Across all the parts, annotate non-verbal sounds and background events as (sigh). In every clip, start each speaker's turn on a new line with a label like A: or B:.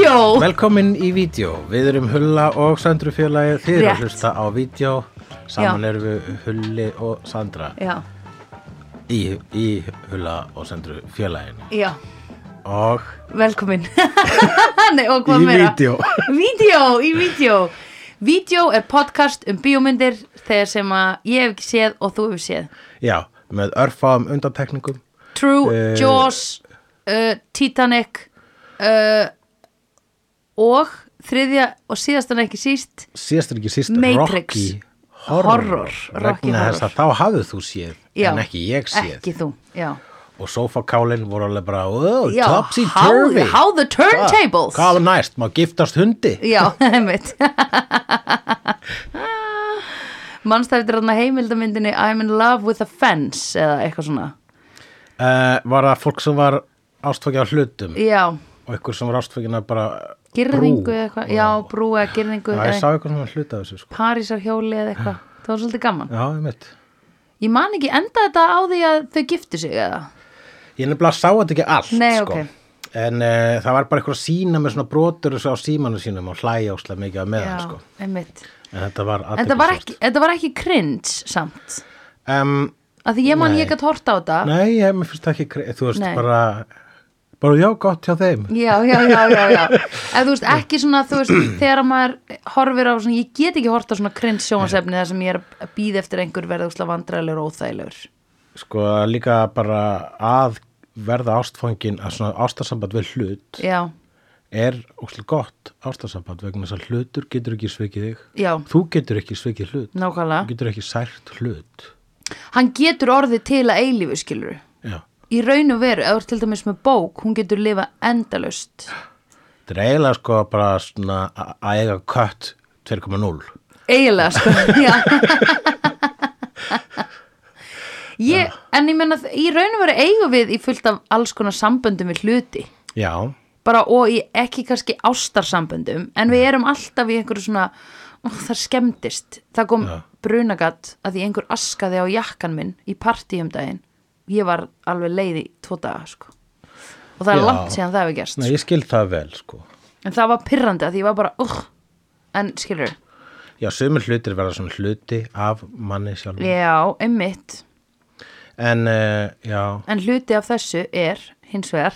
A: Velkomin í vídeo, við erum Hulla og Söndru félagið, þið eru að
B: Rétt.
A: hlusta á vídeo, saman
B: Já.
A: erum við Hulli og Sandra
B: Já,
A: í, í Hulla og Söndru félaginu
B: já,
A: og
B: velkomin (laughs) Nei, og hvað
A: í
B: meira?
A: vídeo.
B: Vídeó, í (laughs) vídeo Vídeó er podcast um bíómyndir þegar sem að ég hef ekki séð og þú hefur séð
A: Já, með örfáum undantekningum,
B: True,
A: Eh.
B: Jaws, uh, Titanic uh, og þriðja og síðast en ekki síst
A: síðast en ekki síst
B: Matrix.
A: Rocky Horror,
B: Horror, Rocky
A: vegna þess að þá hafðu þú séð
B: Já.
A: en ekki ég séð
B: Ekki þú, já
A: og sofakálinn voru alveg bara, oh,
B: Já,
A: topsy-turvy.
B: how- how the turntables.
A: Hvað var næst, má giftast hundi?
B: Já, (laughs) einmitt Manstæftir þarna heimildamyndinni I'm in love with a fence eða eitthvað svona
A: uh, var það fólk sem var ástfókja á hlutum
B: Já,
A: og einhver sem var ástfókina bara
B: girðingu
A: brú.
B: eða eitthvað Já, brú eða girðingu
A: Já, ég sá
B: eða
A: eitthvað svona hluta af þessu sko.
B: Parísarhjóli eða eitthvað Það var svolítið gaman
A: Já, ég mitt
B: Ég man ekki enda þetta á því að þau giftu sig eða
A: Ég nefnilega sá þetta ekki allt
B: Nei,
A: sko.
B: ókei.
A: En uh, það var bara eitthvað sína með svona brotur þessu á símanu sínum og hlæja óslega mikið að meðan
B: Já,
A: sko.
B: einmitt
A: En þetta var
B: En þetta var, ekki, þetta var ekki cringe samt
A: um,
B: Af því ég man
A: Nei.
B: ég gætt horta á þetta
A: Nei, ég, mér finnst það ekki kre- Þú veist,
B: Nei.
A: bara Bara já, gott hjá þeim
B: Já, já, já, já, já En þú veist, ekki svona, þú veist, þegar maður horfir á svona, ég get ekki horft á svona cringe sjónsefni þar sem ég er að býða eftir einhver verða úsla vandræðilegur og óþægilegur
A: Sko, líka bara að verða ástfóngin að svona ástarsamband við hlut
B: Já,
A: er óslega gott ástarsamband vegna þess að hlutur getur ekki svikið þig
B: já,
A: þú getur ekki svikið hlut þú
B: nákvæmlega
A: getur ekki sært hlut
B: Hann getur orðið til að eilífu skilur
A: já,
B: Í raun og veru, eða þú ert til dæmis með bók hún getur lifa endalaust
A: þetta er eiginlega sko bara svona að- að eiga kött 2.0
B: Eiginlega, sko, (laughs) já Ég, en ég menna, í raun og veru eigum við í fullt af alls konar samböndum við hluti
A: já,
B: bara og í ekki kannski ástarsamböndum en við erum alltaf í einhverju svona ó, það skemmtist, það kom
A: Já.
B: brunagatt að því einhver askaði á jakkan minn í partíum daginn ég var alveg leið í tvo daga sko. og það er
A: Já.
B: langt síðan það hefur gerst
A: Nei, ég skil það vel sko
B: en það var pyrrandi að því ég var bara uh, en skilur,
A: já, sömur hlutir verða svona hluti af manni sjálf
B: já, einmitt
A: en uh, já,
B: en hluti af þessu er hins vegar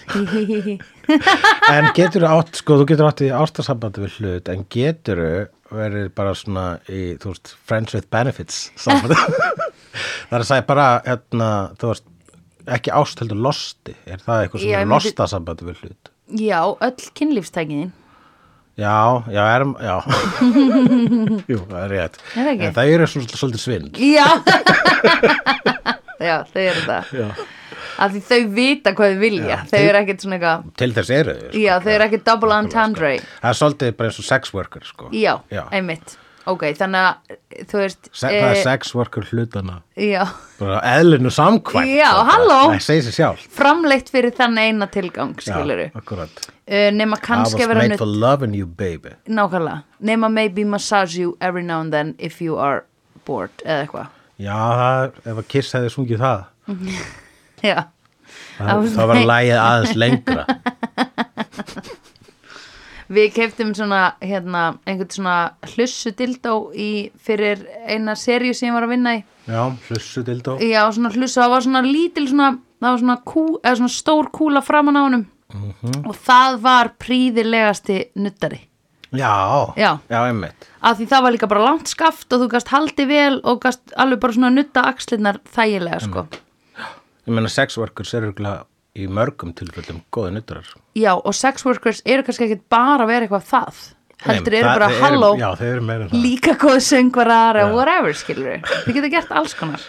B: (laughs)
A: en getur átt sko, þú getur átt í ástarsambandi við hlut en getur verið bara svona í, þú veist, friends with benefits
B: (laughs)
A: sambandi. það er að segja bara hérna, þú veist ekki ást heldur losti, er það eitthvað
B: Já,
A: sem já,
B: ég
A: er
B: myndi-
A: lostasambandi við hlut
B: já, öll kynlífstækiðin
A: já, já, erum,
B: (laughs)
A: já jú, það er rétt
B: Er það ekki?
A: en það eru svona svolítið svindl
B: já já, þau eru það
A: já.
B: að því þau vita hvað þau vilja þau eru ekkert svona eitthvað
A: til þess eru þau sko.
B: já, þau eru ekkert double entendre
A: það er svolítið bara eins og sex worker sko.
B: já,
A: já.
B: einmitt ok, þannig að þú veist eh,
A: Se það er sex worker hlutana
B: já,
A: bara eðlinu samkvæmt
B: Já,
A: bara-
B: halló.
A: Nei, segi sér sjálf
B: framleitt fyrir þann eina tilgang skiluru,
A: Já, akkurat
B: uh, nema
A: I
B: kannski
A: was
B: að vera
A: made
B: nutt
A: for loving you baby
B: nákvæmlega, nema maybe massage you every now and then if you are bored eða eitthvað,
A: Já, það, er- ef að Kiss hefði sungið það
B: já I
A: Það,
B: was
A: það var
B: made-
A: lægið aðeins
B: (laughs)
A: lengra
B: við keftum svona hérna, einhvern svona hlussu dildó í, fyrir eina serju sem ég var að vinna í
A: Já, hlussu dildó
B: Já, svona hlusta, það var svona lítil svona, það var svona, kú, eða svona stór kúla framan á honum
A: Mhm.
B: og það var príðilegasti nuttari
A: Já,
B: Já.
A: einmitt
B: af því það var líka bara langt skaft og þú gast haldið vel og gast alveg bara svona nutta axlirnar þægilega sko
A: Ég meina sex workers eru örugglega í mörgum tilfellum sko. góði nutrar
B: Já, og sex workers eru kannski ekkit bara að vera eitthvað það heldur
A: Nei,
B: eru
A: það-
B: bara
A: þeir
B: halló,
A: Já, þeir eru meira en það
B: líka góð söngvarar eða whatever skilur þið geta gert alls konar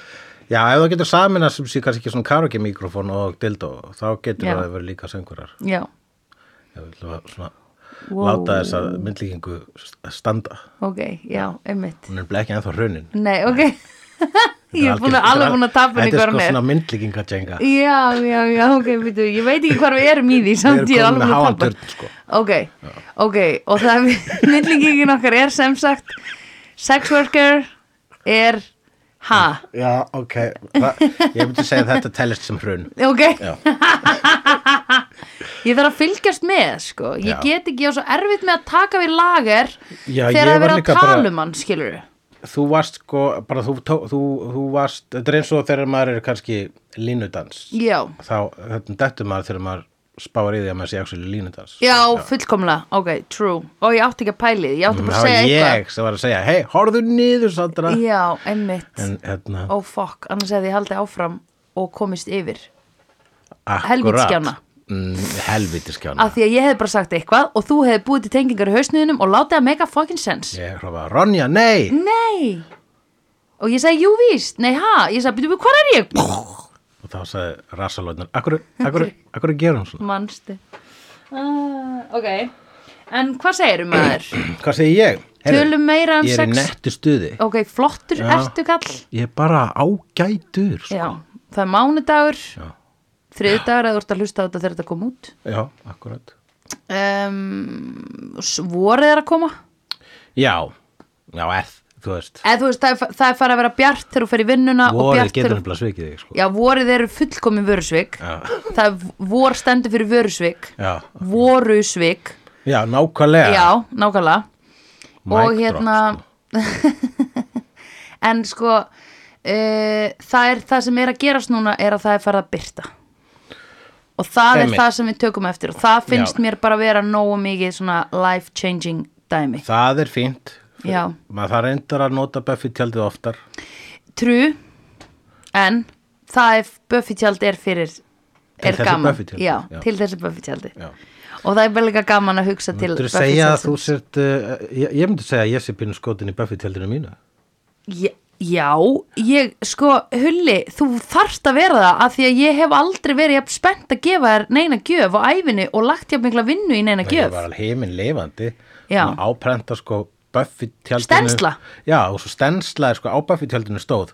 A: Já, ef það getur samin að sem sé kannski ekki svona karaoke mikrofón og dildó þá getur
B: Já.
A: það að vera líka söngurar
B: Já,
A: Ég vil að svona
B: Wow.
A: láta þess að myndlíkingu st- standa
B: ok, já, einmitt
A: Hún er nefnilega ekki ennþá hrunin
B: Nei, ok (laughs) Ég er búin að alveg búin að tapa henni
A: Þetta er
B: hvernig
A: sko svona myndlíkinga djenga
B: Já, já, já, ok, veitu, ég veit ekki hvar við erum í því samt
A: Við
B: ég er
A: erum
B: alveg
A: komin
B: búin
A: með háan
B: að tapa
A: turn, sko.
B: Ok, ok, og það er (laughs) myndlingingin okkar er sem sagt sex worker er ha,
A: Já, ok Þa, Ég myndi segja að þetta tellist sem hrun
B: ok
A: Já.
B: (laughs) ég þarf að fylgjast með sko. ég
A: Já.
B: get ekki, ég á svo erfitt með að taka við lager
A: Já, ég
B: þegar það er
A: var
B: verið
A: líka
B: að
A: bara-
B: tala um hann skilur
A: þú varst sko, bara þú, tó, þú, þú varst, þetta er eins og þegar maður er kannski línudans
B: já,
A: þá þetta dettur maður þegar maður spáir í því að maður sé actually línudans
B: já, fullkomlega, ok, true og ég átti ekki að pæli, því, ég átti
A: Mm,
B: bara að
A: það var
B: segja eitthvað
A: ég sem var að segja, hei, horfðu niður Sandra
B: já, einmitt,
A: en hérna,
B: oh fuck annars hefði ég haldið áfram og komist yfir
A: akkurat
B: helvítiskjána.
A: mm, helvitiskjána
B: af því að ég hefði bara sagt eitthvað og þú hefði búið til tengingar í hausnuðunum og látið að make a fucking sense
A: ég hrófa, Ronja,
B: Mm.
A: nei
B: nei og ég sagði, jú víst, nei ha ég sagði, byrju, hvað er ég?
A: og þá sagði rassalóðin, akkur, akkur, akkur gerum svona
B: manstu uh, ok, en hvað segir maður?
A: hvað segi ég?
B: Tölum meira en
A: ég er
B: sex-
A: í nettu stuði
B: ok, flottur
A: Já.
B: ertu kall
A: ég er bara ágætur sko.
B: já, það er mánudagur
A: Já.
B: þriðdagur að þú ert að hlusta á þetta þegar þetta kom út
A: já, akkurat
B: um, s- vorið er að koma
A: já, já, eð, þú veist
B: eða þú veist, það er, það er farið að vera bjart þegar þú fer í vinnuna og
A: vorið
B: bjart
A: getur
B: þegar
A: nefnilega svikið þig sko.
B: já, vorið eru fullkomin vörusvik
A: já,
B: það er vor stendur fyrir vörusvik
A: já,
B: vorusvik
A: já, nákvæmlega
B: Já, nákvæmlega
A: Mic
B: Og
A: drop, sko.
B: hérna (laughs) En sko uh, Það er það sem er að gerast núna er að það er farið að byrta Og það
A: Einmitt.
B: er það sem við tökum eftir og það finnst
A: Já.
B: mér bara að vera nógu mikið svona life changing dæmi
A: það er fínt
B: Já,
A: maður það reyndar að nota Buffy tjaldið oftar
B: trú En það er Buffy tjald er fyrir er
A: þess er
B: gaman,
A: Buffy tjaldið,
B: já,
A: já.
B: til þessi Buffy tjaldi
A: Já.
B: og það er vel líka gaman að hugsa til
A: Myndirðu
B: Buffy
A: segja að þú
B: tjaldsins.
A: sért, uh, ég, ég myndi segja að ég sé pínu skotin í Buffy tjaldinu mínu
B: Já, já, ég, sko, Hulli, þú þarft að vera það af því að ég hef aldrei verið jafn spennt að gefa þér neina gjöf á ævinni og lagt jafn mikla vinnu í neina
A: ég
B: gjöf.
A: var alveg heiminn lifandi
B: Já.
A: Svona áprenta sko Buffy tjaldinu
B: Stensla.
A: já og svo stensla er sko á Buffy tjaldinu stóð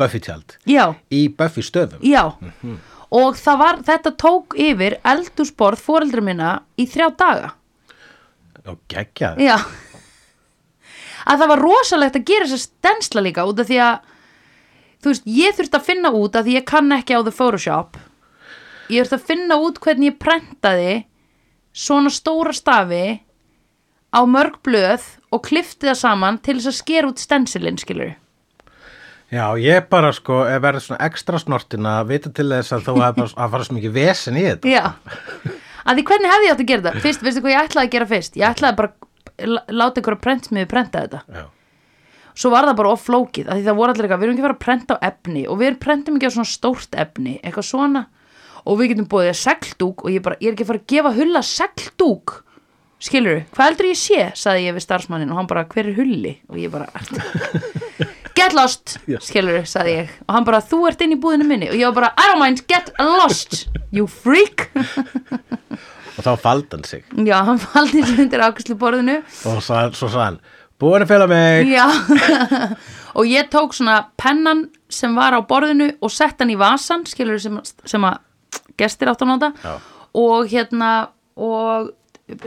A: Buffy tjald
B: Já,
A: í Buffy stöðum
B: já.
A: Mhm.
B: Og það var, þetta tók yfir eldúsborð fóreldra minna í þrjá daga.
A: og geggjað
B: Já. Að það var rosalegt að gera þess að stensla líka út af því að, þú veist, ég þurfti að finna út af því ég kann ekki á the Photoshop. Ég þurfti að finna út hvernig ég prentaði svona stóra stafi á mörg blöð og klifti það saman til þess að skera út stensilinn, skilur.
A: já ég bara sko ef verður svona ekstra snortin að vita til þess að þú að, að fara svo mikið vesen í þetta
B: Já. Að því hvernig hefði ég átt að gera þetta? Fyrst, veistu hvað ég ætlaði að gera fyrst? Ég ætlaði bara að lá- láta einhverja prentsmiði prenta þetta.
A: já,
B: svo var það bara offlókið af því það voru allir eitthvað, við erum ekki að fara að prenta á efni og við prentum ekki á svona stórt efni eitthvað svona og við getum bóðið segldúk og ég, bara, ég er ekki að fara að gefa hulla segldúk skilur, hvað heldur ég sé, saði ég við starfsmannin og hann bara, hver er hulli og ég bara, "Ertu- get lost skilur, saði ég og hann bara, þú ert inn í búðinu minni og ég var bara, I don't mind, get lost you freak (laughs)
A: og þá fald hann sig
B: já, hann faldi sér undir ákvæslu borðinu
A: og svo, svo sagði hann búin að fela mig
B: Já, (laughs) og ég tók svona pennan sem var á borðinu og sett hann í vasan, skilur sem, sem að gestir átt að nota
A: Já.
B: og hérna og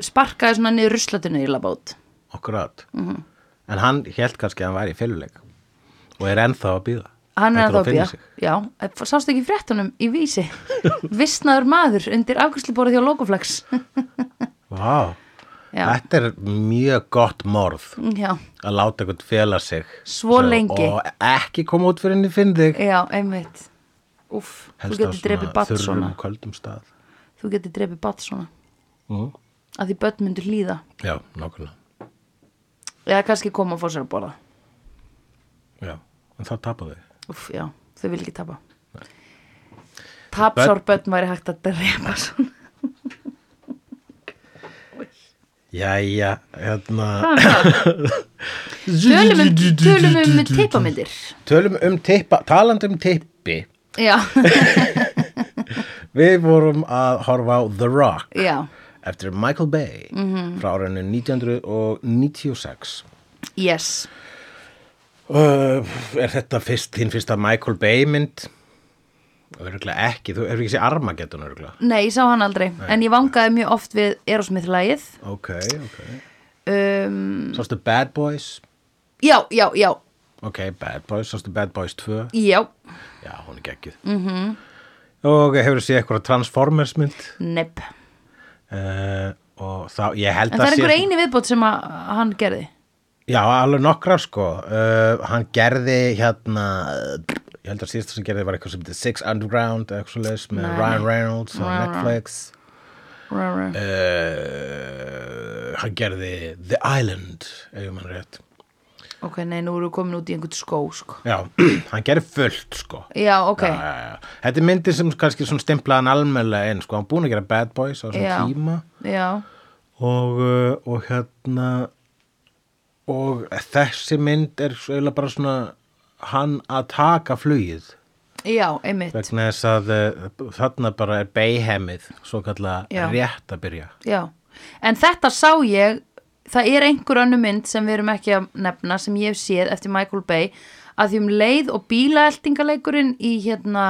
B: sparkaði svona niður ruslatinu í labát.
A: akkurat
B: Mhm.
A: en hann held kannski að hann væri í feluleik og er ennþá að býða
B: Hann er að
A: Eftir
B: þá býja.
A: finna
B: Já, Eh, sástu ekki í fréttunum í vísi. Vissnaður maður undir afgjörsluborðið hjá Logoflex.
A: Vá,
B: Já.
A: þetta er mjög gott morð
B: Já,
A: að láta eitthvað fela sig
B: Svo lengi.
A: og ekki koma út fyrir henni finn þig
B: já, einmitt. Úff, þú getur drefið batt svona.
A: þurrum kvöldum stað
B: Þú getur drefið batt svona.
A: mm.
B: Að því börn myndur hlýða.
A: Já, nákvæmlega
B: Eða kannski koma og fór sér að borða.
A: Já, en þá tapaði
B: Úf, já, þau vil ekki tapa Tapsár börn væri hægt að drepa svona
A: Jæja, hérna
B: Ah, Tölum um, (laughs) tölum um teipamyndir
A: Tölum um tippa, talandi um tippi
B: Já,
A: Við vorum að horfa á The Rock
B: (laughs) já,
A: eftir Michael Bay
B: Mhm.
A: frá árinu 1996
B: yes
A: Uh, er þetta fyrst, þín fyrsta Michael Bay mynd? Örgulega ekki, þú er ekki sér Armageddon örgulega.
B: Nei, ég sá hann aldrei En ég vangaði mjög oft við Erosmith-lægið
A: Ok, ok.
B: um,
A: Sástu Bad Boys?
B: Já, já, já,
A: Ok, Bad Boys, sástu Bad Boys 2?
B: já
A: Já,
B: Mhm.
A: hún er geggjuð. Mm -hmm. Og hefur séð eitthvað Transformers mynd?
B: Nepp
A: uh, og þá, ég held
B: En það er
A: að sé-
B: einhver eini viðbót sem að hann gerði
A: Já, alveg nokkra sko uh, Hann gerði hérna Ég held að síðasta sem gerði var eitthvað sem heitir Six Underground eða eitthvað svo leis með
B: Nei.
A: Ryan Reynolds á
B: Rá, rá.
A: Netflix
B: Rá, rá.
A: uh, Hann gerði The Island ef mann rétt
B: Ok, nei, nú erum við komin út í einhvern skó sko.
A: Já, (clears throat) hann gerði fullt sko
B: Já, ok
A: Já, já, já. Þetta er myndir sem kannski svona stemplaðan almennlega inn sko, hann er búinn að gera Bad Boys á svona
B: Já.
A: tíma
B: Já,
A: og, uh, og hérna og þessi mynd er svo eiginlega bara svona hann að taka flugið
B: já einmitt
A: vegna þess að uh, þarna bara er beihemið svo kalla
B: Já.
A: rétt að byrja
B: já. En þetta sá ég Það er einhver önnu mynd sem við erum ekki að nefna sem ég hef séð eftir Michael Bay að því um leið og bílaeltingaleikurinn í hérna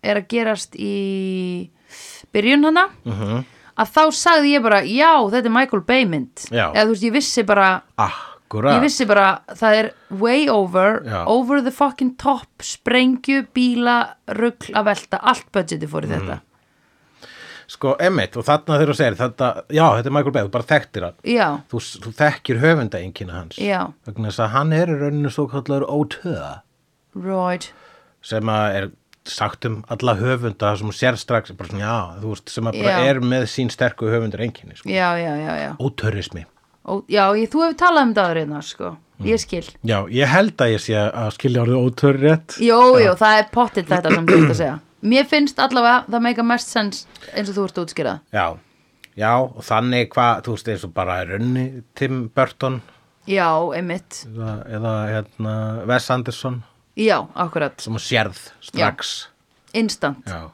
B: er að gerast í byrjun hana
A: Mhm.
B: að þá sagði ég bara, já, þetta er Michael Bay mynd
A: Já.
B: eða þú veist, ég vissi bara
A: Akkurat
B: Ég vissi bara, það er way over,
A: Já.
B: over the fucking top, sprengju, bíla, rugl að velta, allt budgeti fór í
A: Mhm.
B: þetta.
A: sko emmitt og þarna þegar þú segir þetta, já þetta er Michael Bay, þú bara þekktir hann
B: Já,
A: þú, þú þekkir höfunda hans
B: Já.
A: vegna þess að hann er í rauninu svo kallar ótöða
B: right,
A: sem að er sagt um alla höfunda sem hún sér strax bara svona, já, þú veist, sem að bara
B: Já.
A: er með sín sterku höfundur enginni sko.
B: já, já, já, já.
A: ótörismi
B: Ó, já, ég, þú hefur talað um það reyna, sko. Ég skil.
A: já, ég held að ég sé að skilja orðið ótör rétt
B: Jó, jó, það er pottill þetta sem þú ert að segja. Mér finnst allavega, það meika mest sens eins og þú ert að útskýra það.
A: já, já, og þannig hvað þú veist, eins og bara er runni Tim Burton
B: Já, einmitt.
A: eða, eða hérna, Wes Anderson
B: Já, akkurat.
A: sem hún sérð strax
B: Instant.
A: já.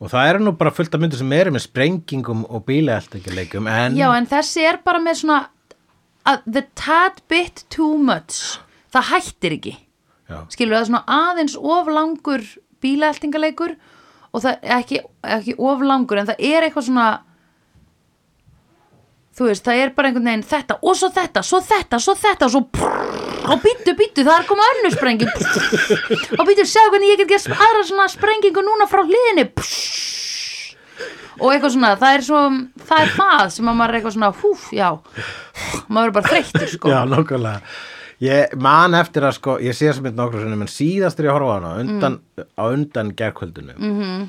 A: og það eru nú bara fullt af myndir sem eru með sprengingum og bílaeltingarleikum en,
B: Já, en þessi er bara með svona að the tad bit too much það hættir ekki
A: já.
B: skilur það er svona aðeins of langur bílaeltingaleikur og það er ekki, ekki of langur en það er eitthvað svona þú veist, það er bara einhvern veginn þetta og svo þetta, svo þetta, svo þetta og svo prrrr, og býttu, býttu, það er komað önnur sprenging prrrr, og býttu, sjá hvernig ég get gert aðra svona sprengingu núna frá hliðinni prrrr, og eitthvað svona, það er svo það er það sem að maður er eitthvað svona húf, já, maður er bara þreyttur sko,
A: Já, nokkulega Ég man eftir að sko, ég sé þess að mynd nokkru sinni menn síðast er ég að horfa á
B: Mm.
A: hana á undan, á undan gerkvöldinu -hmm.
B: Mhm.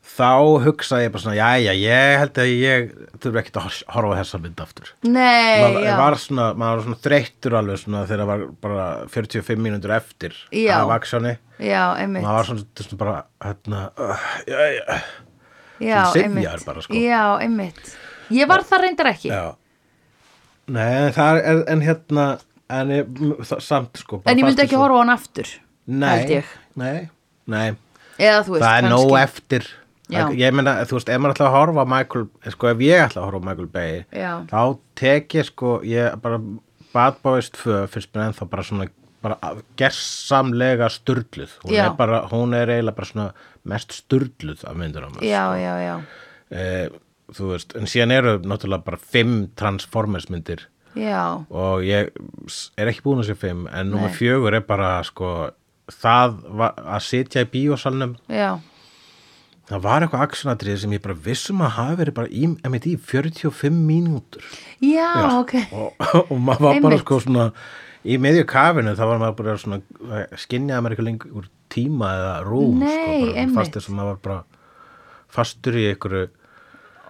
A: þá hugsaði ég bara svona jæja, ég held að ég þurfi ekkert að hors- horfa á þessa mynd aftur
B: nei,
A: maður
B: já
A: var svona, maður var svona þreyttur alveg svona þegar það var bara 45 mínútur eftir
B: Já.
A: af aksjóni
B: já, einmitt
A: maður var svona, svona bara hérna, uh, jæja
B: já,
A: Sem
B: einmitt.
A: syfjaður bara, sko.
B: já, einmitt ég var það reyndar ekki
A: Já. Nei, en það er, en hérna en ég, það, samt sko bara
B: en ég
A: fannst
B: myndi
A: mér
B: ekki
A: svo-
B: horfa á hann aftur held
A: Nei,
B: ég.
A: nei, nei
B: eða þú veist,
A: það er nóg eftir
B: Já.
A: ég meina, þú veist, ef maður ætla að horfa á Michael, sko, ef ég ætla að horfa á Michael Bay
B: Já.
A: þá tek ég, sko ég bara, Bad Boys 2 finnst mér ennþá bara svona bara gersamlega sturluð hún
B: Já.
A: er bara, hún er eiginlega bara svona mest sturluð af myndunum
B: já, já, já,
A: e, þú veist, en síðan eru náttúrulega bara fimm Transformers myndir
B: já
A: og ég s- er ekki búin að sé fimm en nummer
B: Nei.
A: fjögur er bara, sko það var, að sitja í bíósalnum
B: já,
A: Það var eitthvað aksjonatrið sem ég bara vissum að hafi verið bara í, einmitt í 45 mínútur
B: já, ok
A: og, og maður var bara
B: Einmitt.
A: sko svona í miðju kafinu þá var maður bara svona að skinjaði maður eitthvað lengur tíma eða rúm
B: Nei,
A: sko, bara
B: einmitt.
A: fastur sem maður var bara fastur í einhverju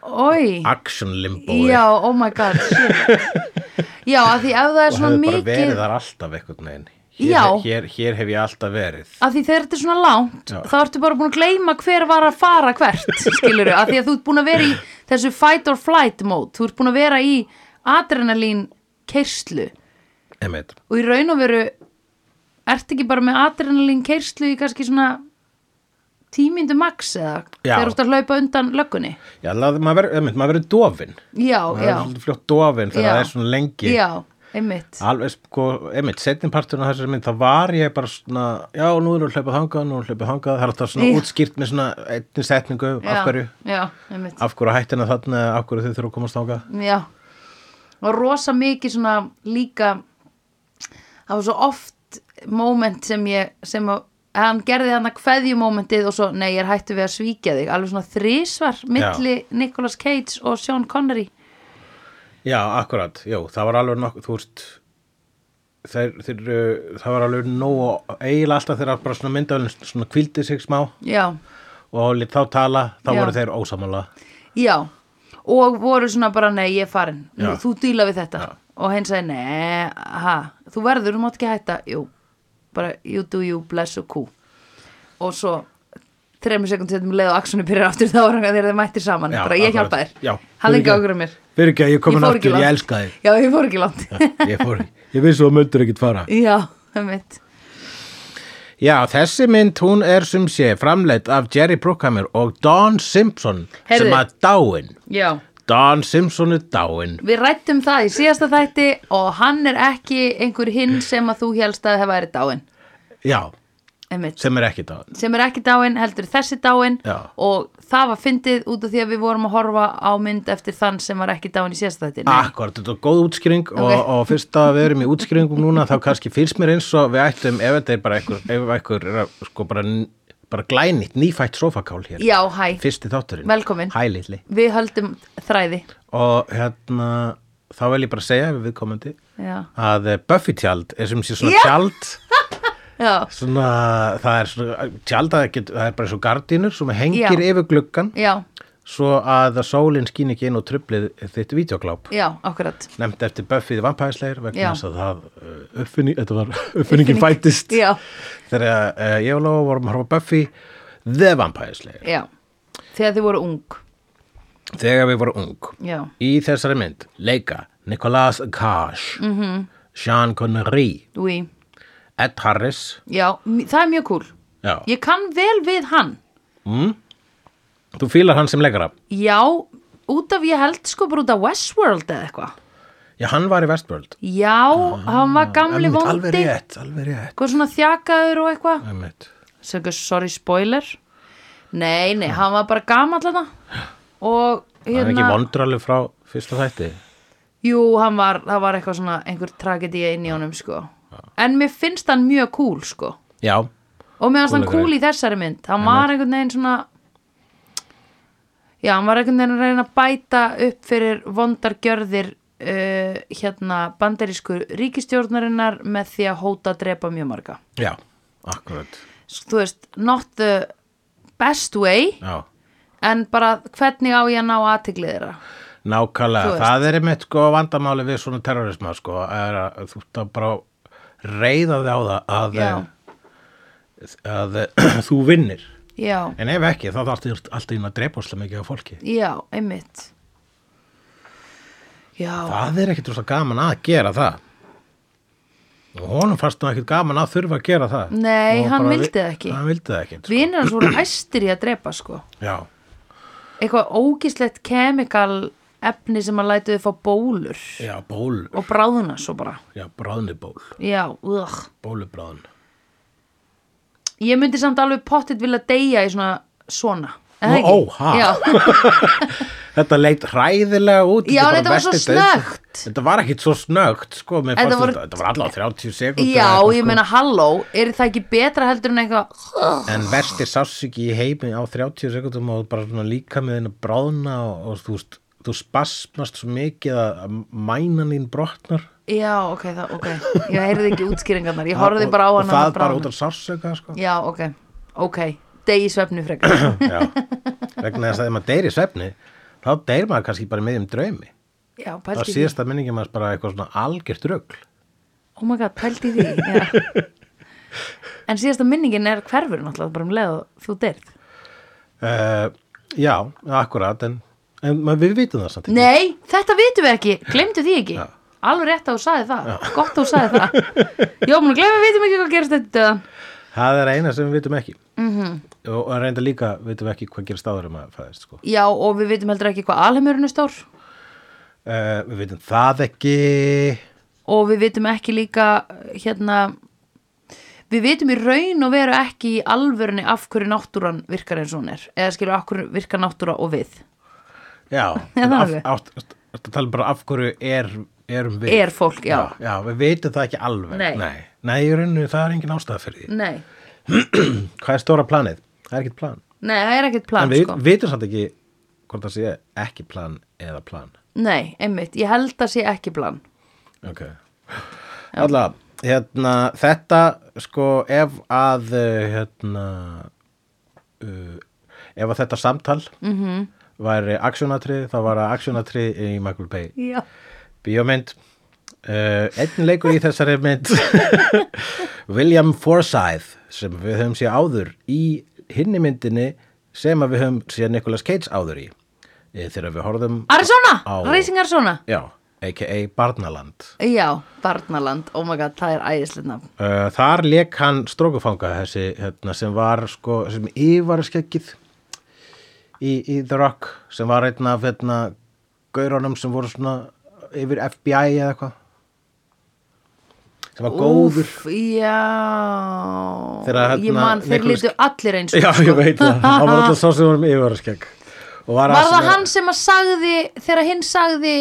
B: oi,
A: action limboi
B: já, oh my god shit.
A: (laughs)
B: já, af því ef það er
A: og
B: svona
A: hefði bara verið
B: mikið
A: þar alltaf eitthvað neginn
B: Já.
A: hér, hér, hér hef ég alltaf verið
B: af því þegar þetta er svona langt
A: Já.
B: þá ertu bara búin að gleyma hver var að fara hvert skilur af því að þú ert búin að vera í þessu fight or flight mode þú ert búin að vera í adrenalín keirslu
A: einmitt,
B: og í raun og veru ert ekki bara með adrenalín keirslu í kannski svona tímindu max eða
A: Já.
B: þegar þú ert að hlaupa undan löggunni
A: já, lað- maður verið, einmitt, maður verið dofin
B: já,
A: maður
B: já,
A: verið svolítið fljótt dofin þegar
B: Já.
A: það er svona lengi
B: já, einmitt
A: Alveg sko, einmitt, setjumparturinn á þessari mynd, þá var ég bara svona, já, nú erum við hlaupað þangað, nú erum við hlaupað þangað, það er alltaf svona
B: Já.
A: útskýrt með svona einni setningu, af hverju,
B: já, einmitt
A: af hverju hættina þarna, eða af hverju þau þurfum að komast þangað.
B: já. og rosa mikið svona líka það var svo oft moment sem ég sem að hann gerði hann að kveðjumómentið og svo, nei, ég er hættu við að svíkja þig alveg svona þrísvar milli Nicolas Cage og Sean Connery
A: Já, akkurat, jú, það var alveg nokkuð, þú veist þeir, þeir, uh, það var alveg nógu eiginlega alltaf þegar bara svona myndavölin svona kvildi sig smá
B: já,
A: og lít þá tala, þá
B: Já.
A: voru þeir ósamála
B: já og voru svona bara, nei, ég er farin Nú,
A: Já.
B: þú díla við þetta og henn sagði, nei, ha, þú verður, þú mátt ekki hætta jú, bara, you do you, bless you, cool og svo þreymur sekund setjum leið og axunni byrjar aftur þá var hann að þeir þeir mættir saman,
A: Já,
B: bara ég
A: akkurat.
B: hjálpa þér
A: Já,
B: hann
A: fyrir
B: lengi
A: ekki.
B: ágrið mér
A: Fyrir ekki að ég komin
B: fór ekki
A: aftur, ég
B: langt.
A: elska þig
B: já, ég fór ekki langt
A: Ég fór, ég vissi að myndur ekkit fara
B: (laughs) já, það mitt
A: Já, þessi mynd, hún er sem sé framleitt af Jerry Bruckheimer og Don Simpson
B: Heyrðu.
A: sem að dáin
B: já,
A: Don Simpson er dáin
B: við rættum það í síðasta þætti og hann er ekki einhver hinn sem að þú helst að hefa verið dáin
A: Já,
B: einmitt
A: sem er ekki dáin
B: sem er ekki dáin, heldur þessi dáin
A: Já.
B: og það var fyndið út af því að við vorum að horfa á mynd eftir þann sem var ekki dáin í sérstætti
A: Akkurat, þetta er góð útskýring og,
B: Ok.
A: og fyrst að við erum í útskýringum núna þá kannski fyrst mér eins og við ættum ef þetta er bara einhver, ef einhver er að, sko bara, n- bara glænýtt, nýfætt sofakál hér,
B: Já, hæ,
A: fyrsti þátturinn
B: Velkomin.
A: Hæ litli
B: við höldum þræði
A: og hérna þá vil ég bara segja við viðkomandi
B: Já,
A: að eh, Buffy tjald er sem sé svona
B: Já.
A: tjald
B: (laughs) já,
A: svona, það er svona tjald að get, það er bara svo gardínur sem hengir
B: Já.
A: yfir gluggan
B: já,
A: svo að sólin skín ekki inn og trublið þitt videokláp
B: já, akkurat
A: nefnd eftir Buffy the Vampire Slayer vegna
B: Já.
A: þess að það uh, uppfinning, þetta var (laughs) uppfinningin fættist
B: Já.
A: þegar uh, ég og Lóa vorum að horfa á Buffy the Vampire Slayer
B: Já, þegar þið voru ung
A: þegar við vorum ung
B: Já,
A: í þessari mynd leika Nicolas Cage
B: Mhm.
A: -hmm. Sean Connery
B: úi,
A: Ed Harris
B: já, m- það er mjög cool
A: Já.
B: Ég kann vel við hann
A: þú fílar hann sem leikara
B: Já, út af ég held sko bara út af Westworld eða eitthvað
A: já hann var í Westworld
B: Já, hann var gamli
A: Einmitt, Ah, alveg
B: vondi
A: rétt, alveg rétt
B: Hvað svona þjakaður og eitthvað
A: Einmitt.
B: sem ekki, sorry, spoiler nei, nei, hann var bara gamall hana og
A: það er
B: hérna
A: ekki vondralið frá fyrsta þætti
B: jú, hann var, það var eitthvað svona einhver tragedía inn í honum, sko en mér finnst hann mjög cool, sko
A: já,
B: og mér finnst hann
A: Cool
B: cool í þessari mynd hann var einhvern veginn svona já, hann var einhvern veginn að reyna að bæta upp fyrir vondargjörðir uh, hérna bandarísku ríkistjórnarinnar með því að hóta að drepa mjög marga
A: já, akkurat
B: þú veist, not the best way
A: já
B: en bara hvernig á ég að ná aðtiklið þeirra Þú
A: Nákvæmlega,
B: veist.
A: það er einmitt sko vandamáli við svona terrorisma sko, er að þú ert að bara reyða þig á það að,
B: Já.
A: að, þú vinnir.
B: já,
A: En ef ekki, þá þarfst þér alltaf inn að drepa óslega mikið á fólki.
B: já, einmitt já,
A: Það er ekkit rosa gaman að gera það. Og honum fannst það ekkit gaman að þurfa að gera það.
B: Nei,
A: Og
B: hann
A: bara
B: vildi
A: vi-
B: það ekki.
A: Hann vildi það ekki. Sko.
B: vinir hans voru æstir í að drepa sko,
A: Já,
B: eitthvað ógislegt kemikal efni sem að lætu þau fá bólur
A: já, ból,
B: og bráðuna svo bara
A: já, bráðni ból,
B: já, ugh.
A: bólubráðn.
B: ég myndi samt alveg pottit vilja deyja í svona svona er það
A: Nú,
B: ekki?
A: ó, ha.
B: já,
A: (laughs) Þetta leit hræðilega út
B: Já,
A: bara
B: þetta var svo
A: versti
B: snöggt.
A: dauðsfall. Þetta var ekkit svo snögt sko, mér
B: Þetta
A: fannst
B: voru-
A: þetta, þetta var allavega 30 sekundur
B: já
A: sko-
B: ég meina halló er það ekki betra heldur en eitthvað
A: sko. En versti sásiki í heimi á 30 sekundum og bara svona líka með henni bráðna og, og þú, veist, þú spasmast svo mikið að að mænan þín brotnar
B: já, ok, það, ok ég heyrði ekki útskýringarnar, ég horfði bara á
A: og,
B: hann
A: og það bara út af sásöka sko.
B: Já, ok, ok Degi svefnu frekar
A: (clears throat) Já, vegna þess að ef maður deyr í svefni þá deyr maður kannski bara með þeim draumi
B: Já,
A: þá
B: pælti því
A: síðasta minningi maður bara eitthvað svona algjört rögl
B: Oh my god, pælti því já. En síðasta minningin er hverfur náttúrulega bara um leið og þú dyrð
A: Uh, já, akkurat, en, en ma- við vitum það samt ekki.
B: Nei, þetta vitum við ekki, glemdu því ekki Alveg rétt að þú sagði það, gott að þú sagði það Já, mun glemum við vitum ekki hvað gerist þetta
A: Það er eina sem við vitum ekki.
B: Mhm.
A: -hmm. Og og reynda líka vitum við ekki hvað gerir stáður um að fæðist, sko.
B: Já, og við vitum heldur ekki hvað alheimurinn er stór
A: Uh, við vitum það ekki,
B: Og við vitum ekki líka hérna Við vitum í raun og veru ekki í alvörunni af hverju náttúran virkar eins og hún er eða skilur af hverju virkar náttúra og við
A: já,
B: (laughs) það
A: en af,
B: alveg.
A: átt, þetta tala um bara af hverju er, erum við.
B: Er fólk, já.
A: Já, við vitum það ekki alveg.
B: Nei.
A: Nei, Nei í rauninu það er engin ástæða fyrir því.
B: Nei,
A: hvað er stóra planið? Það er ekkert plan.
B: Nei, það er ekkert plan
A: en við
B: sko.
A: vitum samt ekki hvort það sé ekki plan eða plan.
B: Nei, einmitt, ég held að sé ekki plan
A: Ok. Alla, hérna, þetta sko ef að uh, hérna uh, ef að þetta samtal
B: Mhm.
A: -hmm. væri aksjónatrið, þá var það aksjónatrið í Michael Bay.
B: Já,
A: Bíómynd uh, Einn leikur í þessari mynd (laughs) William Forsyth sem við höfum séð áður í hinni myndinni sem að við höfum séð Nicolas Cage áður í Eh, þegar við horfðum
B: Arizona,
A: á,
B: Racing Arizona
A: Já, a.k.a. Barnaland
B: Já, Barnaland, oh my god, það er æðislega nafn
A: uh, Þar leik hann strókufanga þessi hérna, sem var sko sem yvar skeggið í, í The Rock sem var einn af hérna, gaurunum sem voru svona yfir FBI eða eitthvað sem var góður (laughs)
B: Úff, Já
A: Þegar að,
B: Ég
A: hérna,
B: man, þeir
A: Nicolas-
B: lítu allir eins
A: (laughs)
B: sko.
A: Já, ég veit það,
B: (laughs)
A: hann var alltaf svo sem var með yfir skegg og var,
B: Var
A: að
B: það
A: svona-
B: hann sem að sagði þegar hinn sagði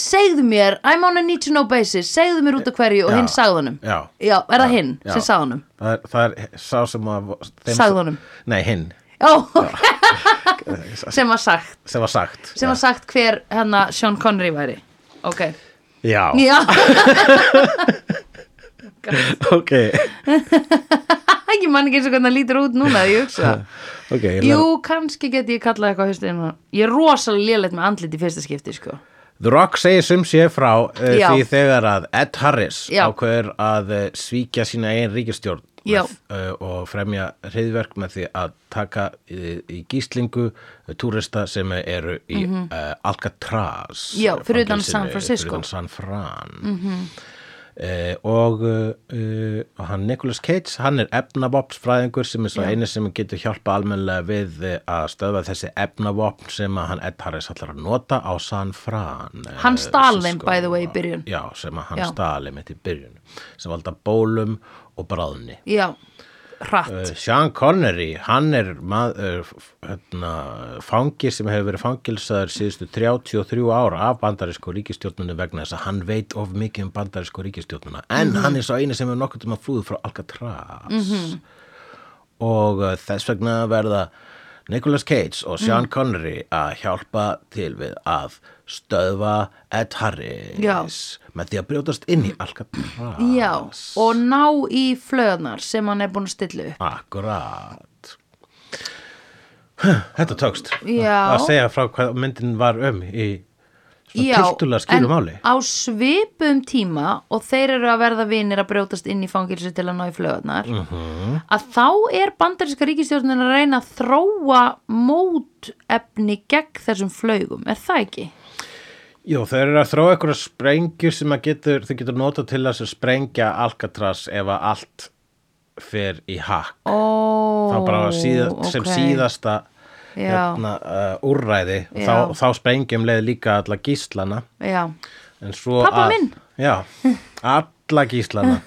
B: segðu mér, I'm on a need to know basis segðu mér út af hverju og
A: Já.
B: hinn sagði honum
A: Já.
B: er það hinn
A: Já.
B: sem sagði honum
A: Það er, það er sá sem að þeim-
B: Sagði honum.
A: Nei, hinn,
B: (laughs) Já, sem var sagt
A: sem var sagt
B: sem var sagt hver hérna Sean Connery væri ok,
A: Já,
B: já
A: (laughs)
B: (laughs)
A: ok
B: ég man ekki eins og hvernig það lítur út núna þegar ég hugsa það.
A: Ok, ég
B: jú,
A: lær-
B: kannski geti ég kallað eitthvað haustið núna. ég er rosalega lélegt með andlit í fyrsta skipti sko.
A: The Rock segir sem sé frá uh,
B: Já.
A: því þegar að Ed Harris
B: Já.
A: ákveður að uh, svíkja sína eigin ríkistjórn
B: Já.
A: með, uh, og fremja hriðverk með því að taka í, í gíslingu uh, túrista sem eru í uh, Alcatraz
B: Mhm. Já, fyrir utan
A: fangelsinu,
B: San Francisco. Mhm.
A: fyrir utan San Fran Eh, og uh, uh, og hann Nicolas Cage, hann er efnavopnsfræðingur sem er svo eini sem getur hjálpa almennilega við eh, að stöðva þessi efnavopn sem að hann Ed Harris ætlar að nota á San Fran eh,
B: Hann stal þeim,
A: Cisco.
B: by the way, í byrjun.
A: Já, sem að hann
B: Já.
A: stali mitt í byrjun sem valda bólum og bráðni
B: já, hratt
A: Uh, Sean Connery, hann er maður, hérna, fangi sem hefur verið fangilsaður síðustu 33 ára af bandarísku ríkistjórnunum vegna þess að hann veit of mikið um bandarísku ríkistjórnuna en hann er svo eini sem er nokkuð um að flúðu frá Alcatraz og uh, þess vegna verða Nicolas Cage og Sean Connery að hjálpa til við að stöðva Ed Harris
B: Já.
A: með því að brjótast inn í Alcatraz
B: já, og ná í flöðnar sem hann er búin að stilla upp
A: Akkurát Þetta tókst
B: Já.
A: að segja frá hvað myndin var um í
B: já,
A: tiltulega skýru máli
B: á svipum tíma og þeir eru að verða vinir að brjótast inn í fangilsu til að ná í flöðnar
A: Mhm.
B: -hmm. að þá er bandaríska ríkistjórnin að reyna að þróa mótefni gegn þessum flögum, er það ekki?
A: Jú, þau eru að þróa einhverja sprengju sem að getur, þau getur notað til þess að sprengja Alcatraz ef að allt fer í hakk
B: Oh,
A: þá bara síða, sem
B: ok.
A: síðasta
B: Já.
A: hérna, uh, úrræði
B: Já.
A: þá, þá sprengjum leið líka alla gíslana
B: Já,
A: en svo
B: Pabba
A: að,
B: minn.
A: Já, alla gíslana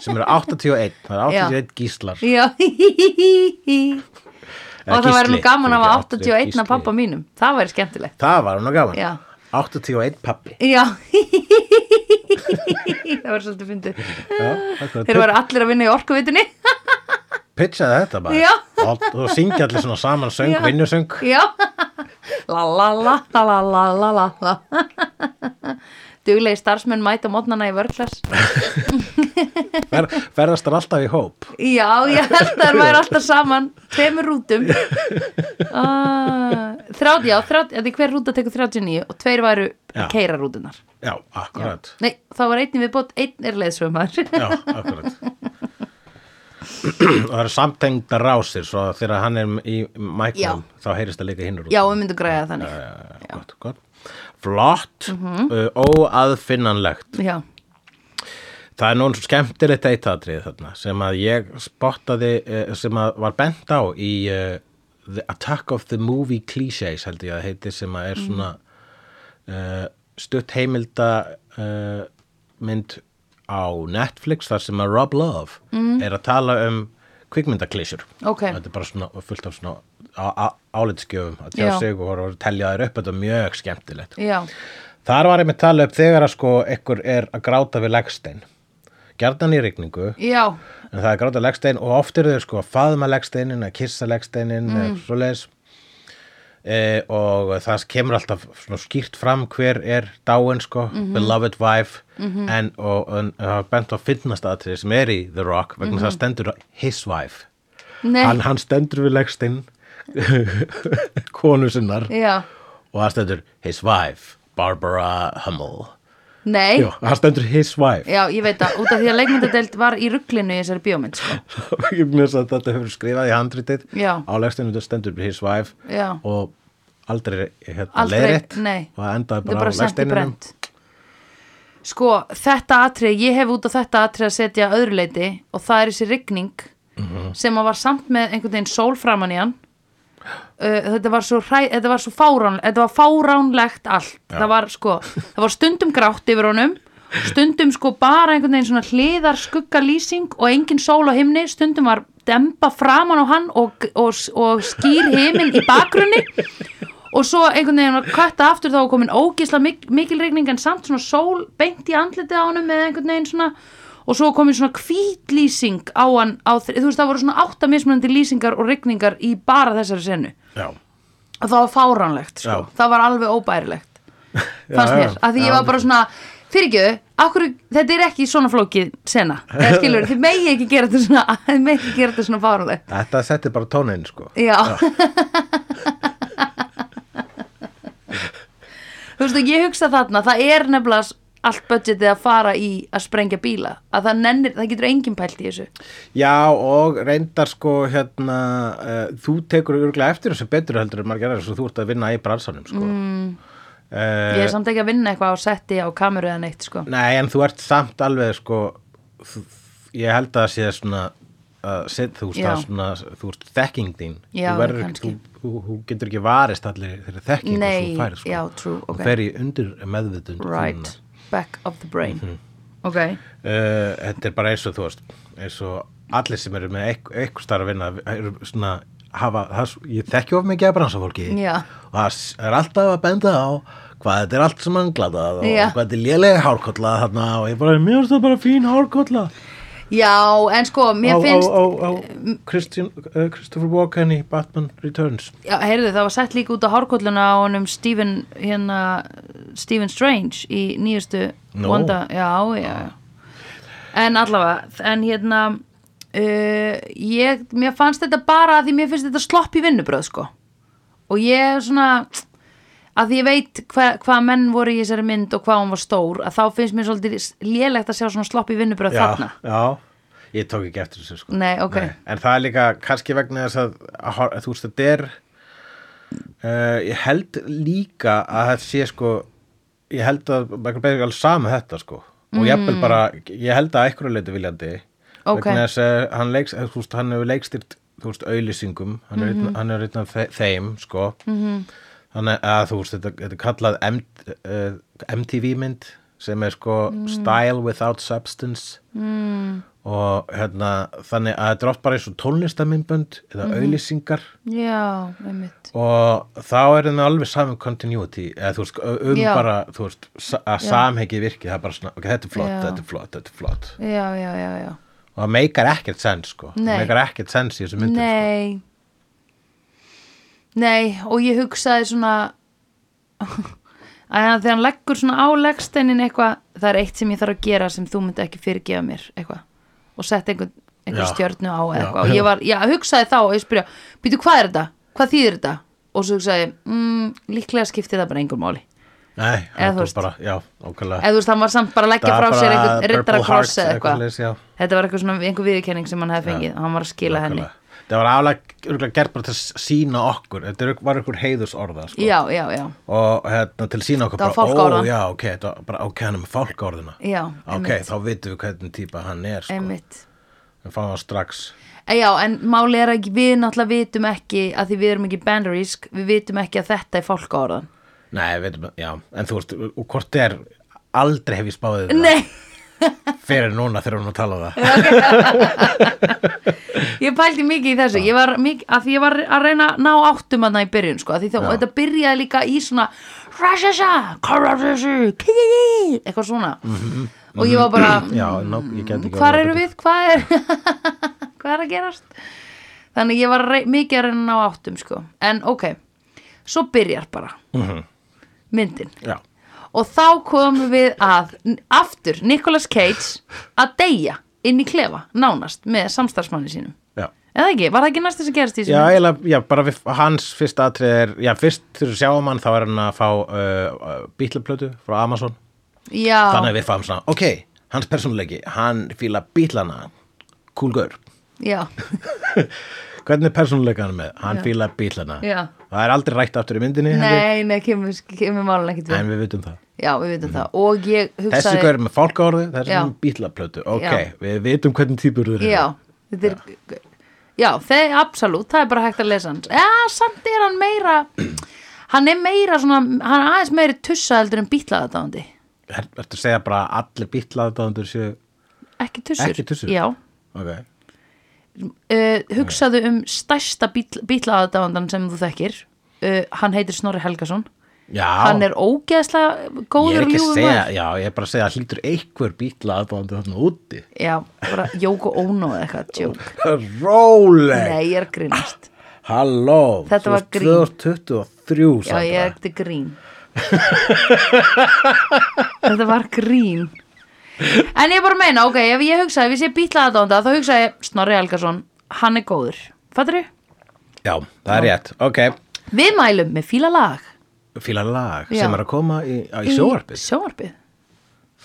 A: sem eru 81, það eru 81 gíslar
B: já (laughs)
A: Eða
B: Og það væri nú
A: gísli,
B: gaman að
A: fyrir
B: hafa
A: ekki
B: 81
A: gísli.
B: af pappa mínum Það væri skemmtilegt
A: Það var nú gaman
B: Já.
A: 81 pappi
B: Já (laughs) Það var svolítið fyndið Þeir
A: Þeir
B: væri allir að vinna í orkuvitunni
A: Pitchaði þetta bara
B: Já.
A: og, og syngja allir svona saman söng,
B: Já.
A: vinnusöng
B: Já La la la la la la la la la Duglegi starfsmenn mæta mótnana í vörklass
A: Fer, Ferðast er alltaf í hóp
B: Já, ég held að þær væri alltaf saman Tveimur rútum ah, Þrjátt, já, þrjátt Því hver rúta tekur 39 og tveir væru að
A: Já.
B: keira rútunar
A: Já, akkurat
B: Nei, þá var einnig við bótt, einn er leiðsögumar
A: (laughs) Já, akkurat (clears throat) Og það eru samtengda rásir svo að þegar hann er í mæknum þá heyrist það líka hinnur út
B: Já, við myndum græða þannig
A: já. Gott, gott. Flott,
B: Mhm.
A: uh, óaðfinnanlegt
B: Já,
A: Það er nú skemmtilegt eitt aðrið þarna sem að ég spottaði eh, sem að var bent á í uh, The Attack of the Movie Clichés held ég að það heiti sem að er
B: Mm.
A: svona uh, stutt heimilda uh, mynd á Netflix þar sem að Rob Love er að tala um kvikmyndaklísjur
B: Mm. Ok.
A: Þetta er bara svona fullt af svona á- á- álitsgjöfum að tjá
B: Já.
A: sig og horfa- telja þér upp þetta er mjög skemmtilegt
B: já,
A: Þar var einmitt talað upp þegar að sko ekkur er að gráta við leggstein gjarnan í rigningu
B: já,
A: en það er gráta leggstein og oft eru þau sko að faðma leggsteinin að kissa leggsteinin mm. eða svoleiðis e, og það kemur alltaf svona skýrt fram hver er dáin sko beloved wife en, og og- en það var bent á finnast aðtrið sem er í The Rock vegna mm -hmm. það stendur his wife
B: nei,
A: hann, hann stendur við leggstein (laughs) konu sinnar
B: já,
A: og það stendur his wife Barbara Hummel
B: nei
A: Jú, það stendur his wife
B: Já, ég veit að, út af því að leikmyndadeild var í rugglinu í þessari bíómynd, sko.
A: (laughs) ég mjög að þetta hefur skrifað í handritið
B: Já.
A: á legstinu þetta stendur his wife
B: Já.
A: og aldrei, hérna,
B: Aldrei,
A: leiðrétt
B: nei.
A: og það endaði
B: Þetta
A: bara,
B: er bara
A: á
B: sent í
A: legsteininum
B: brent. Sko, þetta atrið, ég hef út á þetta atrið að setja að öðru leiti og það er þessi rigning
A: Mhm.
B: sem að var samt með einhvern veginn sól framan í hann. Uh, þetta var svo, hræ, þetta var svo fárán, þetta var fáránlegt allt. Það var sko, það var stundum grátt yfir honum, stundum sko bara einhvern veginn svona hliðar skuggalýsing og engin sól á himni, stundum var dempa framan á hann og, og, og skýr himin í bakgrunni og svo einhvern veginn var kvarta aftur þá var komin ógisla mik mikil regning en samt svona sól beint í andlitið á honum með einhvern veginn svona og svo var komin svona kvítlýsing á hann á þri, þú veist það voru svona átta mismunandi lýsingar og regningar í bara þessari senu
A: Já.
B: og það var fáránlegt sko.
A: Já.
B: það var alveg óbærilegt fannst
A: Já,
B: mér,
A: já.
B: af því ég
A: Já.
B: var bara svona fyrirgjöðu, akkur, þetta er ekki svona flókið
A: (laughs)
B: sena, eða skilur, þið megi ekki gera þetta svona, (laughs) þið megi ekki gera þetta svona fáránlegt
A: þetta setti bara tónin sko
B: Já Þú veist ekki, ég hugsa þarna Það er nefnilega s- allt budgetið að fara í að sprengja bíla að það, nennir, það getur engin pælt í þessu
A: já og reyndar sko hérna, uh, þú tekur örgulega eftir þessu betur heldur en margir aðeins og þú ert að vinna í bransanum sko Eh, mm.
B: Ég er samt ekki að vinna eitthvað á setti á kameru eða neitt sko.
A: Nei, en þú ert samt alveg sko, þú- ég held að það sé svona að set, þú, veist,
B: Já.
A: það svona, þú ert þekking þín
B: Já,
A: þú, verður,
B: kannski.
A: þú, þú, þú getur ekki varist allir þeirri þekking
B: Nei,
A: þú færi sko.
B: já, true, ok.
A: Hún fer í undir meðvitund
B: Right, back of the brain Ok,
A: uh, Þetta er bara eins og þú veist eins og allir sem eru með eitth- eitthvað starf að vinna eru svona hafa, það, er svo- ég þekki of mikið að bransafólki
B: Já.
A: og það s- er alltaf að benda á hvað þetta er allt sem hann glatað og
B: Já.
A: hvað þetta er lélega hárkolla þarna og ég bara, mér finnst það bara fín hárkolla
B: já, en sko
A: á,
B: mér finnst
A: á, á, á Christian, uh, Christopher Walken í Batman Returns
B: Já, heyrðu, það var sett líka út á hárkolluna á honum Stephen, hérna, Stephen Strange í nýjustu
A: Nú. Ah.
B: Wanda, já, já, já. En allavega, en hérna, uh, ég, mér fannst þetta bara að því mér finnst þetta slopp í vinnubröð, sko. Og ég svona, að því ég veit hva, hvað menn voru í þessari mynd og hvað hún var stór, að þá finnst mér svolítið lélegt að sjá svona slopp í vinnubröð þarna.
A: já, ég tók ekki eftir þessu sko.
B: Nei, ok.
A: En það er líka kannski vegna þess að, að, hor- að þú veist þetta er uh, ég held líka að þetta sé sko ég held að Michael Bay er alveg sama þetta sko og jafnvel bara, ég held að einhverju leiti viljandi
B: Ok.
A: vegna þess að hann, leiks, að, þú veist, hann hefur leikstýrt þú veist, auðlýsingum, hann er einn- hann er einn af þe- þeim sko -hmm. þannig að þú veist, þetta, þetta er kallað M, uh, MTV mynd sem er sko style without substance mm. og hérna þannig að þetta er oft bara eins og tónlistamindbönd eða auðlýsingar
B: Já, einmitt.
A: og þá er það með alveg saman continuity eða þú veist, um
B: Já.
A: bara þú veist, sa- að samhengi virki það er bara svona, ok, þetta er flott,
B: Já.
A: þetta er flott, þetta er flott
B: Já, já, já, já.
A: og það meikar ekkert sens sko það
B: Nei.
A: meikar ekkert sens í þessu myndum sko.
B: Nei Nei, og ég hugsaði svona (laughs) að hann- þegar hann leggur svona á leggsteinin eitthvað, það er eitt sem ég þarf að gera sem þú myndi ekki fyrirgefa mér eitthvað og sett einhvern, einhvern
A: Já.
B: stjörnu á eða
A: Já.
B: eitthvað og ég, var, ég hugsaði þá og ég spyrja, býtu hvað er þetta? Hvað þýðir þetta? Og svo hugsaði, ég, mm, líklega skipti það bara engum máli
A: sko. Nei,
B: Eða
A: það
B: þú
A: er
B: veist.
A: bara, já, ókvæmlega
B: eða þú veist, hann var samt bara að leggja
A: Það
B: frá
A: er
B: sér
A: bara
B: einhvern
A: Purple
B: riddara
A: Hearts
B: krossa eða
A: eða eitthvað
B: eitthvað
A: leys, já.
B: þetta var eitthvað svona einhver viðurkenning sem hann hefði fengið og hann var að skila henni
A: það var álega, örgulega gert bara til að sína okkur þetta er- var einhver heiðusorða sko.
B: já, já, já,
A: og hérna, til að sína okkur
B: Það var
A: bara,
B: fálkaorðan.
A: já, ok, þetta var bara, ok, hann er með fálkaorðina
B: Já,
A: ok,
B: einmitt.
A: þá vitum við hvernig típa hann er sko.
B: einmitt
A: en fáum það strax
B: Eh, Já, en máli er að við náttúrulega vitum ekki að því við erum ekki bandarísk, við vitum ekki að þetta er fólkaorðan.
A: Nei, veitum, já, en þú veist, og hvort er aldrei hef ég spáðið það
B: Nei,
A: fyrir núna þegar hún er að tala um það
B: ég pældi mikið í þessu, ég var mikið, að því ég var að reyna að ná áttum hana í byrjun, sko, að því þá,
A: Já.
B: þetta byrjaði líka í svona, rashasha, karashashi, kiki, eitthvað svona. og ég var bara
A: já, ná, Mhm. ég get ekki
B: hvað
A: orðað
B: eru
A: betur.
B: við, hvað er hvað er (laughs) að gerast þannig ég var rey, mikið að reyna á áttum sko. en ok, svo byrjar bara
A: Mhm.
B: myndin
A: já,
B: og þá komum við að n- aftur Nicolas Cage að deyja inn í klefa, nánast með samstarfsmanni sínum
A: já
B: eða ekki, var það ekki næst þess að gerast í
A: Já,
B: sinni?
A: eiginlega, já, bara við, hans fyrsta atrið er, já, fyrst þurfum við sjáum hann þá er hann að fá uh, bítlaplötu frá Amazon,
B: já,
A: þannig að við fáum svona, ok, hans persónuleiki, hann fíla bítlana, kúlgur,
B: já,
A: hvernig persónuleika hann er með, hann
B: Já.
A: fíla bítlana,
B: Já.
A: það er aldrei rætt aftur í myndinni, held
B: nei, nei, kemur, kemur málun ekkert
A: ég,
B: við,
A: en við vitum það.
B: já, við veitum það og ég
A: Þessi
B: hugsaði
A: hver er með fálkaorðu, þessi
B: Já.
A: er með bítlaplötu, ok,
B: Já.
A: við vitum hvernig týpur þeir eru.
B: Já, þetta er Já, það er absolutt, það er bara hægt að lesa hans Já, samt er hann meira Hann er meira svona Hann er aðeins meiri tussa heldur en bítlaðadándi
A: Er, ertu að segja bara að allir bítlaðdándur séu,
B: Ekki tussur
A: Ekki tussur?
B: Já,
A: ok,
B: uh, hugsaðu um stærsta bítlaðadándan sem þú þekkir uh, Hann heitir Snorri Helgason
A: já.
B: Hann er ógeðslega
A: Ég er
B: góður og
A: ekki að
B: ljúfur
A: segja,
B: maður.
A: já, ég er bara að segja að hlýtur einhver bítla aðbáðandi þarna úti.
B: Já, bara Jóko Óno eða eitthvað djók.
A: Róleg,
B: Nei, ég er að grínast
A: halló,
B: Þetta
A: þú
B: var
A: ert
B: grín.
A: 2023,
B: Já, ég er
A: Sandra.
B: ekkert
A: (laughs)
B: grín Þetta var grín En ég bara meina, ok, ef ég hugsaði Ef ég sé bítlaða dánda, þá hugsaði ég Snorri Helgason, hann er góður Fattur þau?
A: Já, það er rétt, ok,
B: Við mælum með fíla lag
A: fíla lag
B: Já.
A: sem er að koma í, á- í sjóarpið.
B: Sjónvarpið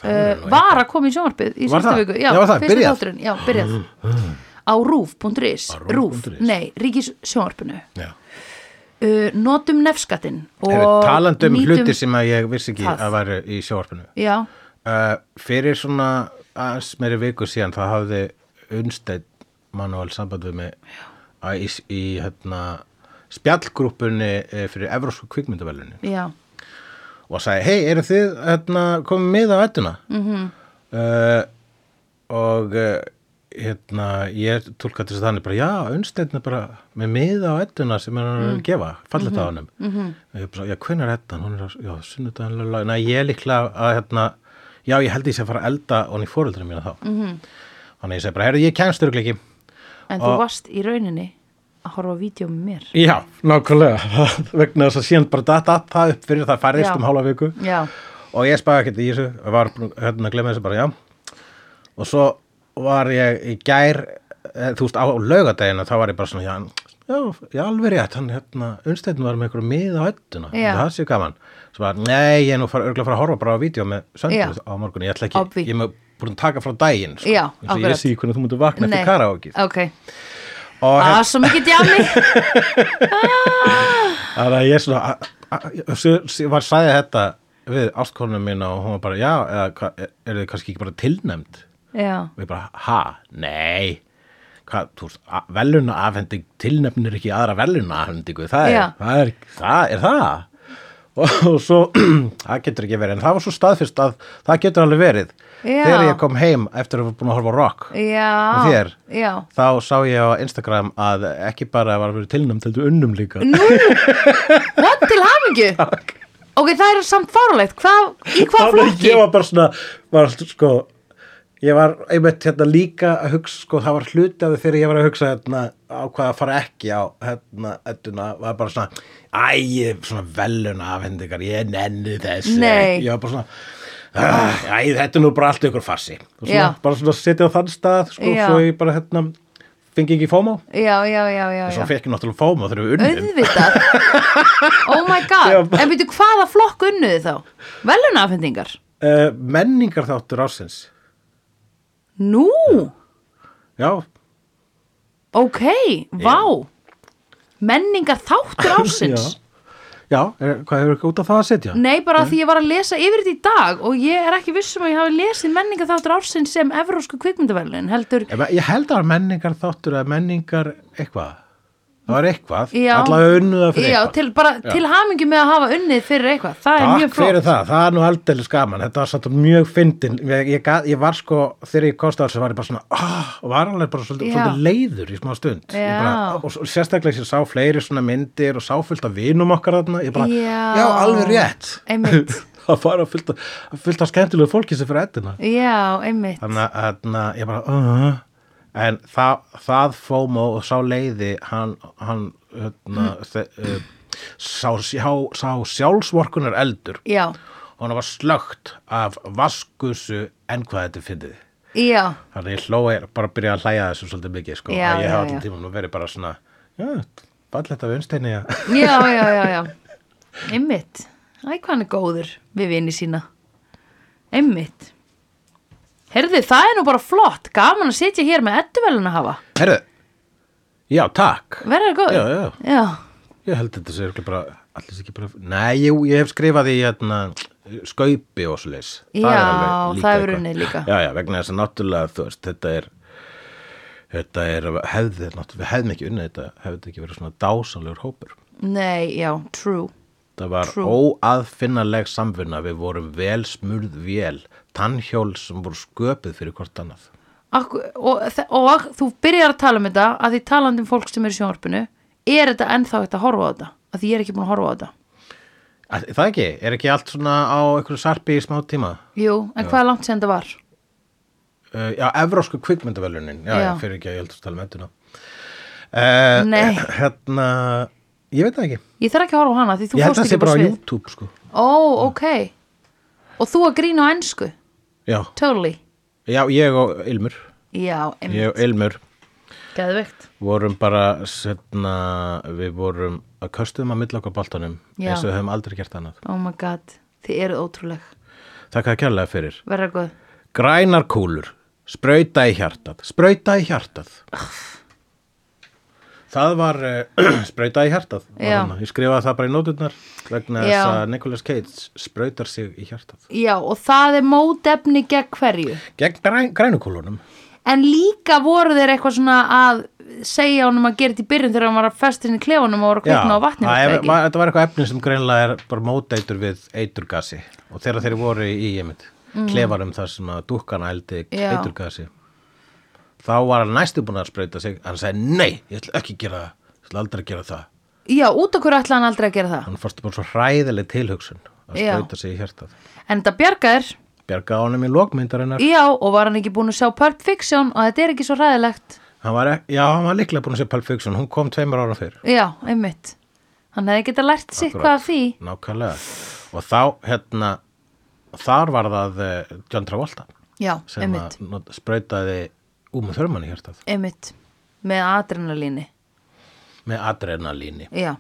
B: uh, Var að koma í sjónvarpið í
A: Var
B: síðustu
A: það?
B: viku Já,
A: Já, var það,
B: fyrsti
A: byrjað?
B: þátturinn, Já, byrjað Á rúf.is
A: Á
B: Rúf,
A: RÚV.is.
B: nei, ríkis sjónvarpinu
A: Já.
B: uh, Notum nefskattin
A: Heru,
B: og
A: talandi um
B: nýtum-
A: hluti sem að ég vissi ekki
B: Það.
A: að væri í sjóarpinu.
B: Já,
A: Uh, fyrir svona aðeins meiri viku síðan það hafði unnstætt manuál samband við mig að í, í hérna, spjallgrúpunni eh, fyrir Evrósku kvikmyndavelunni
B: já,
A: og sagði, hei, eru þið hérna, komið með á ættuna? Mm -hmm. og uh, hérna, ég tólkaði þessu þannig bara, já, unnstættin er bara með miða á ættuna sem hann er að gefa, fallet á hannum. Mm -hmm. Ég bara, já, hvernig er ættan? Hún er að, já, sunnudaginn, lalala. Nei, ég er líklega að, hérna, já, ég held ég sé að fara að elda og hann í fóreldurinn mína þá. Mm -hmm. Þannig ég segi bara, herru, ég kemst örugglega ekki.
B: en þú varst í rauninni að horfa á vídeo með mér
A: Já, nákvæmlega, (laughs) vegna þess að síðan bara data það upp fyrir það færðist
B: Já.
A: um hálfa viku.
B: Já,
A: og ég spæði ekkert í þessu og var búinn- hérna að glemma þessu bara já og svo var ég í gær eh, þú veist á laugardeginu þá var ég bara svona já, já, já alveg rétt hann hérna unnstættin var með einhverju mið á hættuna
B: Já.
A: það sé gaman svo bara nei ég er nú fara, örgulega að fara að horfa bara á vídeo með söndur
B: Já.
A: á morgunni ég ætla
B: Obvi.
A: ekki ég er með- búin að taka frá daginn sko.
B: Já,
A: Eins og
B: akkurat.
A: ég sé hvernig þú mútu vakna
B: nei Ah.
A: eftir karaókið
B: Ok,
A: og
B: að
A: hérna
B: svo mikið djami
A: (laughs) þannig hérna, að ég svona a- a- a- svo- svo ég var að sagði þetta við áskonum mín og hún var bara já eða hva- eru þið kannski ekki bara tilnæmd
B: Já,
A: og ég bara, ha, nei hvað, þú veist, veluna afhending tilnefnir ekki aðra veluna afhendingu það
B: Já.
A: er, það er, það er það og, og svo (clears throat) það getur ekki verið, en það var svo staðfyrst að það getur alveg verið
B: Já.
A: þegar ég kom heim eftir að við búin að horfa á rock
B: já
A: Með þér?
B: Já
A: þá sá ég á Instagram að ekki bara var að vera tilnæmt heldur unnum líka
B: Nú, what til hamingju
A: (laughs)
B: Ok, það er samt fárulegt Hvað, í hvað
A: Þannig að
B: flokki?
A: ég var bara svona var, sko, ég var einmitt hérna líka að hugsa sko, það var hluti af því þegar ég var að hugsa hérna, á hvað að fara ekki á hérna, edduna, var bara svona æ, ég er svona velun afhendingar ég nenni þessu
B: Nei.
A: ég var bara svona "Ah, æ, þetta er nú bara allt ykkur farsi Og svona,
B: Já.
A: bara svona setja á þann stað sko,
B: Já.
A: svo ég bara hérna fengi ekki fómo
B: Já, já, já, já,
A: svo
B: já.
A: fekk ég náttúrulega fómo þegar við unnum
B: Auðvitað Oh my god
A: Já, bara-
B: En byrju, hvaða flokk unnuði þá? Velunafendingar?
A: uh, menningar þáttur ásins
B: Nú,
A: já,
B: ok, vá Menningar þáttur ásins
A: já, er, hvað hefur ekki út af það að setja?
B: Nei, bara því ég var að lesa yfir þetta í dag og ég er ekki vissum að ég hafi lesið menninga þáttur ársinn sem evrósku kvikmyndavelin heldur,
A: Ég, ég held að það var menningar þáttur eða menningar eitthvað. Það var eitthvað.
B: Já.
A: Allavega unnuða fyrir
B: já,
A: eitthvað.
B: til, bara til hamingi með að hafa unnið fyrir eitthvað, það er mjög
A: Takk
B: flott
A: fyrir það, það er nú aldeilis gaman Þetta var satt mjög fyndin ég, ég, gat- ég var sko, þegar ég komst á þessu var ég bara svona ah, og var alveg bara
B: Já.
A: svolítið, svolítið leiður í smá stund Ég
B: Já.
A: bara, og svo- sérstaklega sem sá fleiri svona myndir og sá fullt af vinum okkar þarna ég bara,
B: Já.
A: já alveg rétt (laughs)
B: Einmitt,
A: að fara fullt af- fullt af skemmtilegu fólki sem fyrir eddina
B: Já, einmitt
A: þannig að hérna, ég bara uh, en það, það FOMO og sá leiði hann, hann hérna, þe- uh, sá, sjá, sá sjálfsvorkunar eldur
B: Já,
A: og hann var slögt af vaskusu en hvað þetta fyndið
B: já,
A: þannig að ég hló er bara að byrja að hlæja að þessu svolítið mikið sko,
B: Já,
A: að ég
B: já,
A: hef allan
B: já.
A: tímann og verið bara svona já, fallegt af unnsteinni að
B: já, já, já, já. Einmitt Æ, hvað hann er góður við vini sína Einmitt Herði, það er nú bara flott Gaman að sitja hér með edduvelun að hafa
A: herðu, já, takk
B: Verður það góður?
A: Já, já.
B: Já,
A: Ég held þetta sé örugglega bara, allir sé ekki bara, nei, jú, ég hef skrifað í hérna, skaupi og svo leis.
B: Já, það hefur unnið líka.
A: Já, já, vegna þess að náttúrulega, þú veist, þetta er, þetta er, hefði, náttúrulega, við hefðum ekki unnið þetta, hefði þetta ekki verið svona dásanlegur hópur.
B: nei, já, true
A: Það var
B: True.
A: óaðfinnaleg samvinna, við vorum vel smurð vél, tannhjól sem voru sköpuð fyrir hvort annað.
B: Akku, og, þe- og þú byrjar að tala um þetta að því talandi um fólk sem er í sjónvarpinu er þetta ennþá þetta að horfa á þetta að því ég er ekki búin að horfa á þetta
A: Að- Það ekki, er ekki allt svona á einhverju sarpi í smá tíma?
B: Jú, en hvað er langt sem þetta var?
A: Uh, já, evrósku kvikmyndavelunin, já, já.
B: Já.
A: fyrir ekki að um ég heldur að tala með þetta. Uh,
B: Nei.
A: (clears throat) Hérna, ég veit það ekki.
B: Ég þarf ekki að horfa á hana því þú
A: ég held
B: fórst
A: það sé
B: ekki
A: bara
B: bara
A: á
B: svið
A: YouTube, sko.
B: Ó, ok Og þú að grína á ennsku,
A: Já,
B: totally
A: já ég og Ilmur,
B: Já,
A: ég
B: einmitt,
A: og Ilmur
B: geðveikt
A: vorum bara, setna, við vorum að köstuðum að milla okkar boltanum
B: Já.
A: eins og við höfum aldrei gert annað.
B: Oh my god, þið eruð ótrúleg
A: Takk að kjærlega fyrir.
B: Verða góð
A: Grænar kúlur, sprauta í hjartað, sprauta í hjartað. Það var uh, (clears throat) sprauta í hjartað. var
B: Já.
A: þarna. Ég skrifaði það bara í nóturnar vegna
B: Já.
A: þess að Nicolas Cage sprautar sig í hjartað.
B: Já, og það er mótefni gegn hverju
A: Gegn græn, grænukúlunum.
B: En líka voru þeir eitthvað svona að segja honum að gera þetta í byrjun þegar hann var að festa inn í klefunum og var að kvikna á vatninu
A: það
B: er
A: er- var- þetta var eitthvað efni sem greinlega er bara móteitur við eiturgasi og þegar þeir voru í, ég mynd, klefarum þar sem að dúkkan ældi
B: Mm. Já.
A: eiturgasi. Þá var hann næstu búin að sprauta sig, hann sagði nei, ég ætla ekki að gera það, ég ætla aldrei að gera það.
B: Já, út af hverju ætlaði hann aldrei að gera það
A: hann fórst bara svo hræðileg tilhugsun að
B: Já.
A: sprauta sig í hjartað
B: En þetta bjargaðir,
A: bjargaði honum í lokmyndarinnar
B: já, og var hann ekki búin að sjá Pulp Fiction og þetta er ekki svo ræðilegt
A: hann var, ek- já, hann var líklega búin að sé Pulp Fiction hún kom tveimur ára fyrr
B: Já, einmitt Hann hefði getað lært sig
A: Akkurat.
B: hvað af því
A: nákvæmlega og þá, hérna, þar var það eh, John Travolta
B: Já,
A: sem
B: einmitt,
A: að not- sprautaði Uma Thurman í hjartað
B: einmitt Með adrenalíni,
A: með adrenalíni
B: já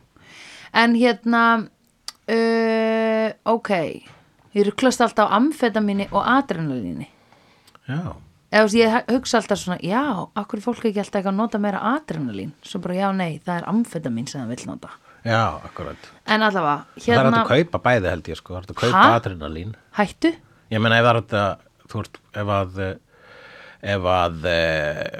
B: En hérna, uh, ok Ég ruklast alltaf á amfetamíni og adrenalíni
A: já,
B: eða þú veist, ég hugsa alltaf svona já, akkur er fólk ekki alltaf ekki að nota meira adrenalín svo bara já, nei, það er amfetamín sem það vill nota
A: já, akkurat
B: en allavega,
A: það er hægt
B: hérna
A: að kaupa bæði held ég sko, það er hægt að kaupa
B: Ha?
A: adrenalín
B: hættu
A: Ég meina ef það er þetta, þú veist, ef að, ef að eh,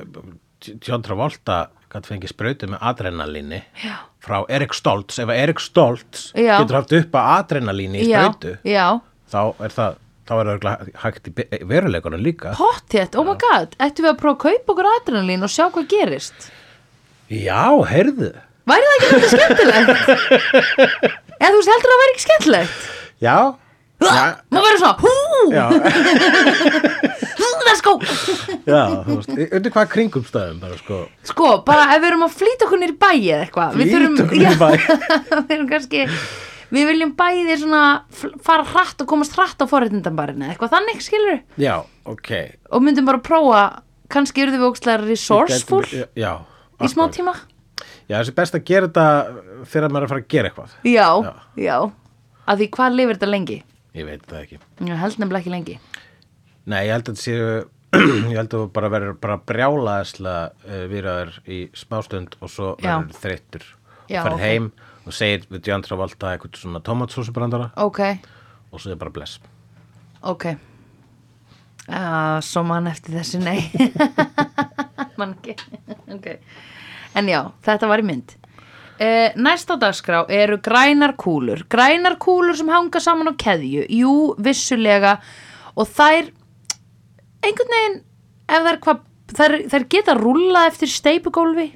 A: John Travolta gætt fengið sprautu með adrenalíni Já. frá Erik Stoltz, ef að Erik Stoltz
B: Já.
A: getur haft upp að adrenalíni í
B: já,
A: sprautu,
B: já,
A: þá er það, þá er það örugglega hægt í be- veruleikunum líka.
B: pottjett, oh my god ættum við að prófa að kaupa okkur adrenalín og sjá hvað gerist
A: Já, heyrðu.
B: væri það ekki þetta
A: (laughs)
B: skemmtilegt eða þú veist, heldur það væri ekki skemmtilegt
A: Já, Já.
B: maður verður svona, hú,
A: já,
B: (laughs) hú, let's go
A: já, þú veist, undir hvað kringumstæðum bara sko.
B: sko, bara ef við erum að flýta okkur nýr bæi eða eitthvað við
A: Flýta
B: þurfum-
A: okkur niður í bæ.
B: (laughs) Já, við erum kannski við viljum bæði svona fl- fara hratt og komast hratt á forréttindanbarinn eða eitthvað þannig skilur
A: Já, ok.
B: og myndum bara prófa kannski eruðum við ógstlega resourceful
A: Gætum- Já.
B: í smá
A: akkurat.
B: tíma
A: Já, þessi best að gera þetta þegar maður er að fara að gera eitthvað.
B: já,
A: Já.
B: já, að því hvað lifir þetta lengi
A: Ég veit það ekki.
B: ég held nefnilega ekki lengi
A: Nei, ég held að þetta séu (clears throat) ég held að þú bara verður bara brjálaðislega uh, viðraður í smástund og svo
B: Já.
A: verður þreyttur og
B: Já,
A: ferð
B: ok.
A: heim og segir við John Travolta eitthvað svona tomatsósubrandara
B: ok,
A: og svo er bara bless
B: ok uh, svo mann eftir þessu (laughs) nei mann ekki ok En já, þetta var í mynd. Uh, næsta dagskrá eru grænar kúlur. Grænar kúlur sem hanga saman á keðju. Jú, vissulega. Og þær, einhvern veginn, ef þær, hva, þær, þær geta rúlla eftir steipugólfi.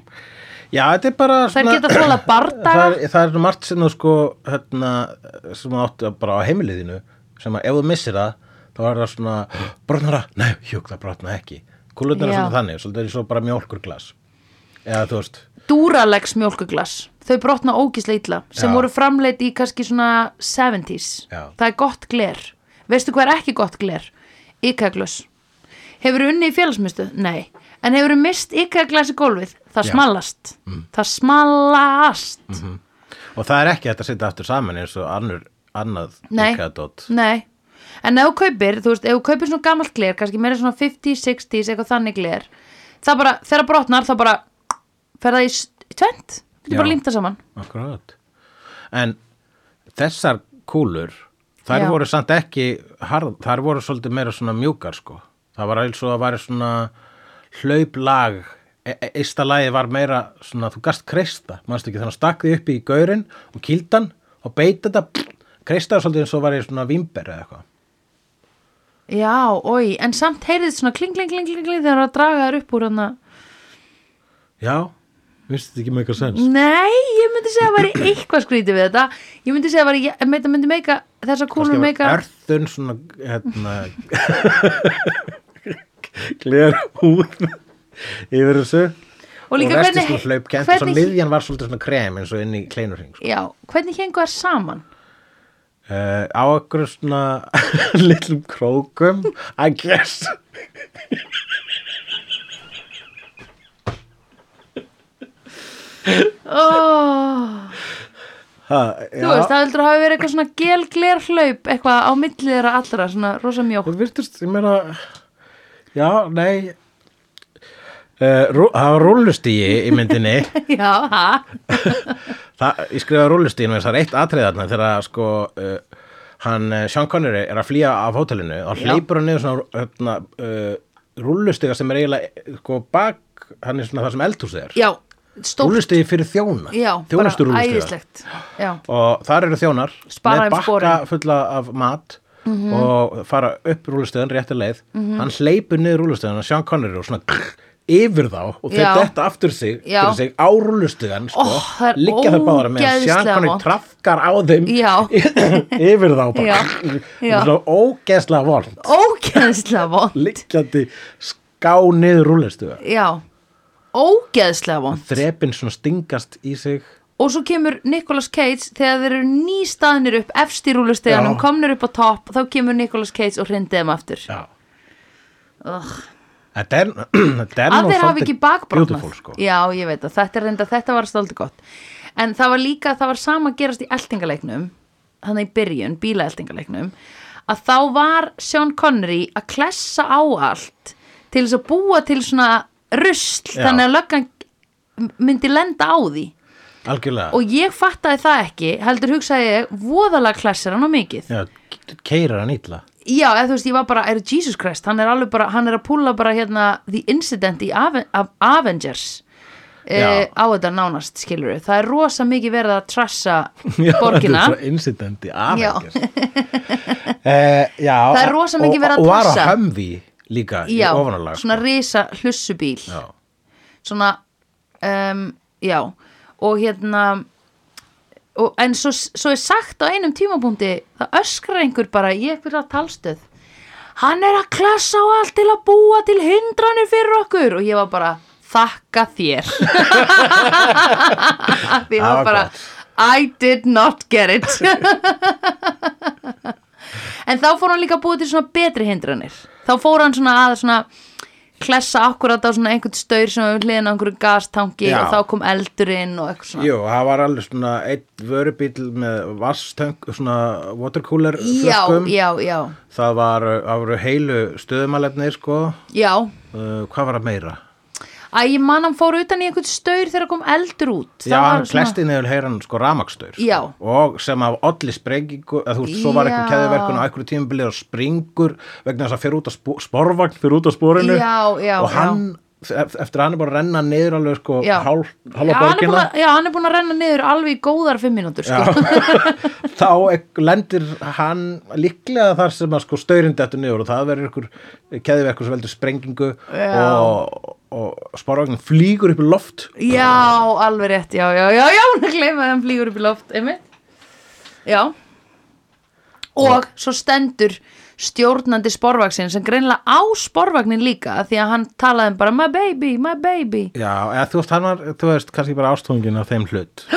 A: Já, þetta er bara
B: Þær geta
A: (clears throat)
B: þóla bardaga.
A: það, er- það er nú margt sem þú sko hérna, sem þú áttu bara á heimiliðinu sem að ef þú missir það þá er það svona, (gasps) brotnar það? Nei, hjók, það brotnar ekki Kúlurnar
B: Já.
A: er svona þannig, svolítið er svo bara mjólkurglas eða þú veist,
B: Duralex mjólkuglas þau brotna ógíslega illa sem
A: Já.
B: voru framleitt í kannski svona 70s
A: Já.
B: það er gott gler veistu hvað er ekki gott gler? Íkaglös hefur unni í félagsmyndstu? Nei en hefur mist íkaglas í gólfið það
A: Já. Mm. Mhm,
B: smalast það smalast
A: og það er ekki hægt að setja aftur saman eins og annur, annað
B: Nei.
A: IKEA-dót.
B: Nei, en ef þú kaupir, þú veist, ef þú kaupir svona gamalt gler, kannski meira svona 50s, 60s, eitthvað þannig gler, það bara, þegar það brotnar, það bara, fer það í s- í tvent, það er bara
A: Já.
B: límt það saman.
A: Akkurát. En þessar kúlur, þær
B: Já.
A: voru samt ekki, harð, þær voru svolítið meira svona mjúkar sko. Það var eins og að væri svona hlauplag, E- e- eista lagi var meira svona, þú gast kreista, manstu ekki, þannig að stakk því upp í gaurinn og kýldan og beita þetta, kreistaði svolítið eins og væri svona vimber eða eitthvað.
B: Já, oi, en samt heyrið svona kling, kling, kling, kling, kling, þegar það draga þær upp úr hann
A: Já, vistu þetta ekki með eitthvað sens?
B: Nei, ég myndi segja að það væri eitthvað skrítið við þetta, ég myndi segja að væri, ég meita myndi meika, þessar kúlur meika,
A: Örþun svona, hérna, (laughs) gler húð yfir þessu.
B: og líka
A: hvernig,
B: hvernig,
A: hvernig, hlaupkent, hvernig,
B: hvernig,
A: miðjan var svolítið svona krem eins og inn í kleinurring. Sko.
B: já, hvernig hengu þær saman?
A: Uh, á okkur svona (laughs) litlum krókum, I guess.
B: Oh.
A: Ha,
B: Þú veist, það heldur að hafa verið eitthvað svona gel-gler hlaup eitthvað á millið þeirra allra, svona rosa mjók
A: Það virtist, ég meina, já, nei, uh, rú, það var rúllustíi í myndinni.
B: (laughs) Já, ha?
A: Það, ég skrifaði rúllustíðinu þess að það er eitt atriðarna þegar sko uh, hann eh, Sean Connery er að flýja af hótelinu og
B: Já.
A: hleypur hann niður svona hérna, uh, rúllustíða sem er eiginlega eh, sko bak, hann er svona það sem eldhúsið er
B: Já, stórt
A: rúllustíði fyrir þjóna
B: Já, bara
A: þjónustu rúllustíða
B: æðislegt Já,
A: og þar eru þjónar
B: Spara
A: með
B: þeim
A: bakka
B: sporin. Mhm.
A: fulla af mat og fara upp rúllustíðan rétti leið hann hleypur niður rúllustíðan og Sean Connery og svona yfir þá og þeir
B: Já.
A: detta aftur sig,
B: Já.
A: fyrir sig á rúllustugan sko,
B: Oh, það er
A: liggja þau báðar meðan
B: ógeðslega
A: Sean Connery
B: vont.
A: trafkar á þeim
B: Já.
A: (laughs) yfir þá bara
B: Já. Já.
A: svona ógeðslega vond
B: ógeðslega vond
A: liggjandi ská niður rúllustugan
B: Já, ógeðslega vond
A: þrepin svona stingast í sig
B: Og svo kemur Nicolas Cage þegar þeir eru nýstaðnir upp efst í rúlusteganum,
A: Já.
B: komnir upp á topp þá kemur Nicolas Cage og hrindið þeim aftur
A: já
B: Ugh.
A: Þetta er, þetta
B: að
A: er nú (clears throat)
B: þeir hafi
A: svolítið
B: ekki bakbrotnað
A: beautiful, sko.
B: já, ég veit að þetta er reynda, þetta var stoltið gott en það var líka, það var sama að gerast í eltingaleiknum þannig í byrjun, bílaeltingaleiknum að þá var Sean Connery að klessa á allt til þess að búa til svona rusl,
A: Já.
B: þannig að löggan myndi lenda á því
A: Algjörlega
B: og ég fattaði það ekki, heldur hugsaði ég voðalega klessir hann á mikið
A: Já, keirar hann
B: (laughs)
A: illa
B: Já, eða þú veist, ég var bara, er Jesus Christ, hann er alveg bara, hann er að púla bara hérna The Incident í Aven af Avengers uh,
A: Já.
B: á þetta nánast, skilur við. Það er rosa mikið verið að trassa
A: (laughs) Já,
B: borgina.
A: þetta er svo incidenti aðeins eh, Já
B: Það er rosa mikið verið að
A: Og var á
B: passa.
A: hömvi líka í
B: Já,
A: ofanalag
B: svona risa hlussubíl.
A: Já,
B: Svona, um, já, og hérna, og, en svo, svo er sagt á einum tímapunkti, það öskrar einhver bara í einhverja talstöð. Hann er að klassa á allt til að búa til hindranir fyrir okkur og ég var bara, þakka
A: (laughs)
B: þér. því
A: Það
B: það
A: var
B: bara
A: gott.
B: I did not get it en þá fór hann líka að búið til svona betri hindranir þá fór hann svona að svona klessa akkurat á svona einhvern staur sem við hliðin á einhverju gastangi
A: Já.
B: og þá kom eldurinn og eitthvað svona
A: Jú, það var alveg svona eitt vörubíl með vastöng, svona watercooler
B: já,
A: flöskum
B: já, já,
A: Það var, það voru heilu stöðumalefni, sko
B: já
A: uh, Hvað var að meira?
B: Æ, ég man hann fór utan í einhvern staur þegar kom eldur út Það
A: já,
B: var
A: hann klesti niður heyran sko ramakstur
B: Já.
A: og sem af olli sprengingu eða þú veist, svo var eitthvað
B: Já.
A: keðiverkun á einhverju tímabilið og springur vegna þess að fyrir út að spó, sporvagn fyrir út að sporinu
B: Já, já,
A: og hann, eft- eftir að hann er bara að renna niður alveg sko
B: Já.
A: hálf,
B: já, hann
A: hálfa
B: er búin
A: borgina
B: að, já, hann er búin að renna niður alveg í góðar fimm mínútur sko.
A: (laughs) þá ek- lendir hann líklega þar sem að sko staurinn dettur niður og það verður einhver keðiverkun sem veldur sprengingu
B: Já.
A: og, og sporvagnin flýgur upp í loft
B: Já, alveg rétt, já, já, já, já, hún er gleymað að hann flýgur upp í loft, einmitt. Já. og svo stendur stjórnandi sporvaksin sem greinlega á sporvagnin líka af því að hann talaði um bara my baby, my baby
A: Já, eða þú veist, hann var, þú veist, kannski bara ástungin af þeim hlut.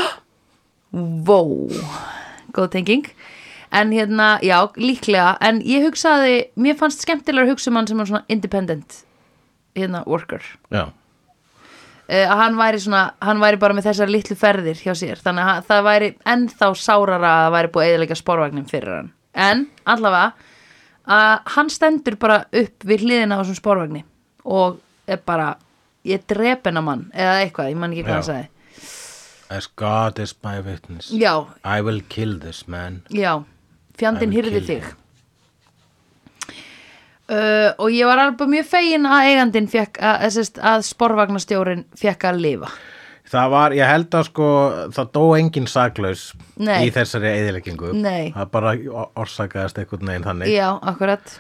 B: Vó, góð tenging En hérna, já, líklega En ég hugsaði, mér fannst skemmtilega að hugsa um hann sem var svona independent hérna, worker
A: Já,
B: Eh, að hann væri svona, hann væri bara með þessar litlu ferðir hjá sér, þannig að hann- það væri ennþá sárara að það væri búið að eðilega sporvagnin fyrir hann, en allavega að hann stendur bara upp við hliðina á þessum sporvagni og er bara, ég drep hennar mann eða eitthvað, ég man ekki hvað
A: Já.
B: hann sagði
A: as God is my witness.
B: já,
A: I will kill this man.
B: Já, fjandinn
A: I will
B: hyrði
A: kill
B: þig
A: him.
B: uh, Og ég var alveg mjög fegin að eigandinn fekk að, að, sest, að sporvagnastjórin fekk að lifa
A: Það var, ég held að sko, það dó engin saklaus
B: Nei.
A: í þessari eðileggingu.
B: Nei.
A: Það bara or- orsakaðist einhvern veginn þannig.
B: Já, akkurat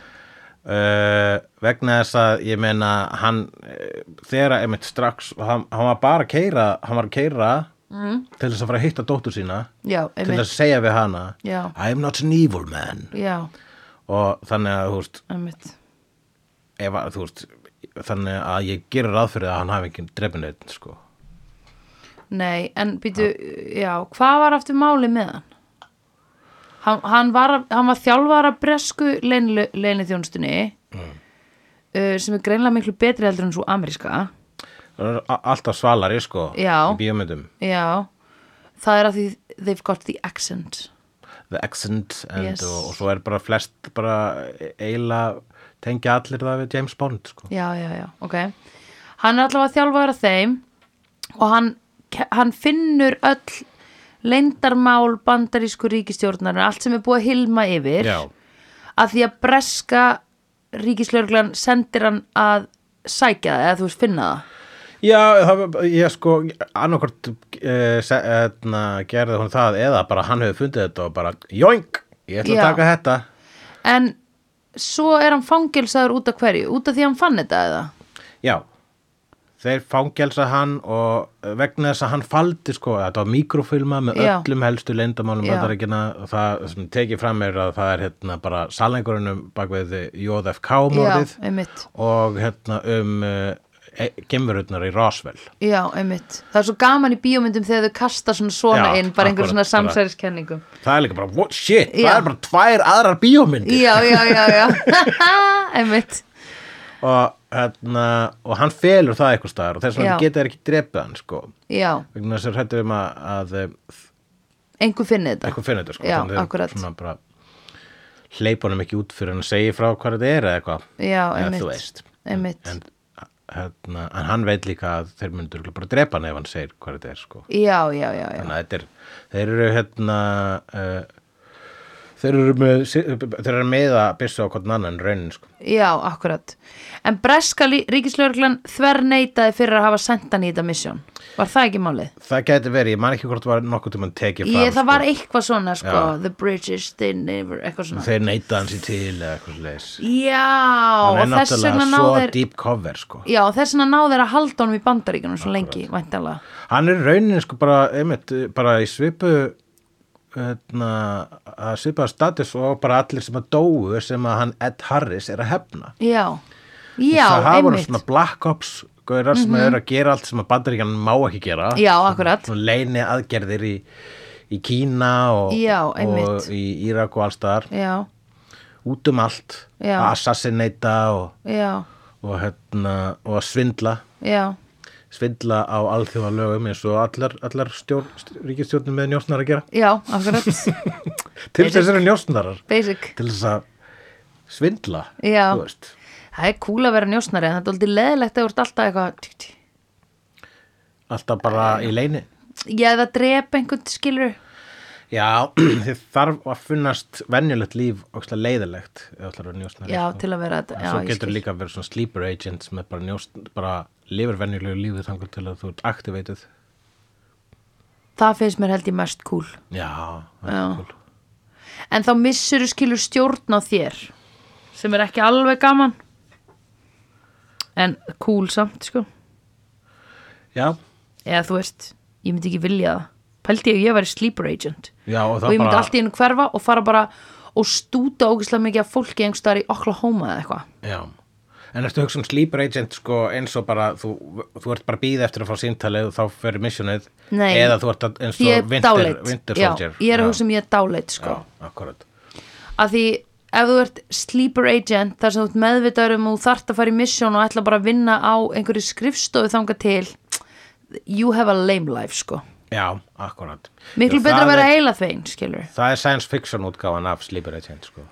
A: Uh, vegna þess að ég meina hann, eh, þegar að einmitt strax hann, hann var bara að keira hann var að keira mm. til þess að fara að hitta dóttur sína
B: Já,
A: til
B: einmitt
A: þess að segja við hana
B: Já.
A: I'm not an evil man
B: Já,
A: og þannig að þú veist,
B: einmitt
A: ef, að- þú veist þannig að ég gerir ráð fyrir að hann hafi ekki drefin einn sko
B: Nei, en býtu, já, hvað var aftur máli með hann? Hann, hann, var, hann var þjálfara bresku leinithjónstunni mm. uh, sem er greinlega miklu betri heldur en svo ameríska
A: Það er a- alltaf svalari sko
B: Já.
A: í bíómyndum
B: Já, það er að því they've got the accent
A: The Accent and,
B: Yes.
A: og, og svo er bara flest bara eila tengja allir það við James Bond sko.
B: já, já, já, ok hann er allavega þjálfaður af þeim og hann, hann finnur öll leyndarmál bandarísku ríkistjórnar allt sem er búið að hilma yfir
A: Já.
B: að því að breska ríkislörglan sendir hann að sækja það eða þú veist finna það
A: Já, það, ég sko annarkvort uh, gerði hún það eða bara hann hefur fundið þetta og bara joink, ég ætla
B: Já.
A: að taka þetta
B: en svo er hann fangilsaður út af hverju út af því að hann fann þetta eða
A: Já, þeir fangelsa hann og eh, vegna þess að hann faldi sko, þetta var mikrofilma með
B: Já.
A: öllum helstu leyndamálum
B: Já.
A: bandaríkina og það sem tekið fram er að það er hérna bara salengurinnum bak við JFK morðið
B: já, einmitt
A: og hérna um uh, gemurutnar í Roswell
B: Já, einmitt. Það er svo gaman í bíómyndum þegar þau kasta svona svona
A: Já,
B: inn, bara einhver svona
A: akkurat, bara-
B: samsæriskenningum.
A: Það er líka bara, what shit,
B: Já.
A: það er bara tvær aðrar bíómyndir
B: Já, já, já, já.
A: (laughs)
B: (laughs) einmitt.
A: og, hérna, og hann felur það eitthvað staðar og þess
B: Já.
A: vegna geta þeir ekki drepið hann sko
B: Já,
A: vegna þess að hættur um að, að eh,
B: einhver finni þetta.
A: eitthvað finnur þetta sko
B: Já,
A: Þannig þeir
B: akkurat.
A: svona bara hleypa honum ekki út fyrir hann segi frá hvað þetta er eða eitthvað
B: Já,
A: Eða
B: einmitt.
A: þú veist.
B: Einmitt.
A: en, hérna, en hann veit líka að þeir myndur bara drepa hann ef hann segir hvað þetta er sko
B: Já, já, já, já.
A: þannig að þetta er þeir eru hérna uh, þeir eru með þeir eru með að byrsa á hvern annan raunin sko
B: Já, akkurat. En breska ríkislörglan þver neytaði fyrir að hafa sendt hann í þetta misjón. Var það ekki málið?
A: Það gæti verið, ég man ekki hvort var nokkuð tímann tekið fram
B: Ég, það var eitthvað svona, sko,
A: Já.
B: the British, they never, eitthvað svona.
A: Þeir neyta hans í til eða eitthvað leis
B: Já, og þess vegna
A: svo
B: náður,
A: deep cover sko
B: já, þess vegna náður að halda honum í bandaríkunum svo lengi, væntanlega.
A: Hann er raunin sko bara, einmitt, bara í svipu hérna, að svipa status og bara allir sem að dóu sem að hann Ed Harris er að hefna
B: Já, já,
A: Það hafa voru
B: einmitt. Mhm.
A: svona Black Ops gaurar sem eru að gera allt sem að bandaríkjan má ekki gera
B: Já,
A: Svona-
B: akkurat.
A: Svona leini aðgerðir í, í Kína og,
B: Já,
A: og
B: einmitt.
A: í Írak og allstaðar
B: Já,
A: út um allt
B: Já.
A: að assassinata og,
B: já,
A: og, hérna, og að svindla
B: já,
A: svindla á alþjóða lögum eins og allar, allar stjórn, ríkistjórnum með njósnar að gera
B: já,
A: (laughs)
B: akkurat,
A: til þess eru njósnarar
B: basic.
A: til þess að svindla
B: Já.
A: þú veist.
B: Það er cool að vera njósnari en það er aldrei leðilegt að þú ert alltaf eitthvað tjú, tjú.
A: alltaf bara í leini
B: Já, eða drepa einhvern skilur
A: Já, (clears throat) þið þarf að funnast venjulegt líf og leiðilegt ef ætlar að vera njósnari
B: Já,
A: sko.
B: til að vera þetta
A: En
B: já,
A: svo
B: ég
A: getur
B: skil.
A: líka verið svona sleeper agent sem er bara, njóst, bara lifir venjulegu lífið þangur til að þú ert aktiveitið
B: Það finnst mér held ég mest cool
A: Já,
B: Já.
A: cool.
B: En þá missuru skilur stjórn á þér sem er ekki alveg gaman en cool samt sko
A: já,
B: eða þú veist, ég myndi ekki vilja það pældi ég að ég væri sleeper agent
A: já og það
B: og ég myndi
A: bara
B: allt í hennu hverfa og fara bara og stúta ógislega mikið af fólki einhverstaðar í Oklahoma eða eitthvað
A: Já, en ertu að hugsa um sleeper agent sko eins og bara, þú, þú ert bara að býða eftir að fá síntalið og þá fyrir missionið
B: Nei.
A: eða þú ert að, eins
B: því ég
A: og
B: er
A: winter,
B: dáleitt
A: winter
B: já,
A: soldier
B: ég er að hugsa um ég er dáleitt sko.
A: Já, akkurat
B: að því ef þú ert sleeper agent þar sem þú ert meðvitaður um að þú þart að fara í misjón og ætla bara að vinna á einhverju skrifstofu þanga til you have a lame life sko
A: Já, akkurat
B: miklu
A: Já,
B: betra
A: það
B: að vera
A: er-
B: heila þeim skilur
A: Það er science fiction útgáfan af sleeper agent sko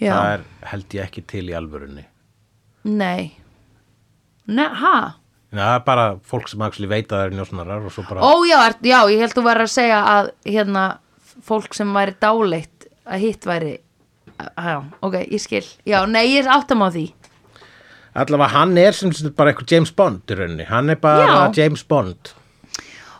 B: já,
A: Það er, held ég ekki til í alvörunni
B: nei ne, ha?
A: Já, það er bara fólk sem actually veit að það er njósnarar og svo bara
B: ó já, er, já, ég held þú verður að segja að hérna fólk sem væri dáleitt að hitt væri já, ok, ég skil já, nei, ég er áttam á því
A: Allavega hann er sem sagt bara eitthvað James Bond í rauninni, hann er bara
B: Já.
A: James Bond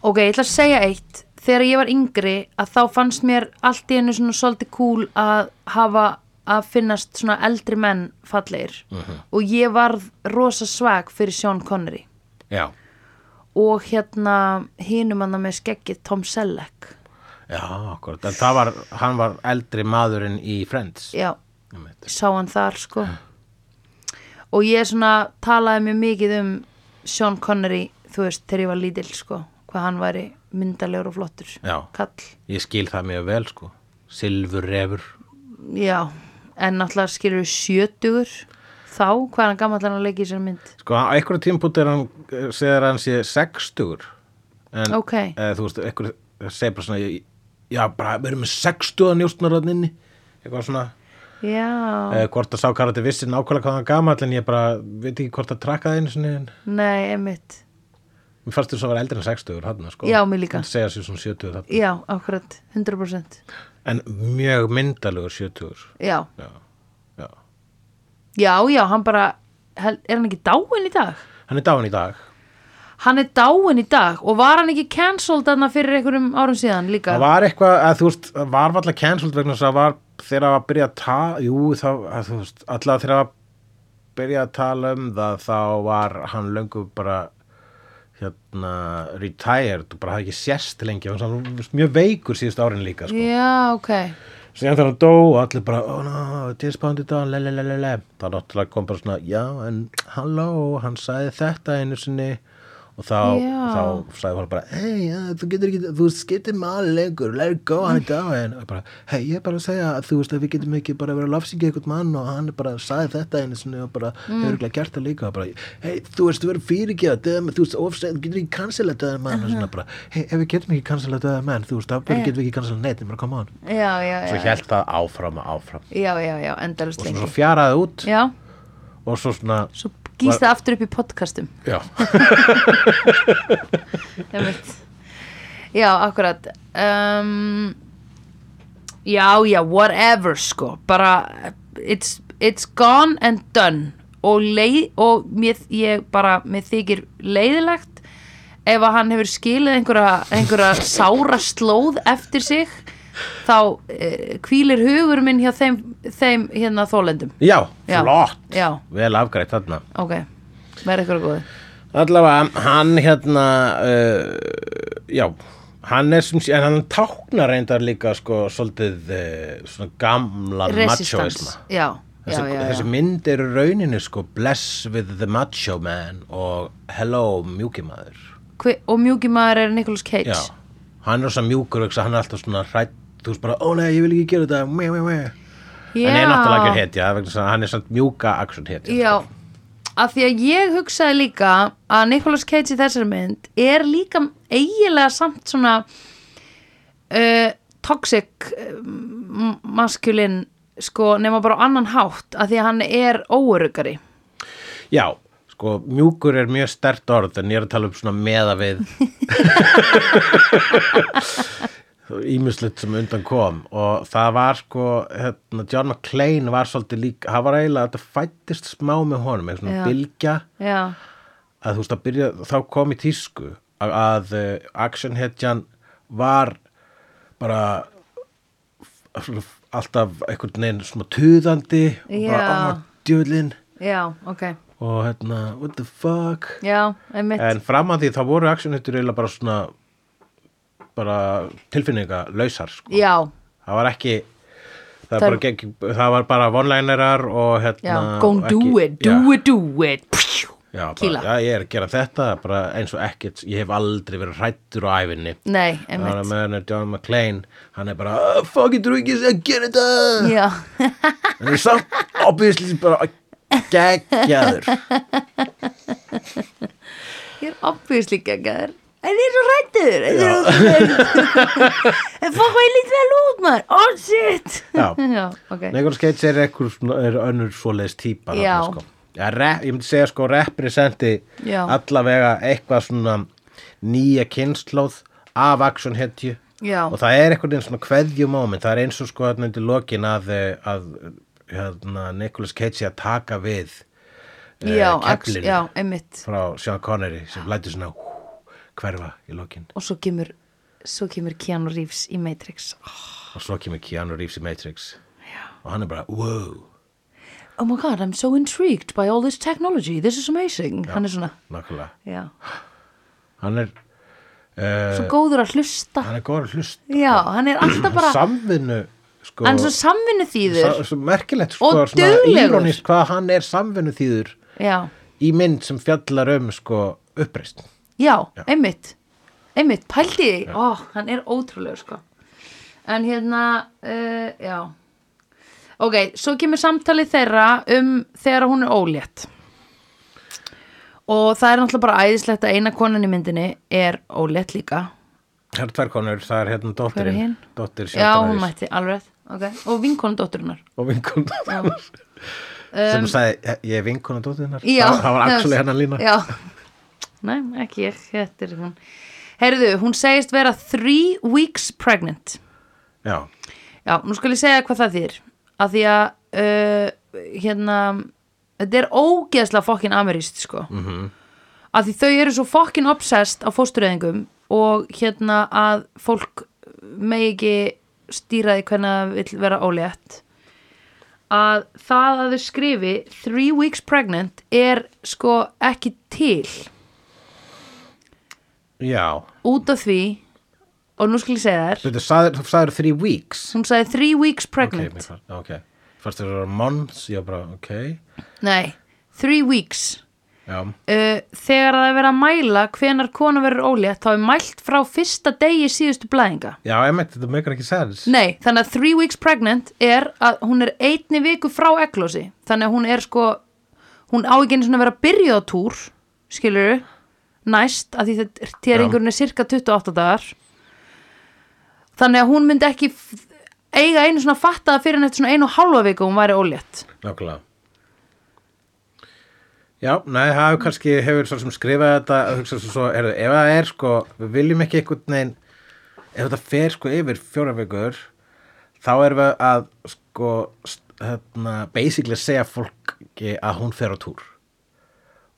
B: Ok, ég ætla að segja eitt. Þegar ég var yngri að þá fannst mér allt í einu svona svolítið cool að hafa að finnast svona eldri menn fallegir
A: Mhm.
B: og ég varð rosa svag fyrir Sean Connery
A: Já,
B: og hérna hinum hann með skeggið Tom Selleck.
A: já, akkurat En það var, hann var eldri maðurinn í Friends
B: Já,
A: Einmitt.
B: sá hann þar sko og ég svona talaði mjög mikið um Sean Connery þú veist þegar ég var lítill sko hvað hann væri myndalegur og flottur
A: Já.
B: kall,
A: Ég skil það mjög vel sko Silfur refur
B: já en náttúrulega skilur sjötugur þá, hvað er hann gammal hann að leika í sér mynd
A: Sko á einhverjum tímpúti er hann eh, segir hann sé sextugur En
B: Ok.
A: eh, þú veist, einhver segir bara svona ég- Já, bara við erum með sextuga njóstnarðaninni Eitthvað svona
B: já,
A: eh, Hvort að sá karati vissi nákvæmlega hvað hann gamall En ég bara, veit ekki hvort að trakka það einu sinni En
B: nei, einmitt
A: mér fannst þess að vera eldri en sextugur hann sko.
B: Já, mér líka.
A: Hann segja sér svona sjötugur hann
B: já, akkurat, 100%
A: En mjög myndalugur sjötugur
B: já,
A: Já, já
B: já, já, hann bara hel- er hann ekki dáin í dag?
A: Hann er dáin í dag
B: Hann er dáin í dag og var hann ekki cancelled þarna fyrir einhverjum árum síðan líka?
A: Það var eitthvað, að, þú veist, það var alltaf cancelled vegna þess að það var þegar það var að byrja að tala, jú, þá, að, þú veist, alltaf þegar það var að byrja að tala um það, þá var hann löngu bara, hérna, retired og bara hafði ekki sérst lengi, hann var svo mjög veikur síðust árin líka, sko.
B: Já, ok.
A: Síðan þegar hann dó og allir bara, oh no, dispounded on, lelelelele, þá náttúrulega kom bara svona, já, en halló, hann sagði þetta einu sinni og þá,
B: Já.
A: þá sagði hann bara, hei, ja, þú getur ekki, þú skiptir maður lengur, let it go, hann er dáin, og bara, hei, ég er bara að segja að þú veist að við getum ekki bara verið að lafsingja eitthvað mann og hann bara sagði þetta einu sinni og bara, mm. hefur ekki gert það líka, og bara, hei, þú veist, þú verður fyrirgeða, döðum, þú veist, ofsæð, þú getur ekki cancela döðum mann, og svona bara, hei, ef við getum ekki cancela döðum mann, þú veist, þá
B: Já.
A: yeah. getum við ekki cancela neitt, bara koma on
B: Já, já,
A: svo
B: já.
A: held það áfram og áfram
B: Já, já, já, endalist
A: og svo,
B: lengi.
A: svo fjaraði út
B: Já,
A: og svo svona
B: svo gýst það aftur upp í podcastum.
A: já,
B: einmitt. Já, akkurat. Um, já, já, whatever, sko. Bara, it's, it's gone and done. Og, leið, og mér, ég bara, mér þykir leiðilegt ef að hann hefur skilið einhverja, einhverja sára slóð eftir sig þá eh, hvílir hugur minn hjá þeim, þeim hérna þólendum
A: já,
B: Já.
A: flott
B: Já.
A: vel afgrætt þarna
B: ok, verð ykkur góði
A: allavega hann hérna uh, já hann er sem sé, en hann táknar reyndar líka sko svolítið uh, svona gamlan machoisma
B: resistance, já, já,
A: þessi,
B: já, já.
A: þessi mynd eru rauninni sko bless with the macho man og hello mjúkimaður
B: Hve, og mjúki maður er Nicolas Cage
A: já, hann er svo mjúkur hugsa, hann er alltaf svona hrætt þú veist bara, ó nei, ég vil ekki gera þetta mjö, mjö, mjö.
B: Já.
A: hann er náttúrulega ekki sko. hetja vegna þess að hann er samt mjúka action hetja
B: já, af því að ég hugsaði líka að Nicolas Cage í þessari mynd er líka eiginlega samt svona uh, toxic uh, m- masculine sko, nema bara á annan hátt af því að hann er óörugari
A: sko. já, sko mjúkur er mjög stert orð en ég er að tala um svona meða
B: (laughs)
A: við ímislegt sem undan kom og það var sko hérna, John McClane var svolítið líka hann var eiginlega að þetta fættist smá með honum eitthvað svona
B: Já.
A: bylgja
B: já,
A: að þú veist að byrja þá kom í tísku að, að eh, actionhetjan var bara f- svona f- alltaf einhvern veginn svona tuðandi og bara
B: Já.
A: oh, djúlin
B: já, ok
A: og hérna what the fuck
B: já, einmitt
A: en fram að því þá voru actionhetjur eiginlega bara svona bara tilfinninga lausar sko.
B: já,
A: það var ekki það,
B: Það-
A: það, gegg, það var bara one-linerar og
B: já,
A: hérna
B: go
A: og
B: and do
A: ekki-
B: it, do
A: já,
B: it, do it Pjú,
A: já,
B: kýla,
A: bara, já, ég er að gera þetta bara eins og ekkert, ég hef aldrei verið hrættur á æfinni
B: nei,
A: Það er
B: einmitt
A: með hennar John McClane hann er bara, "Ah, fuck it, þú ekki að gera þetta
B: já,
A: en það er samt obviously
B: (laughs)
A: bara geggjaður
B: ég er obviously geggar en ég er svo rættur en ég er svo rættur. En fokk hvað ég lít vel út maður oh shit
A: Já.
B: já, ok
A: Nicolas Cage er, ekkur, er önnur svoleiðis típa þarna,
B: Já.
A: sko. ja, rep, ég myndi segja sko representi
B: Já.
A: allavega eitthvað svona nýja kynnslóð af action hetju
B: Já.
A: og það er eitthvað einn svona kveðjumóment það er eins og sko hérna undir lokin að, eh, að hérna, Nicolas Cage sé að taka við eh,
B: já, ax,
A: keflinu
B: já, einmitt
A: frá Sean Connery sem lætur svona hú, hverfa í lokin
B: og svo kemur, svo kemur Keanu Reeves í Matrix oh
A: og svo kemur Keanu Reeves í Matrix Já. og hann er bara wow
B: oh my god, I'm so intrigued by all this technology this is amazing, hann er svona
A: nákvæmlega
B: já,
A: hann er uh,
B: svo góður að hlusta
A: hann er góður að hlusta
B: já, hann er alltaf bara
A: samvinnu sko,
B: hann er svo samvinnu þýður
A: sa- svo merkilegt sko,
B: Og
A: svona
B: duglegur.
A: írónískt hvað hann er samvinnu þýður
B: já,
A: í mynd sem fjallar um sko uppreist
B: já, einmitt einmitt, pældi því, ó, hann er ótrúlega sko en hérna, uh, já ok, svo kemur samtalið þeirra um þegar hún er ólétt og það er náttúrulega bara æðislegt að eina konan í myndinni er ólétt líka
A: það er tvær konur, það er
B: Hver
A: hérna
B: er
A: dóttirin
B: hin?
A: dóttir
B: já, hún
A: sjöfnaris
B: mætti, alveg, ok og vinkonu dótturinnar
A: og vinkonu dóttirinnar sem sagði, "Ég- ég er vinkonu dóttirinnar
B: Um, Já,
A: það, það var axli hennar lína
B: Já, nei, ekki ég, þetta er hún Herðu, hún segist vera three weeks pregnant
A: Já.
B: Já, nú skal ég segja hvað það þýr að því að uh, hérna, þetta er ógeðslega fokkin ameríst, sko mm -hmm. að því þau eru svo fokkin obsessed á fóstureyðingum og hérna að fólk megi ekki stýra því hvernig það vill vera ólétt að það að þau skrifi three weeks pregnant er sko ekki til
A: Já.
B: út af því og nú skal ég segja þér
A: Þú sagðir, þú sagðir three weeks
B: hún sagði three weeks
A: ok,
B: pregnant
A: mér fannst- ok fyrst þér eru months, ég var bara ok
B: nei, three weeks
A: já,
B: uh, þegar það er verið að mæla hvenar kona verður ólétt þá er mælt frá fyrsta degi síðustu blæðinga
A: já, emmitt, þetta meikar ekki sens
B: nei, þannig að three weeks pregnant er að hún er einni viku frá eklosi þannig að hún er sko hún á ekki einu svona að vera að byrja á túr skilur næst að því þetta tjeringurinn er cirka 28 dagar þannig að hún myndi ekki f- eiga einu svona að fatta það fyrir en eftir svona einu og halva viku að hún væri ólétt
A: Nákvæmlega Já, nei, það hefur kannski hefur svo sem skrifað þetta hugsa svo, svo, heyrðu, ef það er sko, við viljum ekki einhvern veginn ef þetta fer sko yfir fjóra vikur þá erum við að sko st- hérna, basically segja fólki að hún fer á túr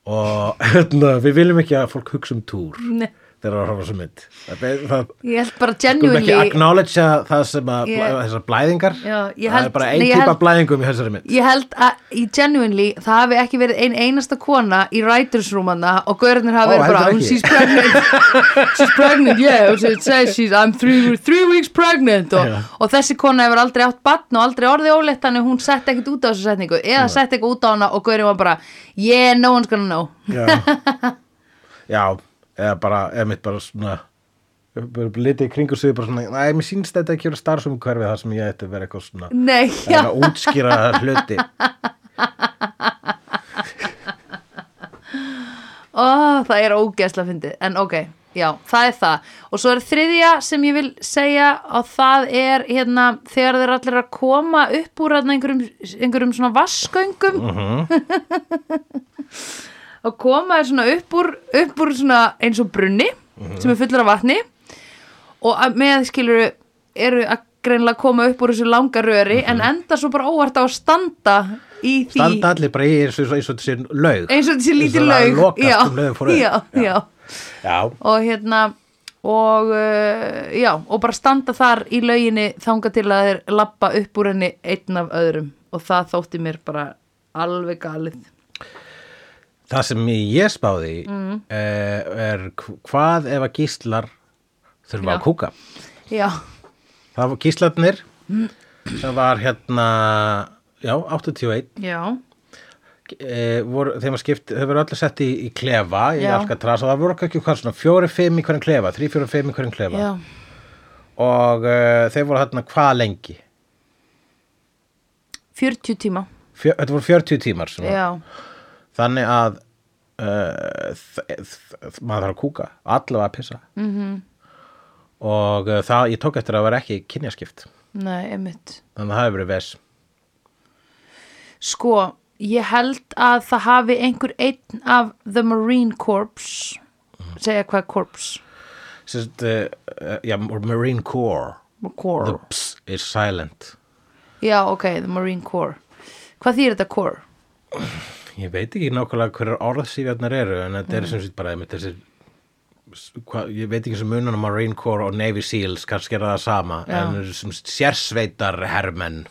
A: og (laughs) hérna, við viljum ekki að fólk hugsa um túr
B: Nei.
A: þegar það er að horfa sem mynd það, það,
B: ég held bara
A: skulum ekki
B: genuinely
A: acknowledge það sem að
B: Ég-
A: þessar blæðingar
B: Já, ég
A: það
B: held-
A: er bara
B: nei,
A: ein
B: ég
A: típa
B: held-
A: blæðingum í þessari mynd
B: Ég held að í genuinely það hafi ekki verið ein einasta kona í writers roomana og gaurinnir
A: Ó,
B: hafi verið
A: heldur
B: bara hún
A: ekki.
B: she's
A: (laughs)
B: pregnant she's pregnant yeah og it says she's I'm three, three weeks pregnant og,
A: Já.
B: og þessi kona hefur aldrei átt batn og aldrei orðið óleitt þannig hún sett ekkert út á þessu setningu eða sett ekkert út á hana og gaurinn var bara yeah no one's gonna know
A: Já,
B: (laughs)
A: já eða bara, eða mitt bara svona bara litið í kringu sig bara svona, næ, mér sýnst þetta ekki vera starfsum hverfið það sem ég ætti að vera eitthvað svona
B: nei (laughs)
A: eða
B: já
A: að útskýra
B: (laughs)
A: hluti
B: oh, það er ógeðslega fyndið en ok, já, það er það og svo er þriðja sem ég vil segja og það er hérna þegar þeir allir að koma upp úr hérna, einhverjum, einhverjum svona vassgöngum
A: Mhm.
B: og koma þeir svona upp úr, upp úr svona eins og brunni
A: Mhm.
B: sem er fullur af vatni og að- með skilur eru að greinlega koma upp úr þessu langa röri
A: Mhm.
B: en enda svo bara óvart á að standa í því
A: standa allir bara í eins og eins og þessi laug
B: eins og þessi lítið
A: og það
B: laug
A: lokast um leiðin fór upp.
B: já, já
A: já,
B: og hérna og uh, já, og bara standa þar í lauginni þanga til að þeir lappa upp úr henni einn af öðrum og það þótti mér bara alveg galið
A: það sem ég spáði mm. er hv- hvað ef að gíslar þurfa
B: Já.
A: að kúka
B: já, Mm.
A: það var gíslarnir sem var hérna já, 81
B: já,
A: e, voru, þeim að skipt, þau voru allir sett í, í klefa í
B: Já.
A: Alcatraz og það voru ekki hvað svona fjóri, fimm í hverjum klefa, þrý, fjóri, fimm í hverjum klefa
B: já
A: og uh, þeir voru hérna hvað lengi
B: 40 tíma,
A: Fjö, þetta voru 40 tímar sem var.
B: já
A: þannig að uh, þ- þ- maður þarf að kúka allavega að pissa mm
B: Mhm.
A: -hmm. og uh, það, ég tók eftir að það var ekki kynjaskipt,
B: nei, einmitt
A: þannig að það hefur verið ves
B: Sko, ég held að það hafi einhver einn af The Marine Corps segja hvað er Corps
A: Sist, uh, uh, já, Marine Corps the
B: Corps
A: ps is silent
B: Já, ok, The Marine Corps Hvað þýr þetta Corps?
A: Ég veit ekki nákvæmlega hverjar orðsýfjarnar eru en þetta
B: Mm.
A: er sem sýtt bara einmitt þessi hva, ég veit ekki sem munan á Marine Corps og Navy Seals, kannski er það sama
B: Já.
A: en eru sem sagt sérsveitar hermenn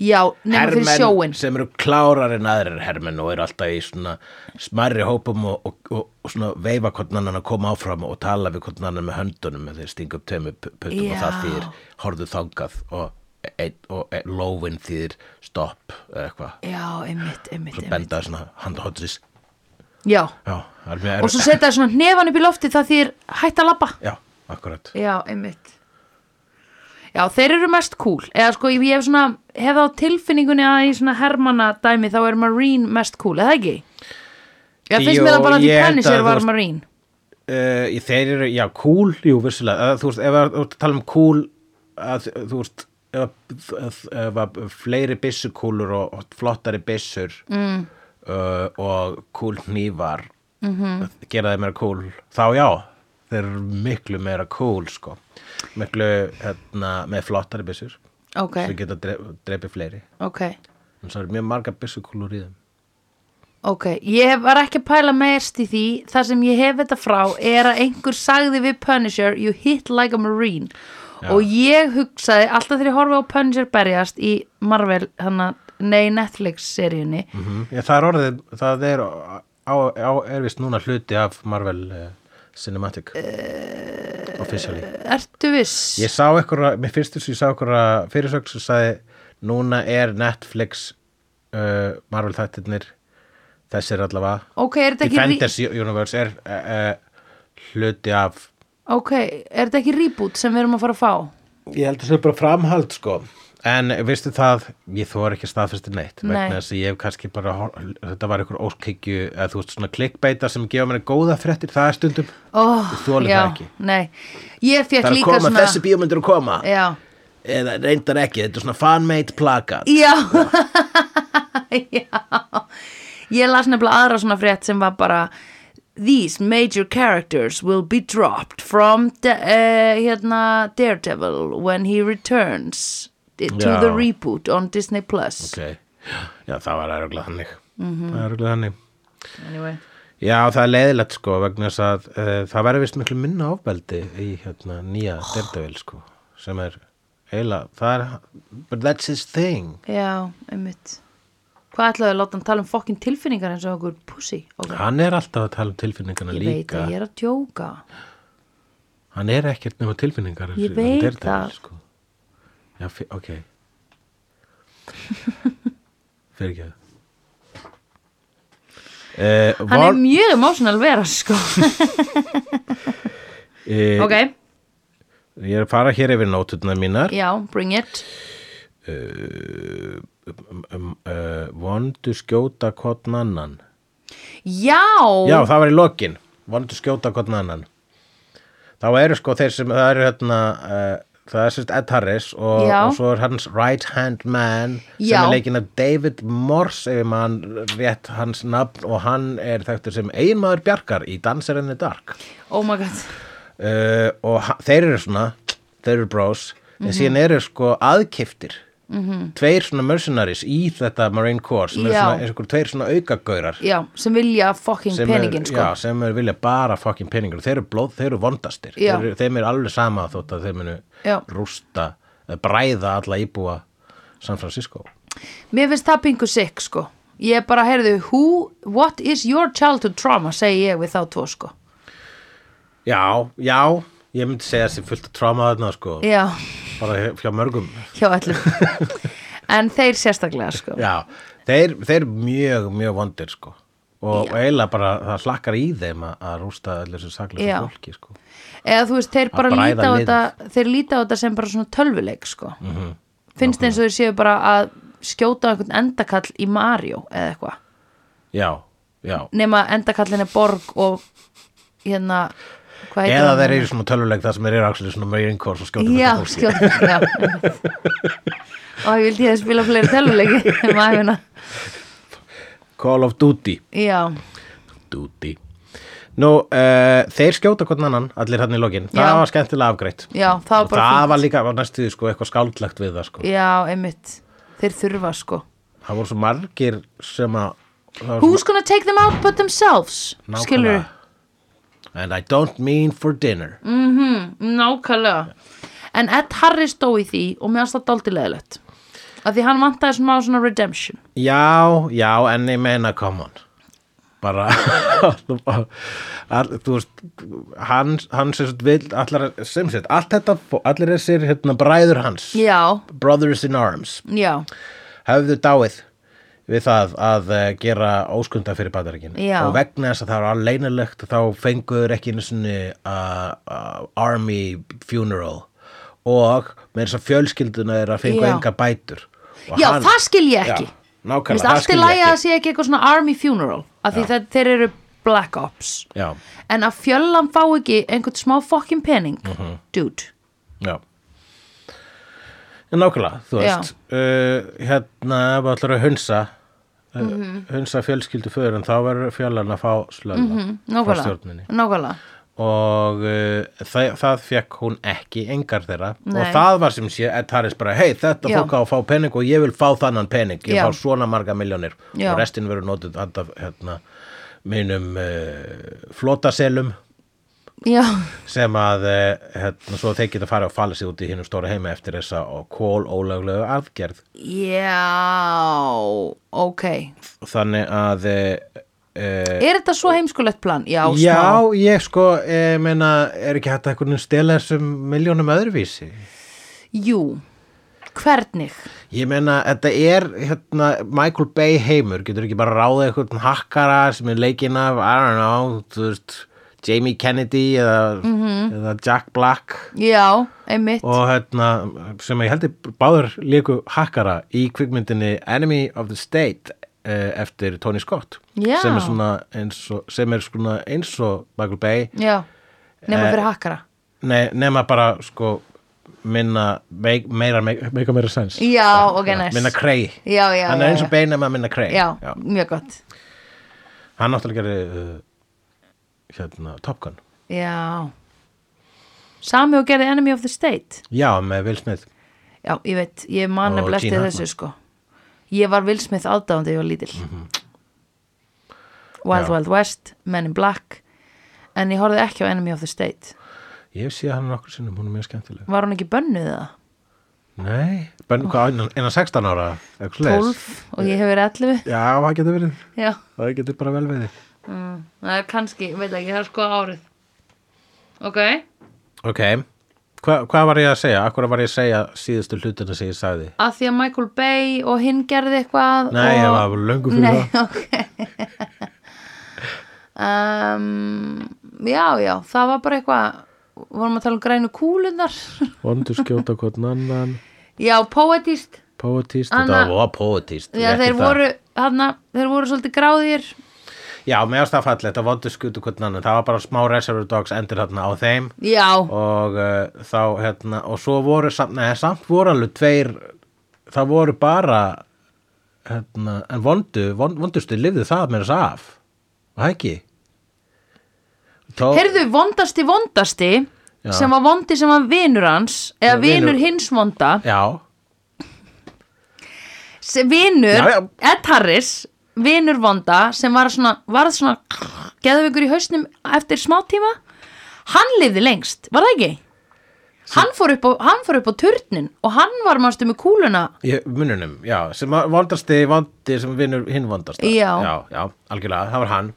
B: Já, nema fyrir sjóin
A: sem eru klárar en aðrir hermenn og eru alltaf í svona smærri hópum og, og, og, og svona veifa hvort annan að koma áfram og tala við hvort annan með höndunum þegar þeir stinga upp tveimur pu- puttum og það
B: Já.
A: þýðir horfðu þangað og, og, og e, lófin þýðir stopp eða eitthvað,
B: Já, einmitt, einmitt,
A: svo
B: einmitt.
A: benda svona handhóttis
B: Já,
A: Já, það er
B: og
A: mjög
B: svo
A: erfitt.
B: setja svona hnefann upp í lofti það þýr hætt að labba
A: Já, akkurat.
B: Já, einmitt Já, þeir eru mest cool eða sko, ég hef svona, hef á tilfinningunni að í svona hermanna dæmi þá er Marine mest cool, eða ekki? Já, finnst
A: Jú,
B: mér það bara að því
A: ég held
B: Penisir
A: að
B: var
A: þú-
B: Marine
A: Uh, í- þeir eru, já, cool, jú, vissulega. Eða, þú veist, ef að- þú ert að tala um cool, að, þú veist, ef, að- ef, ef að fleiri byssukúlur og, og flottari byssur mm. uh, og cool hnífar
B: Mhm.
A: -hmm. gera þeir meira cool, þá já, þeir eru miklu meira cool, sko. Miklu, hérna, með flottari byssur.
B: Ok,
A: Sem geta drep, drepið fleiri.
B: ok,
A: En svo eru mjög marga byssukúlur í þeim.
B: ok Ég hef- var ekki að pæla mest í því það sem ég hef þetta frá er að einhver sagði við Punisher You hit like a Marine
A: Já.
B: og ég hugsaði alltaf þegar ég horfi á Punisher berjast í Marvel, hana, nei Netflix-seríunni
A: Mm það er orðið, það er á, á, er vist núna hluti af Marvel uh, Cinematic officially.
B: Ertu viss?
A: Ég sá eitthvað, mér fyrstu sem ég sá eitthvað fyrirsögn sem sagði núna er Netflix uh, Marvel þættirnir þessir allavega.
B: Ok, er þetta ekki
A: Defenders Universe er uh, hluti af
B: Ok, er þetta ekki reboot sem við erum að fara að fá?
A: Ég held að það er bara framhald sko En veistu það, ég þóra ekki staðfesti neitt
B: Nei.
A: vegna þess að ég hef kannski bara hor- þetta var einhver óskikju eða þú veist svona klikkbeita sem gefa mér góða fréttir það er stundum,
B: Oh,
A: Ég þoli það
B: já,
A: ekki.
B: Nei, ég
A: það
B: fekk
A: er að
B: líka
A: koma
B: svona
A: þessi bíómyndir að koma
B: Já,
A: eða reyndar ekki, þetta er svona fanmade plakat
B: já, (laughs) já Ég las nefnilega aðra svona frétt sem var bara These major characters will be dropped from de uh, hérna Daredevil when he returns to
A: Já.
B: the reboot on Disney Plus
A: Ok, já það var eruglega þannig
B: Mhm.
A: það er eruglega þannig
B: Anyway,
A: Já, það er leiðilegt sko vegna þess að uh, það verður vist miklu minna ofbeldi í hérna nýja oh. sko sem er eiginlega, það er but that's his thing
B: já, einmitt Hvað ætlaðu að láta hann tala um fokkin tilfinningar eins og okkur pussy? Okay.
A: Hann er alltaf að tala um tilfinningana
B: Ég veit
A: líka.
B: að ég er að djóka
A: Hann er ekkert nema tilfinningar.
B: Ég
A: hann
B: veit
A: er
B: það.
A: Sko. Já, fi- ok.
B: (laughs)
A: Fyrir ekki það. Uh,
B: Hann er mjög emotional vera sko
A: uh,
B: Ok,
A: Ég er að fara hér yfir nótutna mínar.
B: já, bring it
A: Um, um, uh, vondu skjóta hvort annan.
B: Já,
A: Já, það var í lokin. Vondu skjóta hvort annan. Þá eru sko þeir sem, það eru hérna, uh, það er sérst Ed Harris og,
B: Já.
A: og svo er hans right hand man sem
B: Já.
A: er leikinn af David Morse ef maður rétt hans nafn og hann er þekktur sem eiginmaður bjargar í Danserin the Dark.
B: oh my god
A: Uh, og ha- þeir eru svona, þeir eru bros,
B: Mhm.
A: en síðan eru sko aðkiftir. -hmm. tveir svona mercenaries í þetta Marine Corps sem eru
B: Já.
A: svona, eins og einhver tveir svona aukagaurar
B: Já, sem vilja fucking
A: sem
B: peningin
A: er,
B: sko
A: já, sem er vilja bara fucking peningin og þeir eru blóð, þeir eru vondastir
B: Já.
A: þeir, eru- þeim er alveg sama þótt að þeir munu
B: Já.
A: rústa, eða bræða alla íbúa San Francisco
B: Mér finnst það pingu sick sko Ég bara heyrðu, who, what is your childhood trauma segi ég við þá tvo sko
A: já, já, ég myndi segja þessi fullt af tráma þarna sko
B: Já,
A: bara hjá mörgum
B: hjá öllum
A: (laughs)
B: en þeir sérstaklega sko
A: já, þeir, þeir mjög, mjög vondir sko og
B: Já.
A: eiginlega bara það hlakkar í þeim að, að rústa allir þessu sakleysu
B: Já.
A: fólki sko
B: eða þú veist, þeir bara
A: bræða
B: líta á
A: lið.
B: þetta þeir líta á þetta sem bara svona tölvuleik sko.
A: Mhm.
B: -hmm. finnst eins og þeir séu bara að skjóta á einhvern endakall í Mario eða eitthvað,
A: já, já
B: nema endakallin er borg og hérna hvað heitir
A: eða
B: hann?
A: þeir eru svona tölvuleik það sem þeir eru axlir svona mörgir innkors og skjóta
B: já,
A: fullt af fólki.
B: skjóta já, einmitt. og ég vildi ég að spila fleiri tölvuleiki um æfina
A: Call of Duty
B: já,
A: Duty Nú, uh, þeir skjóta hvern annan, allir hann í lokin
B: Já.
A: Það var skemmtilega afgreitt
B: Já, það var
A: Og
B: bara
A: það
B: fínt.
A: var líka var næstu sko, eitthvað skáldlegt við það sko.
B: já, einmitt þeir þurfa sko
A: Það voru svo margir sem að það var svo-
B: who's gonna take them out but themselves
A: Nákvæmlega.
B: skilur
A: And I don't mean for dinner
B: Mm. Nákvæmlega En Ed Harris dó í því og mér aðstætt dálítið leðilegt að því hann vantaði smá svona redemption
A: Já, já, en ég meina come on bara (laughs) þú bara- all- þú veist hann, hann sem sagt vill allar, sem sagt, allt þetta, allir þessir hérna, bræður hans,
B: Já,
A: brothers in arms
B: já,
A: höfðu dáið við það að eh, gera óskunda fyrir bandaríkin
B: Já.
A: og vegna þess að það var aleinilegt þá fenguður ekki einu sinni uh, uh, army funeral og með þess að fjölskylduna er að fengu
B: Já.
A: enga bætur og
B: já, það skil ég ekki
A: Já, nákvæmlega,
B: Mér finnst
A: það
B: Allt
A: skil
B: í
A: ég
B: lagi að
A: ekki.
B: það sé ekki eitthvað svona army funeral að því það, þeir eru black ops
A: Já,
B: en að fjöllan fá ekki einhvern smá fokkin pening
A: Mhm.
B: dude,
A: já En Nákvæmlega, þú
B: Já.
A: veist uh, hérna, ef allar að hunsa uh,
B: Mhm.
A: hunsa fjölskyldu fyrir en þá verður fjölan að fá slölla frá stjórninni
B: Mhm, nákvæmlega Nákvæmlega,
A: og uh, það, það fekk hún ekki engar þeirra
B: Nei.
A: og það var sem sé Ed Harris bara hei þetta
B: Já.
A: fólk á að fá pening og ég vil fá þannan pening ég
B: Já.
A: fá svona marga miljónir
B: Já.
A: og restin verður notuð andaf hérna, mínum uh, flotaselum
B: já,
A: sem að uh, hérna, svo þeir geta farið að falla sig út í hinnum stóra heima eftir þessa og kól ólöglegu aðgerð
B: já ok,
A: Eh, þannig að uh, uh,
B: er þetta svo heimskulegt plan? Já,
A: já
B: smá.
A: ég sko eh, meina er ekki hægt að einhvern stela þessum miljónum öðruvísi
B: jú hvernig?
A: Ég meina, þetta er hérna, Michael Bay heimur, getur ekki bara ráðið eitthvað hakkara sem er leikinn af I don't know, þú veist Jamie Kennedy eða,
B: Mhm.
A: eða Jack Black
B: Já, einmitt
A: og hérna, sem ég heldur báður líku hakkara í kvikmyndinni Enemy of the State eh, eftir Tony Scott
B: Já.
A: sem er svona eins og, sem er svona eins og Michael Bay
B: Já, nema
A: Eh,
B: fyrir hakkara
A: Nei, nema bara sko minna, meik, meira meik- meika meira sens
B: Já, ok, næs
A: minna krei
B: Já, já,
A: hann
B: já,
A: er eins og
B: já.
A: beina með að minna krei
B: Já, mjög gott
A: hann náttúrulega gerir uh, hérna, Top Gun
B: Já Sami og gerði Enemy of the State
A: já, með Will Smith
B: Já, ég veit, ég man
A: Og
B: nefnilega eftir
A: Gene
B: þessu sko Ég var Will Smith aðdáðandi ég var lítil Wild
A: Mhm. Já.
B: Wild West, Men in Black En ég horfði ekki á Enemy of the State
A: ég sé hann nokkur sinnum, hún er mjög skemmtileg
B: Var hún ekki bönnuð það?
A: nei, benn, hvað, innan, innan 16 ára eitthvað svoleiðis?
B: 12 og ég hef verið 11
A: já, það getur verið,
B: Já,
A: það getur bara vel verið
B: mm, það er kannski, ég veit ekki, það er sko árið Ok
A: ok, Hva, hvað var ég að segja akkur var ég að segja síðustu hlutina sem ég sagði
B: að því að Michael Bay og hinn gerði eitthvað
A: nei,
B: og...
A: ég var löngu fyrir
B: Nei,
A: það
B: um, já, já, það var bara eitthvað vorum að tala um grænu kúlunar
A: vondur skjóta hvort annan
B: já, poetist
A: poetist,
B: Anna-
A: þetta var poetist
B: já, þeir, voru, hana, þeir voru svolítið gráðir
A: já, mér varst það fallið, það vondur skjóta hvort annan það var bara smá Reservoir Dogs endur hérna á þeim
B: já,
A: og uh, þá hérna og svo voru samt, neða samt voru alveg tveir það voru bara hérna, en vondu von, vondustu lifðu það með þess af og það ekki Tó,
B: heyrðu, vondasti vondasti
A: Já.
B: sem var vondi sem var vinur hans eða
A: Já, vinur-
B: vinur hins vonda
A: já,
B: sem vinur
A: Já, já.
B: Ed Harris vinur vonda sem var svona, varð svona geðveikur í hausnum eftir smá tíma hann lifði lengst, var það ekki? Hann fór, upp á, hann fór upp á turnin og hann var mástu með kúluna
A: ég, mununum já, sem að vondasti vondi sem vinnur hinn vondasta
B: Já.
A: já, já, algjörlega, það var hann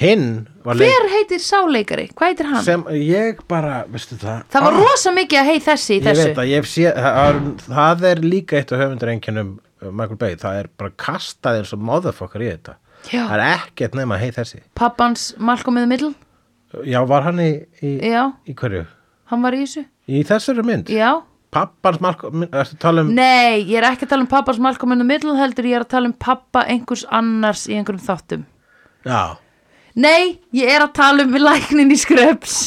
A: hinn var leik
B: Hver heitir sáleikari? Hvað heitir hann?
A: sem ég bara, veistu það
B: það var
A: Ah,
B: rosa mikið að hei þessi í
A: ég
B: þessu
A: veit að ég sé, það, það er líka eitt af höfundur einkennum Michael Bay, það er bara kastað eins og motherfucker í þetta
B: Já.
A: það er ekkert nema hei þessi
B: Pappans Malcolm in the Middle
A: já, var hann í, í,
B: Já,
A: í hverju?
B: hann var í þessu
A: í þessari mynd?
B: Já,
A: pappans Marko, ertu að tala um
B: nei, ég er ekki að tala um pappans Malcolm in the Middle heldur ég er að tala um pappa einhvers annars í einhverjum þáttum
A: já,
B: Nei, ég er að tala um læknin í skröps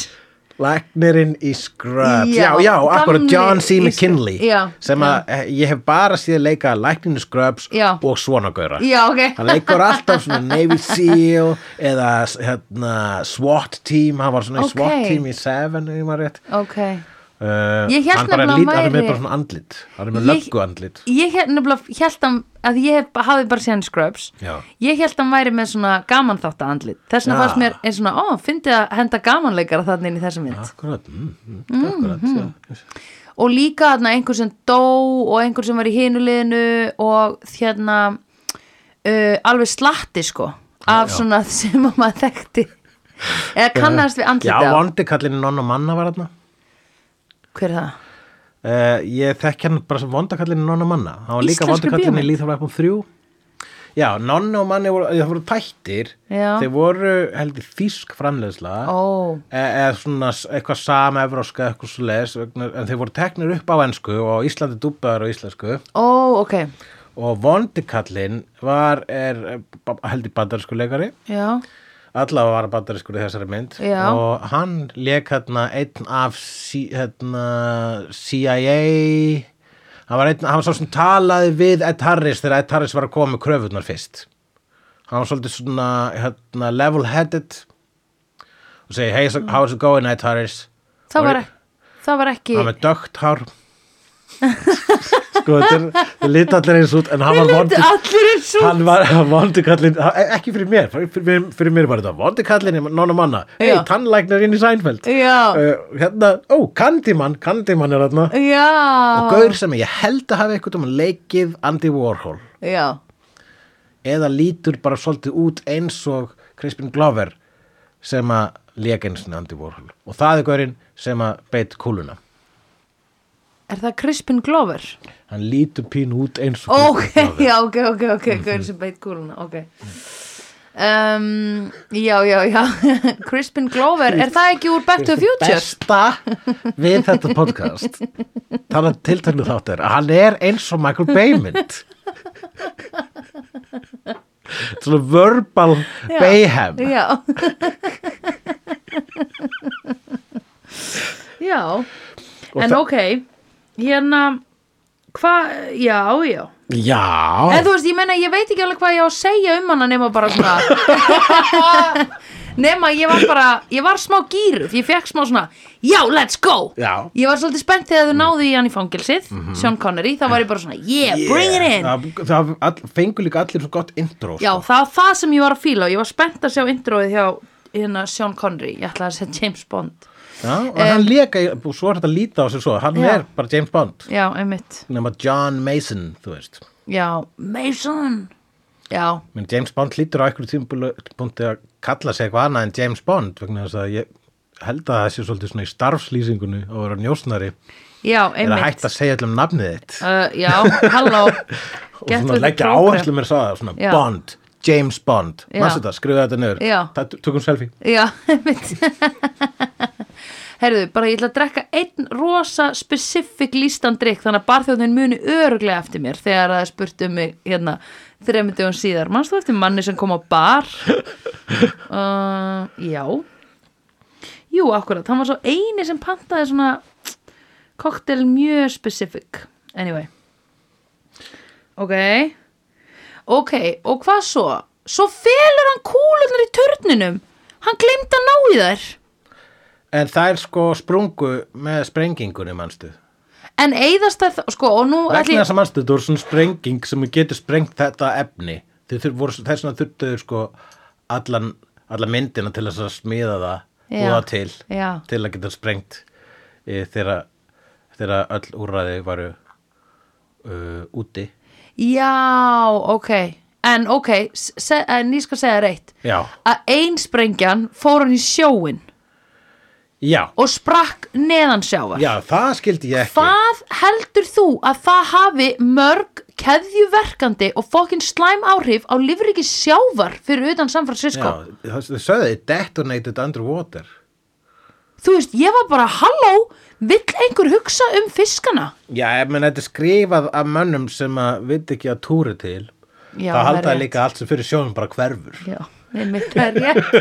A: Læknirinn í Scrubs
B: Já,
A: Já, já, akkurat
B: gamli
A: John C.
B: í Scrubs.
A: McKinley
B: Já,
A: sem að eh, ég hef bara síðan leika Læknirinn í Scrubs
B: Já.
A: og svona gauðra
B: Já, ok
A: Hann leikur alltaf svona Navy SEAL eða s- hérna, SWAT team, hann var svona
B: Ok.
A: í SWAT team í Seven, ef ég maður rétt
B: Ok
A: uh,
B: Ég hélt
A: Hann bara
B: nefnilega
A: lít, hann er
B: væri-
A: með bara svona andlit hann er með
B: Ég-
A: löggu andlit
B: Ég held nefnilega, held hann að ég hef, hafði bara séð hann í Scrubs
A: Já.
B: Ég held hann væri með svona gaman þátt að andlit Þess vegna
A: Já.
B: fannst mér eins svona, ó, fyndi að henda gamanleikara þarna inn í þessa mynd
A: Akkurat, mm, mm, akkurat mm
B: og líka þarna einhver sem dó og einhver sem var í hinuleginu og hérna uh, alveg slatti sko af
A: Já.
B: svona (laughs) sem að maður þekkti eða kannast við
A: Já,
B: andlita
A: vondi kallinn Nonna Manna var þarna
B: hver er það?
A: Uh, ég þekk hann bara sem vondakallinu nonna manna hann var líka
B: Íslenskri
A: vondakallinu í
B: bíómynd?
A: Lethal Weapon 3 já, nonna og manni voru, það voru tættir
B: Já.
A: þeir voru heldur þýsk framleiðsla
B: ó,
A: e eða svona s- eitthvað sama evróska eitthvað svo les en þeir voru teknir upp á ensku og á Íslandi dúbbaður á íslensku
B: ó, ok
A: og vondikallin var er, e, ba- heldur bandarísku leikari
B: já,
A: allavega var bandarískur í þessari mynd
B: Já.
A: og hann leik hérna einn af C, hérna, CIA hann var, einn, hann var svo sem talaði við Ed Harris þegar Ed Harris var að koma með kröfunar fyrst hann var svolítið svona hérna, level headed og segi hey so- how's it going Ed Harris
B: það
A: Og-
B: var, það var ekki
A: hann var dögt hár sko þetta er lítið allir eins út en hann var
B: Lítið
A: vondur
B: allir eins og
A: hann var vondukallin e- ekki fyrir mér, fyrir, fyrir, fyrir mér var þetta vondukallin, nonna manna hei,
B: Já.
A: tannlæknar inn í Sænfeld
B: já,
A: uh, hérna, ó, Candyman Candyman er þarna
B: já
A: og gaur sem ég held að hafa eitthvað um leikið Andy Warhol
B: já,
A: eða lítur bara svolítið út eins og Crispin Glover sem að leika eins og Andy Warhol og það er gaurinn sem að beit kúluna
B: er það Crispin Glover?
A: hann lítur pínu út eins og
B: ok,
A: Crispin Glover
B: (laughs) já, ok, ok, ok gaur sem beit kúluna, ok um, já, já, já (laughs) Crispin Glover, er það ekki úr Back to the Future?
A: besta við þetta podcast þannig að tiltakna þátt er að hann er eins og Michael Bay mynd svona verbal
B: Já.
A: Bayhem
B: já
A: (laughs)
B: já,
A: Og
B: en
A: það-
B: ok hérna hvað, já, já
A: já,
B: En þú veist, ég meina, ég veit ekki alveg hvað ég á að segja um hana nema bara svona
A: (laughs)
B: nema, ég var bara ég var smá gýruf, ég fekk smá svona já, let's go
A: Já. Mm. Mhm.
B: ég var svolítið spennt þegar þau náðu í hann í fangilsið Sean Connery, þá var ég bara svona yeah, bring it in
A: það, það all, fengur líka allir svo gott intro
B: já,
A: sko.
B: það var það sem ég var að fíla og ég var spennt að sjá introið hjá hérna, Sean Connery, ég ætlaði að segja James Bond
A: já og hann leka, í- og svo er þetta að líta á sig svo hann
B: Um, Já.
A: er bara James Bond
B: já, einmitt,
A: nema John Mason, þú veist
B: já, Mason já,
A: Men James Bond lítur á einhverju tímpúnti að kalla sig eitthvað annað en James Bond vegna þess að ég held að það sé svolítið svona í starfslýsingunni og vera njósnari
B: já,
A: er að
B: einmitt
A: hætta að segja allum nafnið þitt
B: Uh, já, halló
A: (laughs) og
B: Get with
A: svona
B: the
A: leggja
B: program.
A: áherslu mér það svona
B: Já.
A: Bond, James Bond
B: Já.
A: mannstu þetta, skrifa þetta niður
B: Já.
A: Það- tökum selfie
B: Já, (laughs) einmitt Herðu, bara ég ætla að drekka einn rosa specifík lístan drikk þannig að barþjóðin muni öruglega eftir mér þegar það er spurt um mig hérna þreymundugum síðar. Manst þú eftir manni sem kom á bar? uh, já. Jú, akkurat, hann var svo eini sem pantaði svona koktel mjög specifík. Anyway. Ok. Ok, og hvað svo? Svo felur hann kúlunar í turninum. Hann gleymd að ná í þær.
A: en það er sko sprungu með sprengingunni mannstu
B: En eigðast það, sko, og nú ætli
A: vegna
B: ég...
A: þess að mannstu, þetta voru svona sprenging sem getur sprengt þetta efni Þau þur- voru- þess vegna þurftuður sko allan, alla myndina til þess að smíða það
B: Já.
A: búa til
B: Já.
A: til að geta sprengt e, þegar þegar öll úrræði varu uh, úti
B: Já, ok, en ok, s- se, en ég skal segja þér eitt
A: já,
B: að einsprengjan fór hann í sjóin
A: já,
B: og sprakk neðan sjávar
A: já, það skildi ég ekki
B: Hvað heldur þú að það hafi mörg keðjuverkandi og fokkin slæm áhrif á lífriki sjávar fyrir utan San Francisco?
A: Já, það þau sögðu þið detonated underwater
B: Þú veist, ég var bara, halló, vill einhver hugsa um fiskana?
A: Já, ég menn þetta er skrifað af mönnum sem að veit ekki að túri til
B: Já,
A: það
B: það er
A: halda
B: rétt.
A: líka allt sem fyrir sjónum bara hverfur
B: Já, einmitt það er rétt.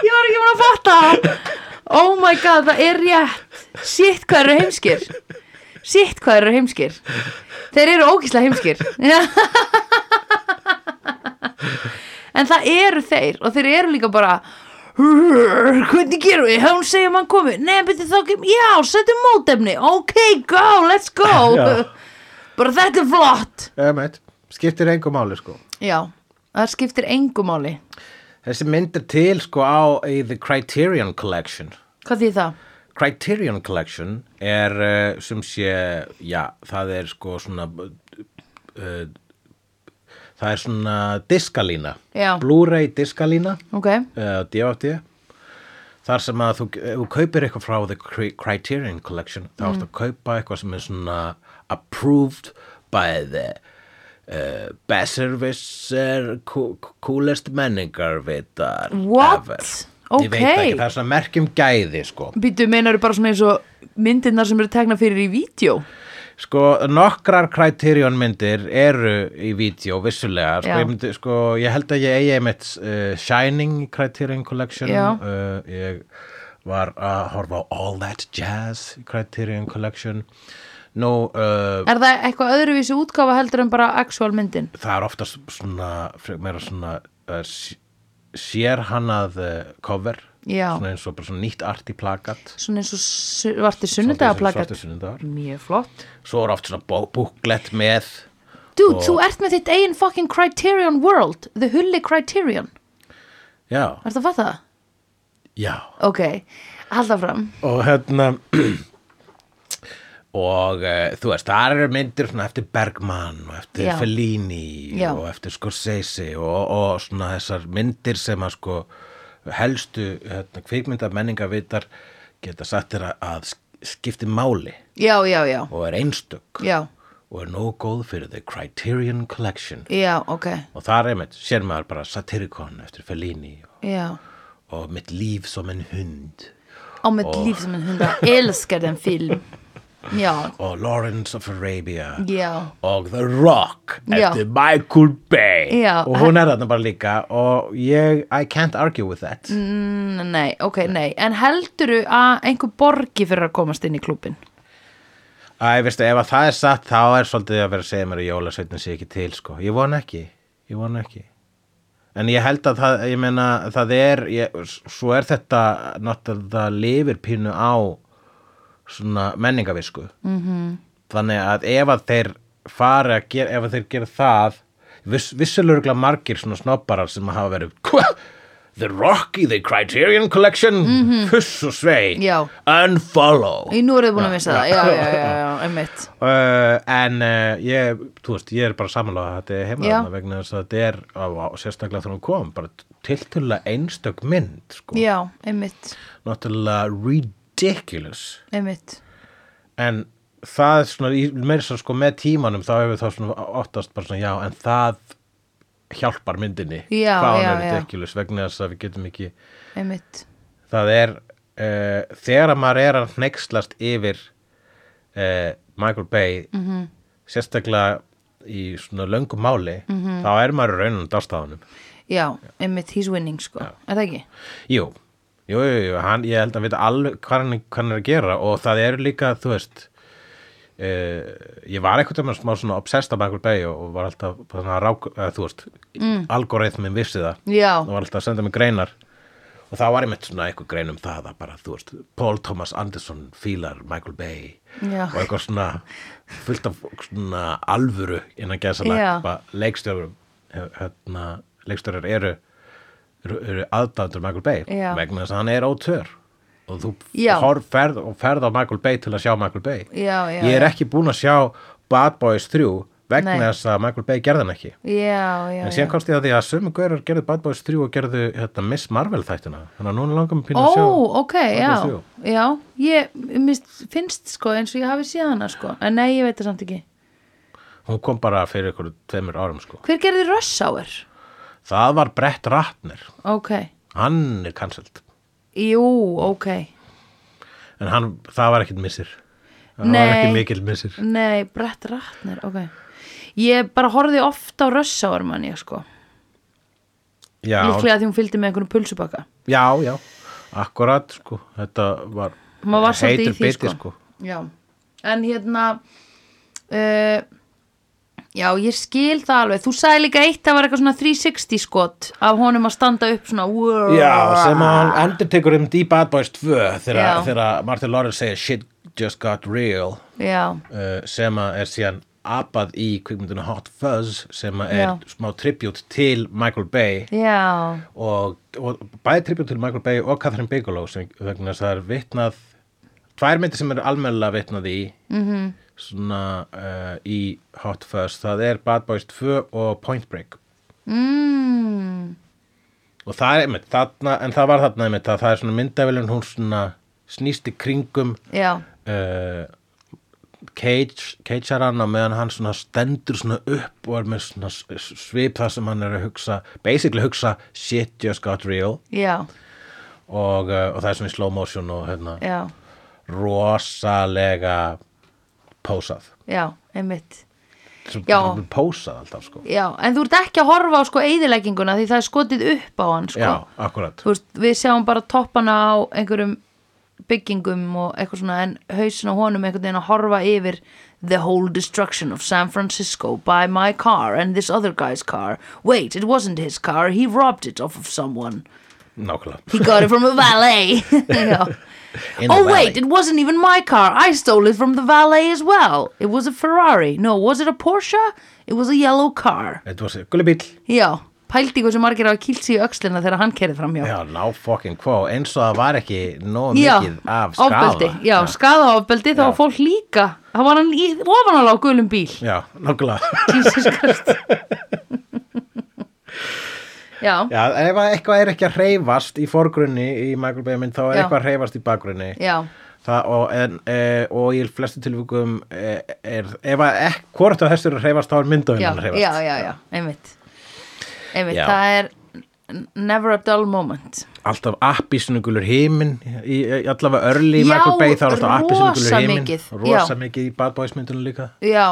B: ég var ekki búin að fatta það. Oh my god, það er rétt. Sitt hvað eru heimskir. Sitt hvað eru heimskir. Þeir eru ógíslega heimskir. en það eru þeir og þeir eru líka bara hvernig gerum við, hún segja mann komi nei, betur þá kem, já, setjum mótefni ok, go, let's go
A: Já.
B: bara þetta er flott
A: Ég veit, skiptir engum máli sko
B: Já, það skiptir engu máli
A: Þessi mynd er til sko á í The Criterion Collection
B: Hvað því það?
A: Criterion Collection er uh, sem sé, já, það er sko svona uh, það er svona diskalína,
B: Já.
A: Blu-ray diskalína
B: Ok,
A: uh, DFD þar sem að þú, ef þú kaupir eitthvað frá The Cri- Criterion Collection þá ertu
B: Mm.
A: að kaupa eitthvað sem er svona approved by the uh, Besservisser kú- coolest menningarvitar
B: What?
A: ever. Ég veit það ekki,
B: Ok.
A: það er svona merkjum gæði sko
B: býtu meinaru bara svona eins og myndirnar sem eru tekna fyrir í vídeo
A: Sko, nokkrar Criterion myndir eru í vídeo vissulega, sko,
B: Já.
A: ég, myndi, sko, ég held að ég eigi einmitt uh, Shining í Criterion Collection
B: Já.
A: uh, ég var að horfa á All That Jazz í Criterion Collection nú, uh,
B: Er það eitthvað öðruvísi útgáfa heldur en bara actual myndin?
A: það er oftast svona, fre- meira svona uh, s- sérhannað uh, cover,
B: Já.
A: svona eins og bara svona nýtt arti plakat
B: Svona eins og svartir sunnudagaplakat
A: sunnudagar.
B: Mjög flott
A: svo er oft svona bó- búklet með
B: Dude, þú ert með þitt eigin fucking Criterion World The Hulli Criterion
A: já,
B: Er það að fatta það?
A: já
B: Ok, halda fram
A: og hérna (clears throat) og uh, þú veist, þar eru myndir svona eftir Bergman og eftir
B: Já.
A: Fellini
B: Já.
A: og eftir Scorsese og, og svona þessar myndir sem að sko helstu hérna, kvikmynda menningavitar geta sagt þér að- að sk- skipti máli
B: Já, já, já,
A: og er einstök
B: já,
A: og er nóg góð fyrir The Criterion Collection
B: já, ok
A: og þar einmitt sér maður bara Satyricon eftir Fellini og,
B: Já
A: og mitt líf som en hund
B: Á mitt líf sem en hunda Elskar den film Já,
A: og Lawrence of Arabia
B: já
A: og The Rock
B: Já.
A: eftir Michael Bay
B: Já.
A: og hún er þarna bara líka og ég, I can't argue with
B: Mm.
A: that
B: N- Nei, ok, nei En heldurðu að einhver borgi fyrir að komast inn í klúbin?
A: Æ, veistu, ef að það er satt þá er svolítið að vera að segja mér að jólasveitin sé ekki til sko, ég von ekki ég von ekki en ég held að það, ég meina, það er ég, svo er þetta náttúrulega það lifir pínu á svona menningavisku mm
B: Mhm.
A: -hmm. þannig að ef að þeir fara að gera, ef að þeir gera það viss, vissulurgla margir svona snobbarar sem hafa verið hva? The Rocky, The Criterion Collection mm -hmm. Fuss og svei
B: Mhm. Já.
A: Unfollow
B: Í nú eru þið búin að missa það Já, já, já,
A: (laughs)
B: já, einmitt
A: Uh, en uh, ég, þú veist, ég er bara samanlega að þetta er heima
B: Já.
A: þarna vegna þess að þetta er á, á, sérstaklega þegar hún kom, bara tiltölulega einstök mynd, sko.
B: Já, einmitt,
A: Náttúrulega ridiculous.
B: einmitt
A: En það er svona, í- meira svo sko með tímanum, þá hefur það svona oftast bara svona, já, en það hjálpar myndinni.
B: Já,
A: Hvað hún
B: já,
A: er
B: já.
A: ridiculous vegna þess að við getum ekki,
B: Einmitt
A: það er uh, þegar að maður er að hneykslast yfir uh, Michael Bay -hmm. sérstaklega í svona löngu máli -hmm. þá er maður raunin dástafanum
B: Já, einmitt, he's winning sko Er það ekki?
A: jú, jú, jú, jú hann, ég held að vita alveg hvað hann, hvað hann er að gera og það eru líka, þú veist Uh, ég var einhvern veginn smá svona obsessed af Michael Bay og, og var alltaf bara svona rák, eða, þú veist, mm. algoritmin vissi það
B: Já.
A: og var alltaf að senda mig greinar og þá var ég með svona einhver grein um það að bara, þú veist, Paul Thomas Anderson fílar Michael Bay
B: Já.
A: og eitthvað svona fullt af svona alvöru innan
B: Já.
A: gæðsala leikstjórum hérna, leikstjórar eru, eru, eru aðdæmdur Michael Bay
B: Já.
A: vegna þess að hann er ótör og þú
B: Já.
A: horf, ferð, og ferð á Michael Bay til að sjá Michael Bay
B: Já, já,
A: ég er
B: já.
A: ekki búin að sjá Bad Boys 3 vegna
B: Nei.
A: þess að Michael Bay gerði hann ekki
B: já, já,
A: en
B: já.
A: síðan komst ég að því að sömu gaurar gerðu Bad Boys 3 og gerðu hérna, Miss Marvel þættina þannig að núna langar mig pínu
B: Ó,
A: að sjá
B: ok, já,
A: Boys 3.
B: já, ég mist, finnst sko eins og ég hafi séð hana sko, en nei, ég veit það samt ekki.
A: hún kom bara fyrir ykkur tveimur árum sko
B: Hver gerði Rush Hour?
A: það var Brett Ratner
B: Ok,
A: hann er cancelled
B: jú, ok,
A: en hann, það var ekkit missir það var
B: Nei.
A: ekki mikil missir
B: nei, Brett Ratner, ok. Ég bara horfði oft á Rush Hour mann ég sko,
A: já,
B: líklega því hún fylgdi með einhvern pulsubaka.
A: já, já, akkurat sko þetta var
B: Maður var svolítið í
A: heitur
B: því
A: biti
B: sko. Já, en hérna, uh, já, ég skil það alveg. Þú sagði líka eitt, það var eitthvað svona 360 skot af honum að standa upp svona.
A: Já, sem að hann endur tekur um í Bad Boys 2
B: Já.
A: þegar, þegar Martin Lawrence segir shit just got real
B: Já,
A: uh, sem að er síðan apað í kvikmynduna Hot Fuzz sem að er
B: Já.
A: smá tribute til Michael Bay
B: já,
A: og, og bæði tribute til Michael Bay og Catherine Bigelow sem vegna þess að það er vitnað tvær myndir sem eru almennilega vitnað í -hmm. svona uh, í Hot Fuzz það er Bad Boys 2 og Point Break
B: mm,
A: og það er einmitt þarna, en það var þarna einmitt að það er svona myndavillin hún svona snýst í kringum
B: já,
A: uh, cage, cagearann á meðan hann svona stendur svona upp og er með svona s- s- svip það sem hann er að hugsa basically hugsa shit just got real
B: já,
A: og, uh, og það er svona í slow motion og hérna,
B: já,
A: rosalega pósað
B: já, einmitt.
A: Svo-
B: Já.
A: svo pósað alltaf sko
B: Já, en þú ert ekki að horfa á sko eyðilegginguna því það er skotið upp á hann sko.
A: já, akkurat
B: Þú veist, við sjáum bara toppana á einhverjum byggingum og eitthvað svona en hausin á honum einhvern veginn að horfa yfir The whole destruction of San Francisco by my car and this other guy's car. Wait, it wasn't his car, he robbed it off of someone.
A: nákvæmlega
B: He got it from a valet. (laughs) Já.
A: In the
B: Oh
A: valley.
B: wait, it wasn't even my car. I stole it from the valet as well. It was a Ferrari. No, was it a Porsche? It was a yellow car.
A: þetta var sér gulli bíl
B: Já, pældi hversu margir á að kýlt sig í öxlina þegar hann kerði fram hjá.
A: já, ná fucking quo eins og það var ekki nóg
B: Já,
A: mikið af skafa
B: ofbeldi. Já, skaða ofbeldi, þá
A: Já.
B: var fólk líka. Það var hann í, ofanalega á gulum
A: (laughs)
B: bíl.
A: já, nákvæmlega
B: Jesus
A: (laughs)
B: Christ. já,
A: Já, ef að eitthvað er ekki að reyfast í forgrunni í Michael Bay mynd þá er
B: Já.
A: eitthvað að reyfast í bakgrunni
B: já,
A: það, og, en, e, og í flestu tilvíkum e, er, ef að ek, hvort að þessu er að reyfast þá er myndavinn
B: já,
A: að
B: já,
A: reyfast
B: já, já, einmitt. Einmitt,
A: Já.
B: það er n- never a dull moment.
A: alltaf appisnugulur heimin í, í allavega örli í
B: Já,
A: Michael Bay þá er alltaf appisnugulur
B: rosa
A: heimin
B: mikið, já.
A: rosa mikið í Bad Boys myndunum líka
B: Já,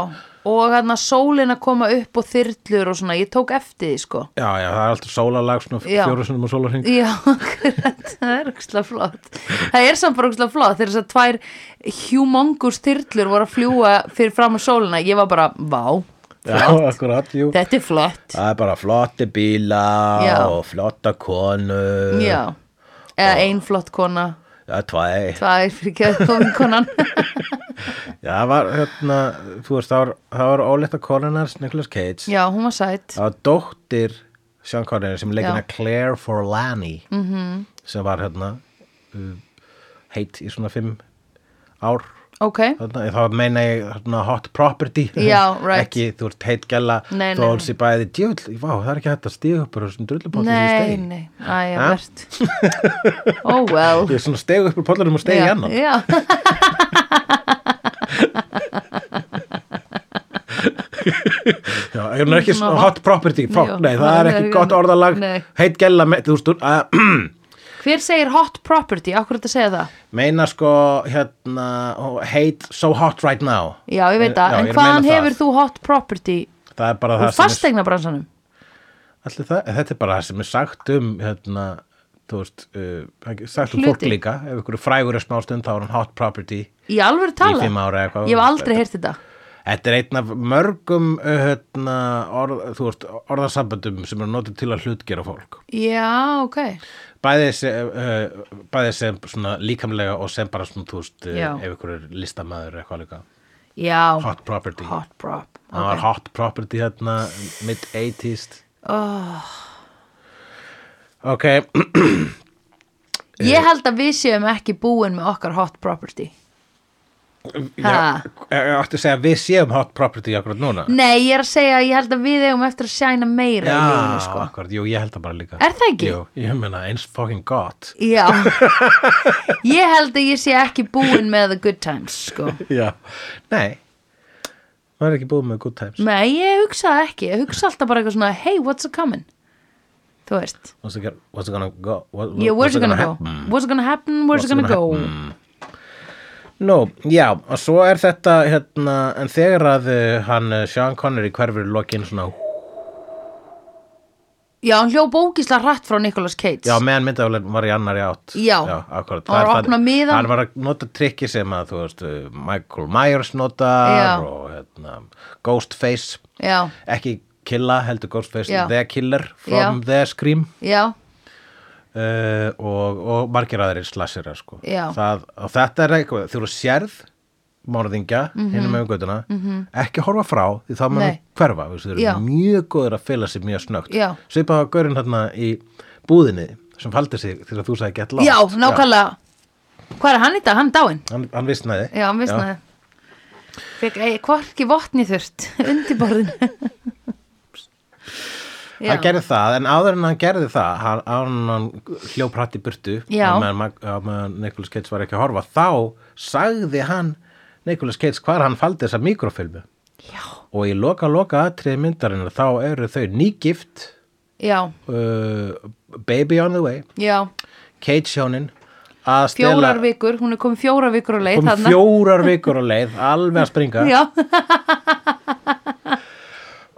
B: og hann að sólin að koma upp og þyrlur og svona, ég tók eftir því sko.
A: já, já, það er alltaf sólalag svona
B: Já.
A: fjóru sinum og sólarhing
B: Já, (laughs) akkurat, það er ógstlega flott Það er samt bara ógstlega flott þegar þess að tvær humongus þyrlur voru að fljúa fyrir fram á sólina ég var bara, vá,
A: já, akkurat, jú
B: þetta er flott
A: það er bara flotti bíla
B: Já.
A: og flotta konur
B: Já, eða
A: Ah.
B: ein flott kona
A: já, tvæ
B: það er fyrir ekki komin
A: (laughs)
B: konan
A: Já, það var hérna, þú veist, það var, það var ólétta konunars Nicolas Cage.
B: Já, hún var sætt
A: Það var dóttir Sean Connery sem leikina
B: Já. Mhm.
A: Claire Forlani -hmm. sem var hérna uh, heit í svona fimm ár.
B: Ok,
A: Þarna, þá meina ég hérna, hot property
B: Já,
A: (laughs)
B: right.
A: ekki, þú ert heit gæla
B: Nei, nei,
A: þó
B: nei.
A: hún sé bæði djöfull, vá, það er ekki hægt að stíða upp úr þessum drullupollir
B: nei,
A: stegi
B: nei, æja,
A: Ha?
B: verðt
A: (laughs)
B: Oh well
A: ég er svona stegu upp úr pollinum og hérna. stegi
B: Já,
A: annan
B: Já,
A: Já, ég er nú ekki
B: Svona
A: svona hot property fuck,
B: Jú,
A: nei, það er ekki gott orðalag
B: Nei.
A: heit gæla, me- þú veist, þú- að
B: hver segir hot property, akkur þetta segja það
A: meina sko hérna og hate so hot right now
B: Já, ég veit það,
A: Eh, Já, ég
B: en
A: er að
B: hvaðan
A: meina það.
B: hefur þú hot property
A: það er bara
B: úr
A: það sem
B: fastegna bransanum?
A: er, allir það, þetta er bara það sem er sagt um hérna þú veist, uh, það er sagt um
B: Hluti.
A: fólk líka ef ykkur er frægur er smá stund þá er hann hot property
B: Í alvöru tala?
A: í fimm ára eitthvað
B: Ég hef aldrei heyrt þetta.
A: Þetta er einn af mörgum uh, hérna, orð, þú veist, orðasambandum sem eru notið til að hlutgera fólk.
B: Já, ok.
A: Bæði sem, uh, bæði sem svona líkamlega og sem bara svona, þú veist, uh,
B: Já.
A: ef ykkur er listamaður eða eitthvað líka.
B: Já.
A: Hot property.
B: Hot prop.
A: hann var hot property hérna mid-80s oh. ok (clears throat) eh.
B: Ég held að við séum ekki búin með okkar hot property. Ha?
A: Já, ég ætti að segja að við séum hot property akkurat núna
B: Nei, ég er að segja að ég held að við eigum eftir að sæna meira í lífinu, sko.
A: akkurat, jú, ég held það bara líka
B: Er það ekki?
A: Jú, ég meina eins fucking gott
B: Já.
A: (laughs)
B: ég held að ég sé ekki búin með the good times, sko.
A: Já, nei maður er ekki búið með good times
B: Nei, ég hugsaði ekki. Ég hugsa alltaf bara eitthvað svona, hey, what's a coming? Þú veist.
A: What's it gonna, what's it gonna go? What,
B: Yeah, where's
A: what's
B: it gonna,
A: happen?
B: go? Where's it gonna happen? Where's it gonna, go?
A: Nú, já, og svo er þetta hérna, en þegar að uh, hann uh, Sean Connery hverfur í lokin svona
B: Já, hann hljóp ógísla hratt frá Nicolas Cage.
A: Já, meðan myndavlun var í annari átt
B: Já.
A: já akkurat
B: Hann var
A: Það
B: að
A: er
B: opna
A: það-
B: miðann.
A: Hann var að nota trikki sem að, þú veist, uh, Michael Myers notar
B: Já.
A: og hérna, Ghostface
B: Já,
A: ekki killa, heldur Ghostface
B: Já.
A: The Killer from
B: Já.
A: The Scream
B: já,
A: uh, og, og margir aðrir slasera sko.
B: Já.
A: það, og þetta er eitthvað þú eru sérð morðingja mm -hmm. hinum með göttuna, ekki horfa frá því þá
B: Mhm. Nei.
A: maður hverfa, þú veist, þau
B: Já.
A: eru mjög góður að fela sig mjög snögt
B: Já.
A: svipaða gaurinn hérna í búðinni sem faldi sig þegar þú sagði gett látt
B: já, nákvæmlega. Hvað er hann í dag? Hann er dáinn.
A: hann, hann visnaði
B: Já, hann vissnaði. Fekk
A: eh,
B: ei, hvorki votni
A: (laughs)
B: þurft undirborðin. já,
A: hann gerði það, en áður en hann gerði það hann, áður en hann hljóp hratt í burtu
B: Já.
A: á meðan Mag- á meðan Nicolas Cage var ekki að horfa þá sagði hann Nicolas Cage hvar hann faldi þessa mikrofilmu
B: já,
A: og í loka loka aðtrið myndarinnar þá eru þau nýgift
B: já,
A: uh, Baby on the way
B: já.
A: Kate Sjónin að stela
B: Fjórar vikur, hún er komið fjórar vikur á leið.
A: kom
B: þarna.
A: fjórar vikur á leið alveg
B: (laughs)
A: að springa
B: Já,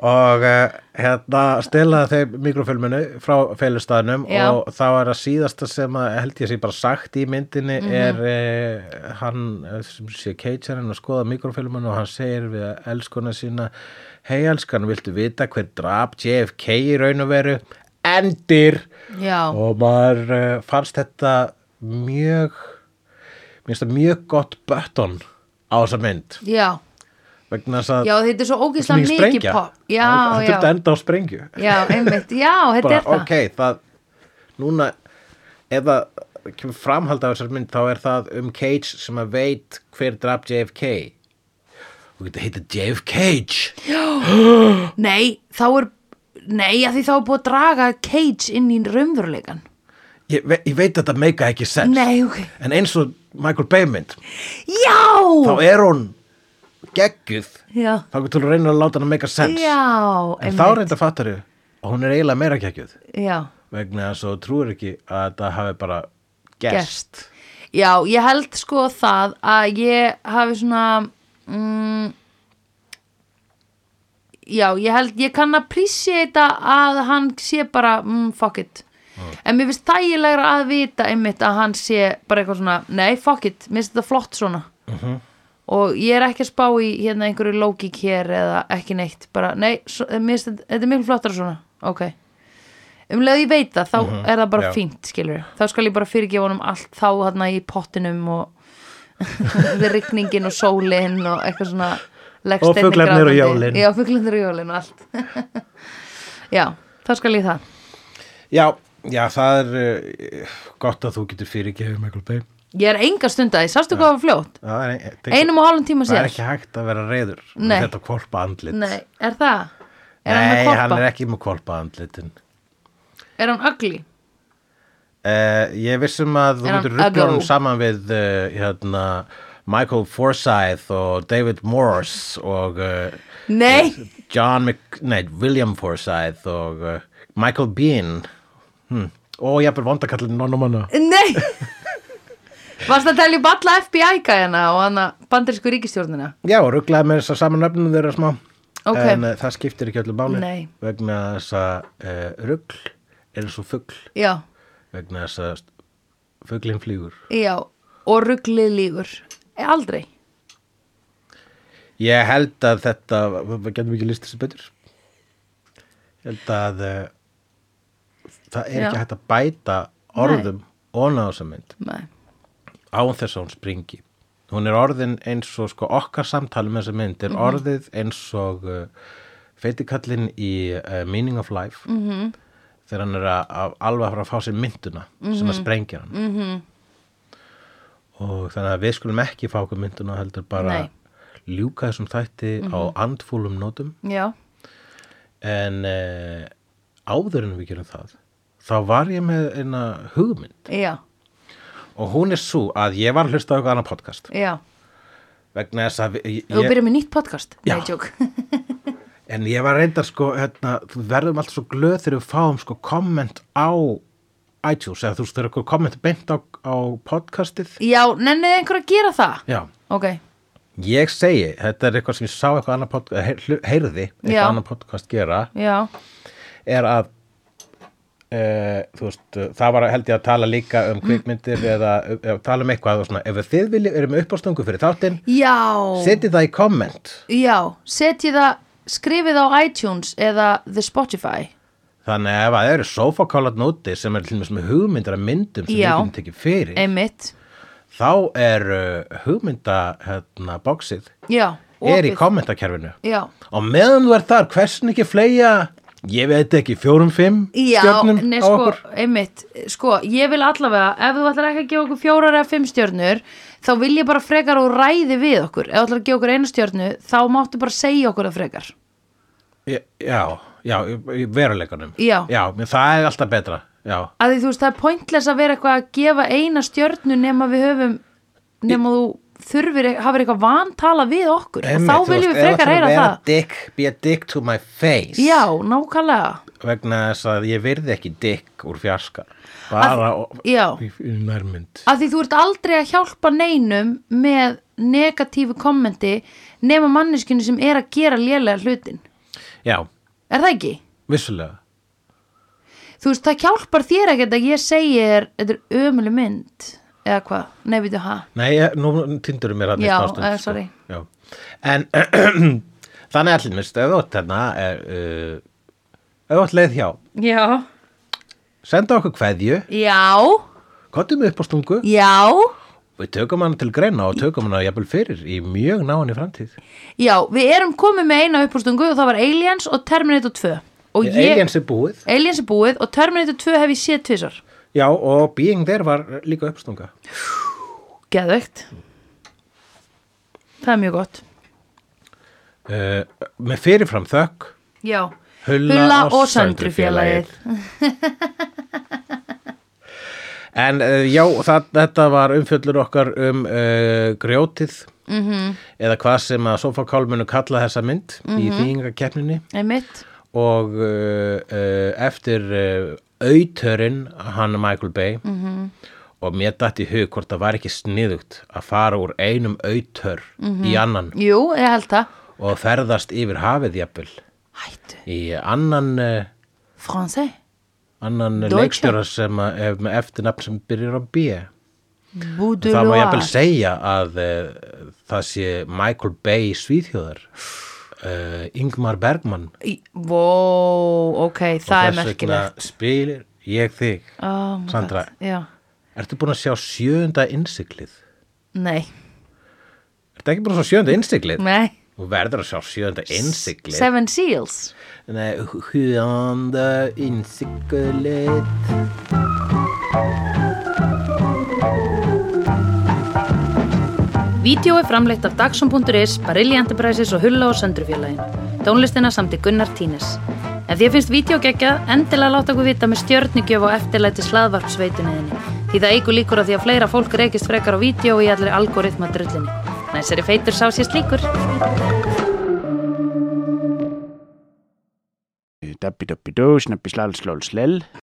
A: og uh, hérna stela þau mikrofilminu frá feilustæðnum
B: Já.
A: og þá er að síðasta sem að held ég sé bara sagt í myndinni
B: Mhm.
A: er uh, hann eh, sem sé Kate Sjónin að skoða mikrofilminu og hann segir við elskona sína hei elskan, viltu vita hver drap JFK í raun og veru endir
B: já,
A: og maður uh, fannst þetta mjög minnst það mjög gott button á þessa mynd
B: já.
A: vegna þess að
B: Já, þetta er svo ógísla
A: mikið
B: mikið pop. Já,
A: það þurfti að
B: já,
A: enda á sprengju
B: já, einmitt. Já, þetta
A: bara
B: er það.
A: ok, það núna ef það kemur framhald af þessar mynd þá er það um Cage sem að veit hver draf JFK og þetta heitir JFK
B: Nei, þá er, nei, að því þá er búið að draga Cage inn í raunveruleikan.
A: ég, ve ég veit að þetta meika ekki sens
B: Nei, ok.
A: en eins og Michael Bay mynd
B: Já!
A: þá er hún gegguð
B: Já,
A: þá getur þú reynir að láta hann að make a sense
B: já,
A: en þá reynda fattar þau og hún er eiginlega meira kækjuð
B: Já,
A: vegna þess að þú trúir ekki að þetta hafi bara gerst
B: gerst. Já, ég held sko það að ég hafi svona, mm, já, ég held, ég kann appreciata að hann sé bara, mm, fuck it. En mér finnst þægilegra að vita einmitt að hann sé bara eitthvað svona, nei, fuck it, mér finnst þetta flott svona. og ég er ekki að spá í hérna einhverju lógik hér eða ekki neitt bara, nei, svo, eh, mér, finnst þetta þetta er miklu flottara svona, ok um leið og ég veit það, þá er það bara
A: Mhm, já.
B: fínt skilur, þá skal ég bara fyrirgefa honum allt þá hérna í pottinum og (laughs) við rigningin og sólin og eitthvað svona leggst
A: Og
B: einnig
A: fuglarnir og
B: grátandi.
A: jólin.
B: já, fuglarnir og jólin og allt (laughs) já, þá skal ég það
A: já, já, það er uh, gott að þú getur fyrirgefið Michael Bay
B: ég er enga stund að því, sástu hvað var fljótt
A: það er, ein- tek-
B: einum og hálfum tíma
A: það er
B: sér
A: ekki hægt að vera reyður
B: Nei.
A: með þetta kvolpa andlit
B: nei, er það? er hann
A: Nei,
B: með
A: hann
B: koppa?
A: er ekki með kvolpa andlitin
B: Er hann ugly?
A: uh, ég vissum að þú
B: Er hann
A: getur ruggla
B: ugly?
A: honum saman við uh, hérna, Michael Forsyth og David Morse og uh,
B: Nei,
A: John Mc... Nei, William Forsyth og uh, Michael Bean hm. og ég er vondakallin nonnumanna
B: nei Varst að telja upp alla FBI-gæðina og hana bandarísku ríkistjórnina
A: Já, og rugglaði með þess að samanöfnum þeirra smá
B: Ok.
A: en uh, það skiptir ekki öllu máli
B: Nei.
A: vegna þess að uh, ruggl er eins og fugl
B: Já,
A: vegna þess að fuglinn flýgur
B: já og rugglið lígur Eh, Aldrei
A: Ég held að þetta við getum ekki listið sem betur Ég held að uh, það er
B: Já.
A: ekki hægt að bæta orðum óna á þessa mynd
B: Nei.
A: án þess að hún springi hún er orðin eins og sko okkar samtali með þessa mynd er orðið eins og uh, feitikallin í uh, Meaning of Life -hmm. þegar hann er að, að alveg að fara að fá sér mynduna sem að sprengja hann -hmm. og þannig að við skulum ekki fá okkur mynduna heldur bara
B: Nei.
A: ljúka þessum þætti á andfúlum nótum
B: já,
A: en eh, áður en við gerum það þá var ég með eina hugmynd
B: já,
A: og hún er svo að ég var að hlusta á eitthvað annað podcast
B: já
A: vegna þess að ég,
B: Þú
A: ég,
B: byrjar með nýtt podcast?
A: Já.
B: Nei, tjók.
A: en ég var reyndar sko hérna, þú verðum alltaf svo glöð þegar við fáum sko komment á iTunes eða þú veist þegar okkur komment beint á, á podcastið
B: Já, nennið einhver að gera það?
A: já
B: Ok,
A: Ég segi, þetta er eitthvað sem ég sá eitthvað annað podcast, heyrðu- heyrði eitthvað
B: Já.
A: annað podcast gera,
B: já,
A: er að e, þú veist, eh, það var held ég að tala líka um
B: (clears throat)
A: kvikmyndir eða, eða tala um eitthvað og svona, ef þið viljið, erum uppástungu fyrir þáttinn,
B: já,
A: setið það í komment
B: já, setjið það, skrifið á iTunes eða The Spotify.
A: þannig að ef það eru sofakálat nóti sem er til dæmis með hugmyndir að myndum sem
B: Já.
A: við getum tekið fyrir,
B: Einmitt,
A: þá er uh, hugmynda hérna, boxið,
B: já,
A: er í
B: opið.
A: kommentakerfinu
B: Já,
A: Og meðan þú ert þar, hversin ekki fleja, ég veit ekki, fjórum, fimm
B: já,
A: stjörnum
B: nei,
A: á
B: sko,
A: okkur.
B: einmitt, sko, ég vil allavega, ef þú ætlar ekki að gefa okkur fjórar eða fimm stjörnur, þá vil ég bara frekar og ræði við okkur. Ef þú ætlar að gefa okkur einu stjörnu, þá máttu bara segja okkur það frekar.
A: Ég- Já, já, í- í veruleikanum.
B: Já.
A: Já, menn það er alltaf betra, já.
B: að því þú veist það er pointless að vera eitthvað að gefa eina stjörnu nema við höfum nema þú þurfir hafir eitthvað vantala við okkur
A: Einmitt,
B: og
A: þú
B: þá viljum
A: veist,
B: við
A: ef
B: frekar
A: ætlar að
B: heyra
A: vera
B: það
A: Dick, be a dick to my face.
B: já, nákvæmlega
A: Vegna þess að ég virði ekki dick úr fjarska. Bara og-
B: já.
A: í í nærmynd.
B: að því þú ert aldrei að hjálpa neinum með negatífu kommenti nema manneskinu sem er að gera lélega hlutin
A: Já,
B: er það ekki?
A: vissulega.
B: þú veist það hjálpar þér ekkert að ég segi þér þetta er ömuleg mynd eða hvað, nei við þú ha
A: Nei, ég, nú tindurum mér hann
B: Já,
A: eitt ástund.
B: eh, sorry.
A: Sko. Já. En (clears throat) þannig er allir mist, ef þú átt hérna, er, uh, ef þú átt leið hjá,
B: já,
A: senda okkur kveðju,
B: já,
A: kottum upp á stungu,
B: já
A: við tökum hana til greina og tökum hana jafnvel fyrir í mjög náinni framtíð.
B: Já, við erum komið með eina uppústungu og það var Aliens og Terminator 2 og ég,
A: Aliens er búið.
B: Aliens er búið og Terminator 2 hef ég séð tvisar
A: Já, og Being There var líka uppstunga.
B: Geðveikt Það er mjög gott
A: Uh, með fyrirfram þökk,
B: Já,
A: hulla,
B: Hulla og
A: og söndrufélagið.
B: Söndrufélagið
A: (laughs) En uh, já, það, þetta var umfjöllur okkar um uh, grjótið
B: Mhm.
A: -hmm. eða hvað sem að sofakálmunu kalla þessa mynd í þýðingakeppninni
B: Einmitt,
A: og uh, uh, eftir uh, auðtörinn, hann Michael Bay
B: Mhm.
A: -hmm. og mér datt í hug hvort það var ekki sniðugt að fara úr einum auðtör
B: Mhm.
A: í annan
B: jú, ég held það
A: og ferðast yfir hafið jafnvel
B: Hættu,
A: í annan, uh,
B: fransi
A: annan
B: Deutsche.
A: leikstjóra sem að- ef- með eftirnafn sem byrjar á B.
B: Búdur
A: það má ég
B: og
A: segja að uh, það sé Michael Bay svíþjóðar uh, Ingmar Bergman
B: Vó, ok, það er
A: og þess vegna
B: merkilegt
A: spilir ég þig
B: oh my
A: Sandra.
B: God, Já,
A: Ertu búin að sjá sjöunda innsiklið?
B: nei,
A: Ertu ekki búin að sjá sjöunda innsiklið?
B: nei
A: Þú verður að sjá sjöunda innsiklið
B: Seven Seals
A: Nei, sjöunda innsiklið
B: Vídeó er framleitt af Dagsum.is, Barilli Enterprises og Hulla og Söndrufjörlægin. Tónlistina samt í Gunnar Tínes. Ef því finnst vídeo geggjað, endilega láta okkur vita með stjörnugjöf og eftirlæti slaðvarpsveituninni. Því það eigur líkur að því að fleira fólk reykist frekar á vídeo í allir algoritma drullinni. Næsari feitur sá sér slíkur.
C: Dabbi dabbi dó, snabbi slal slól slell.